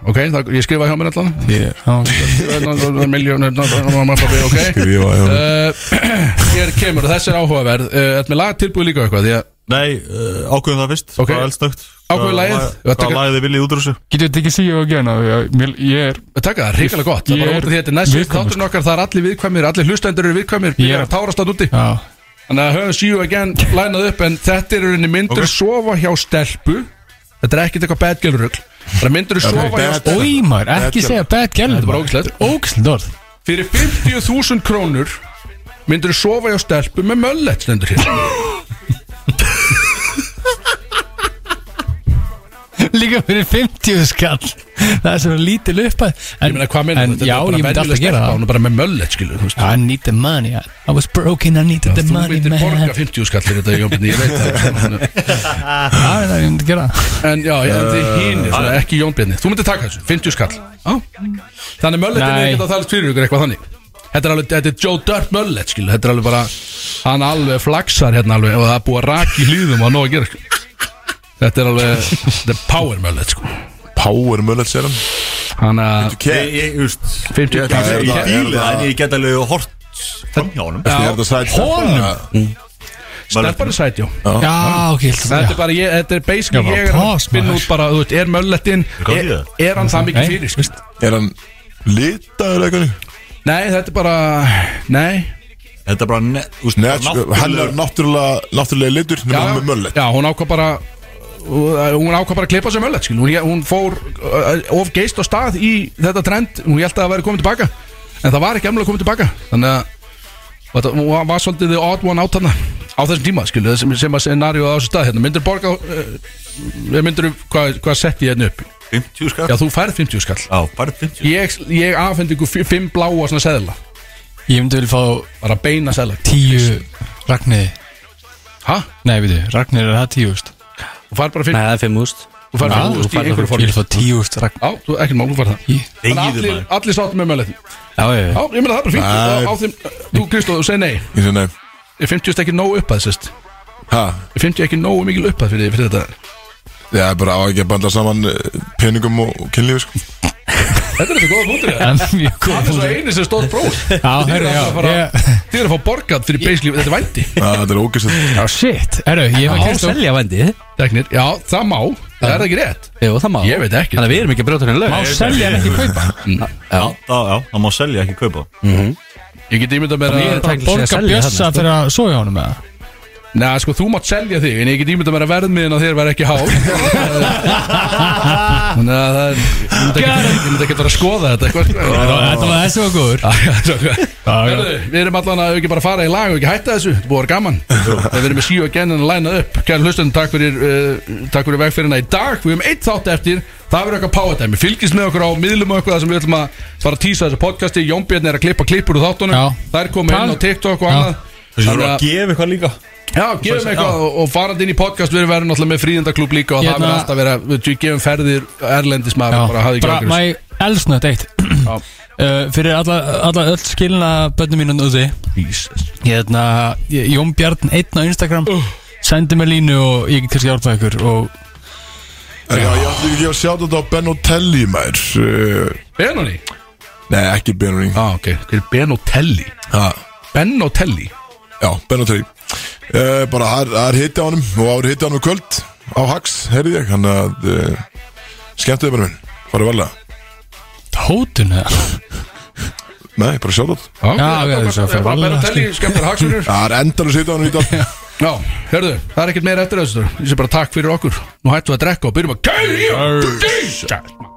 [SPEAKER 2] ok, það, ég skrifa hjá mér allan [LAUGHS] Miljónir, ok
[SPEAKER 1] skrifa já.
[SPEAKER 2] Uh, [CLEARS THROAT] Hér kemur, og þessi er áhugaverð uh, Þetta með lag tilbúið líka eitthvað Því að
[SPEAKER 3] Nei, uh, ákveðum það fyrst
[SPEAKER 2] Ok.
[SPEAKER 3] Hvað er eldstögt?
[SPEAKER 2] Ákveðum lagið. Þetta
[SPEAKER 3] Hvað
[SPEAKER 2] er-
[SPEAKER 3] lagið þið viljið út úr þessu?
[SPEAKER 4] Getur þetta ekki síðu að gera Ég er,
[SPEAKER 2] að taka það, ríkilega gott Það
[SPEAKER 4] Ég
[SPEAKER 2] er bara
[SPEAKER 4] er
[SPEAKER 2] út af því að þetta er næst
[SPEAKER 4] viðkvæmur.
[SPEAKER 2] Þátturinn okkar, það er allir viðkvæmir, allir hlustendur eru viðkvæmir
[SPEAKER 4] Ég
[SPEAKER 2] Ég
[SPEAKER 4] er-
[SPEAKER 2] er að tárast það úti
[SPEAKER 4] já,
[SPEAKER 2] Þannig að höfum síu again lænað upp En þetta eru henni myndur
[SPEAKER 3] Ok.
[SPEAKER 2] sofa hjá stelpu Þetta er ekkert eitthvað bad girl rugl Það myndur sofa hjá
[SPEAKER 1] bad-
[SPEAKER 2] stelpu
[SPEAKER 4] Ói maður, ekki
[SPEAKER 1] Þetta-
[SPEAKER 4] segja bad gæl
[SPEAKER 2] er bara ógeðslegt.
[SPEAKER 4] Ógæslegt orð [LAUGHS]
[SPEAKER 2] Fyrir 50.000 krónur myndur þú sofa hjá stelpu með möllett stendur hér
[SPEAKER 4] Líka fyrir 50 skall Það er svona lítil uppæð
[SPEAKER 2] Ég meina hvað myndur
[SPEAKER 4] En já, ég myndi alltaf gera það
[SPEAKER 2] Hún er bara með möllett skilu þú veist.
[SPEAKER 4] I need the money I was broken, I needed the
[SPEAKER 2] Þú
[SPEAKER 4] money
[SPEAKER 2] myndir borga
[SPEAKER 4] man
[SPEAKER 2] 50 skall fyrir þetta Jón Bjarni, ég
[SPEAKER 4] [LAUGHS]
[SPEAKER 2] veit það
[SPEAKER 4] Já, það ég myndi gera það.
[SPEAKER 2] En já, ég hefði hínir, svona, ekki Jón Bjarni Þú myndir taka þessu, 50 skall á. Þannig möllett er
[SPEAKER 4] Nei.
[SPEAKER 2] ekkert að það er fyrir ykkur eitthvað þannig Þetta er alveg, þetta er Joe Dirt möllett skilu Þetta er alveg bara, hann alveg flaxar hérna alveg Og það er búið að raki hlýðum og nóg að gera skilu. Þetta er alveg, þetta er power möllett sko eh,
[SPEAKER 1] Power mullet sér hann
[SPEAKER 2] Þannig að
[SPEAKER 3] Ég, ég, just,
[SPEAKER 2] 50
[SPEAKER 3] ég, ég,
[SPEAKER 1] það er það-
[SPEAKER 3] ég, ég,
[SPEAKER 1] er
[SPEAKER 3] ég,
[SPEAKER 1] það-
[SPEAKER 3] ég get alveg hort framhjá honum
[SPEAKER 1] Er þetta sætt? Honum?
[SPEAKER 2] Stelpan er sæt, já
[SPEAKER 4] Já, ok, ég held að
[SPEAKER 2] Þetta er bara, ég, þetta er
[SPEAKER 4] Já,
[SPEAKER 2] basically
[SPEAKER 4] bara
[SPEAKER 2] ég er að
[SPEAKER 4] pás,
[SPEAKER 2] spinna
[SPEAKER 4] maður.
[SPEAKER 2] út bara, þú veist, er möllettinn
[SPEAKER 3] Hvað
[SPEAKER 2] er,
[SPEAKER 3] þýðir það?
[SPEAKER 2] er hann það mikið
[SPEAKER 4] Nei,
[SPEAKER 2] fyrir, sko? skilst
[SPEAKER 1] Er hann litaður eitthvað?
[SPEAKER 2] Nei, þetta er bara, nei
[SPEAKER 3] Þetta er bara ne, úst,
[SPEAKER 1] Nei, sko, hann er náttúrulega, náttúrulega litur
[SPEAKER 2] Já,
[SPEAKER 1] nema með mullet
[SPEAKER 2] já hún ákvað bara hún ákvað bara að klippa sér möllett, skil hún, hún fór uh, of geist á stað í þetta trend, hún held að það væri komið tilbaka en það var ekki emla komið tilbaka þannig að og þetta- hún var- var svolítið the odd one out hana á þessum tíma, skil, sem, sem að scenario á þessu stað hérna, myndir borga uh, myndir, hvað, hvað setti ég hérna upp
[SPEAKER 3] 50 skall
[SPEAKER 2] já, þú færð 50 skall
[SPEAKER 3] sko. Já, bara 50
[SPEAKER 2] ég, ég afhendi ykkur fi- fimm bláa svona seðla
[SPEAKER 4] ég Ég myndi vel fá
[SPEAKER 2] bara beina seðla
[SPEAKER 4] tíu Ragniði
[SPEAKER 2] hæ?
[SPEAKER 4] Nei, veitu, Ragniði er það tíust
[SPEAKER 2] þú fær bara
[SPEAKER 7] Nei,
[SPEAKER 2] fimm
[SPEAKER 7] það er fimm úst
[SPEAKER 2] þú fær
[SPEAKER 4] Já,
[SPEAKER 2] fimm
[SPEAKER 4] þú
[SPEAKER 2] úrst í
[SPEAKER 4] færð
[SPEAKER 2] einhverju
[SPEAKER 4] það- Ég
[SPEAKER 2] formi
[SPEAKER 4] vil fá tíust Ragniði
[SPEAKER 2] já, þú, ekkert mál, þú fær það Þannig að
[SPEAKER 3] Þegiðu
[SPEAKER 2] allir,
[SPEAKER 3] maður.
[SPEAKER 2] allir sáttum með mögulegðin
[SPEAKER 4] Já, ég
[SPEAKER 2] já, ég meina það er bara fínt
[SPEAKER 1] Nei.
[SPEAKER 2] Á- á þeim, þú Kristó, þú segir nei
[SPEAKER 1] Ég segi nei
[SPEAKER 2] er 50 ekki nógu uppað, sérst
[SPEAKER 1] Ha?
[SPEAKER 2] er 50 ekki nógu mikil uppað fyrir, fyrir þetta
[SPEAKER 1] Já, bara á ekki að banda saman eh, peningum og og kynlífi [LAUGHS] sko
[SPEAKER 2] þetta er þetta góða búndur
[SPEAKER 4] En mjög góð
[SPEAKER 2] það er svo
[SPEAKER 4] punktur.
[SPEAKER 2] einu sem stóð bróð
[SPEAKER 4] Já, herru, já ég-
[SPEAKER 2] þið er að fá borgað fyrir basically þetta er vændi
[SPEAKER 1] Já, Þetta er ógæst
[SPEAKER 4] Já, shit Herru, ég var
[SPEAKER 7] Má
[SPEAKER 4] Kristó
[SPEAKER 7] selja vændi
[SPEAKER 2] Teknir, já, það má, það er ekki rétt
[SPEAKER 7] Jú, það má
[SPEAKER 2] Ég veit ekki.
[SPEAKER 7] Þannig að við erum ekki að brjóta henni lög
[SPEAKER 4] Má selja en ekki kaupa
[SPEAKER 3] Já, já, það má selja ekki kaupa
[SPEAKER 2] ég get ímyndað mér
[SPEAKER 7] Ég er
[SPEAKER 2] að
[SPEAKER 7] tæknilega
[SPEAKER 4] Borga
[SPEAKER 7] séð að selja
[SPEAKER 4] bjössa
[SPEAKER 7] þarna,
[SPEAKER 4] fyrir að soga honum með
[SPEAKER 2] Nei, sko, þú mátt selja þig En ég get ímynda mér að verðmiðin á þér verð
[SPEAKER 7] [LAUGHS]
[SPEAKER 2] ekki há Þannig að það er Ég myndi ekkert- ég myndi ekki vera að skoða þetta eitthvað, sko.
[SPEAKER 4] Þetta var þessi var góður
[SPEAKER 2] Herðu, Við erum allan að ekki bara að fara í lag og ekki hætta þessu, þetta búið að vera gaman Við erum með síu að genna að læna upp Kæra hlustum, takk fyrir, uh, takk fyrir vegferðina í dag Við erum eitt þátt eftir, það verður eitthvað pátæmi Fylgist með okkur á miðlum og eitthvað þar sem við ætlum að fara að tísa þessu podcasti Jón Björn er að klippa klippur úr þáttunum Já. Þær koma inn á TikTok og annað
[SPEAKER 3] Þessi voru
[SPEAKER 2] Þannig
[SPEAKER 3] að gefa eitthvað líka
[SPEAKER 2] Já, gefum eitthvað og, og farandi inn í podcast Við erum verið náttúrulega með fríðendaklub líka Og
[SPEAKER 4] Hérna-
[SPEAKER 2] það verður alltaf verið að við gefum ferðir Erlendis maður bara hafði ekki
[SPEAKER 4] bara
[SPEAKER 2] áhyggjur af þessu.
[SPEAKER 4] mæ elsnött eitt [CLEARS THROAT] uh, fyrir alla, alla öll skilna bönnum mínum úti hérna, ég- Jón Bjarn einn á Instagram sendi mér línu og ég get kannski hjálpa ykkur og
[SPEAKER 1] En já, ég ætla ekki að sjá þetta á Benotelli, maður Uh,
[SPEAKER 2] Benoni?
[SPEAKER 1] Nei, ekki Benoni
[SPEAKER 2] ah, ok, hver er Benotelli?
[SPEAKER 1] Ha.
[SPEAKER 2] Benotelli?
[SPEAKER 1] Já, Benotelli uh, Bara, það er- það er hitti á honum og það er hitti á honum í kvöld á Hax, heyrði ég Þannig að uh, skemmtu þið bara minn, farið varlega
[SPEAKER 4] hótun eða
[SPEAKER 1] Nei, bara sjá þetta
[SPEAKER 4] Já, við erum svo fyrir varlega,
[SPEAKER 2] Benotelli, skemmtar hagsmunir
[SPEAKER 1] Það er endalus hitti á honum í dag
[SPEAKER 2] Já, hörðu, það er ekkert meira eftir þessu Ég sé bara takk fyrir okkur Nú hættum við að drekka og byrjum að Gæja, gæja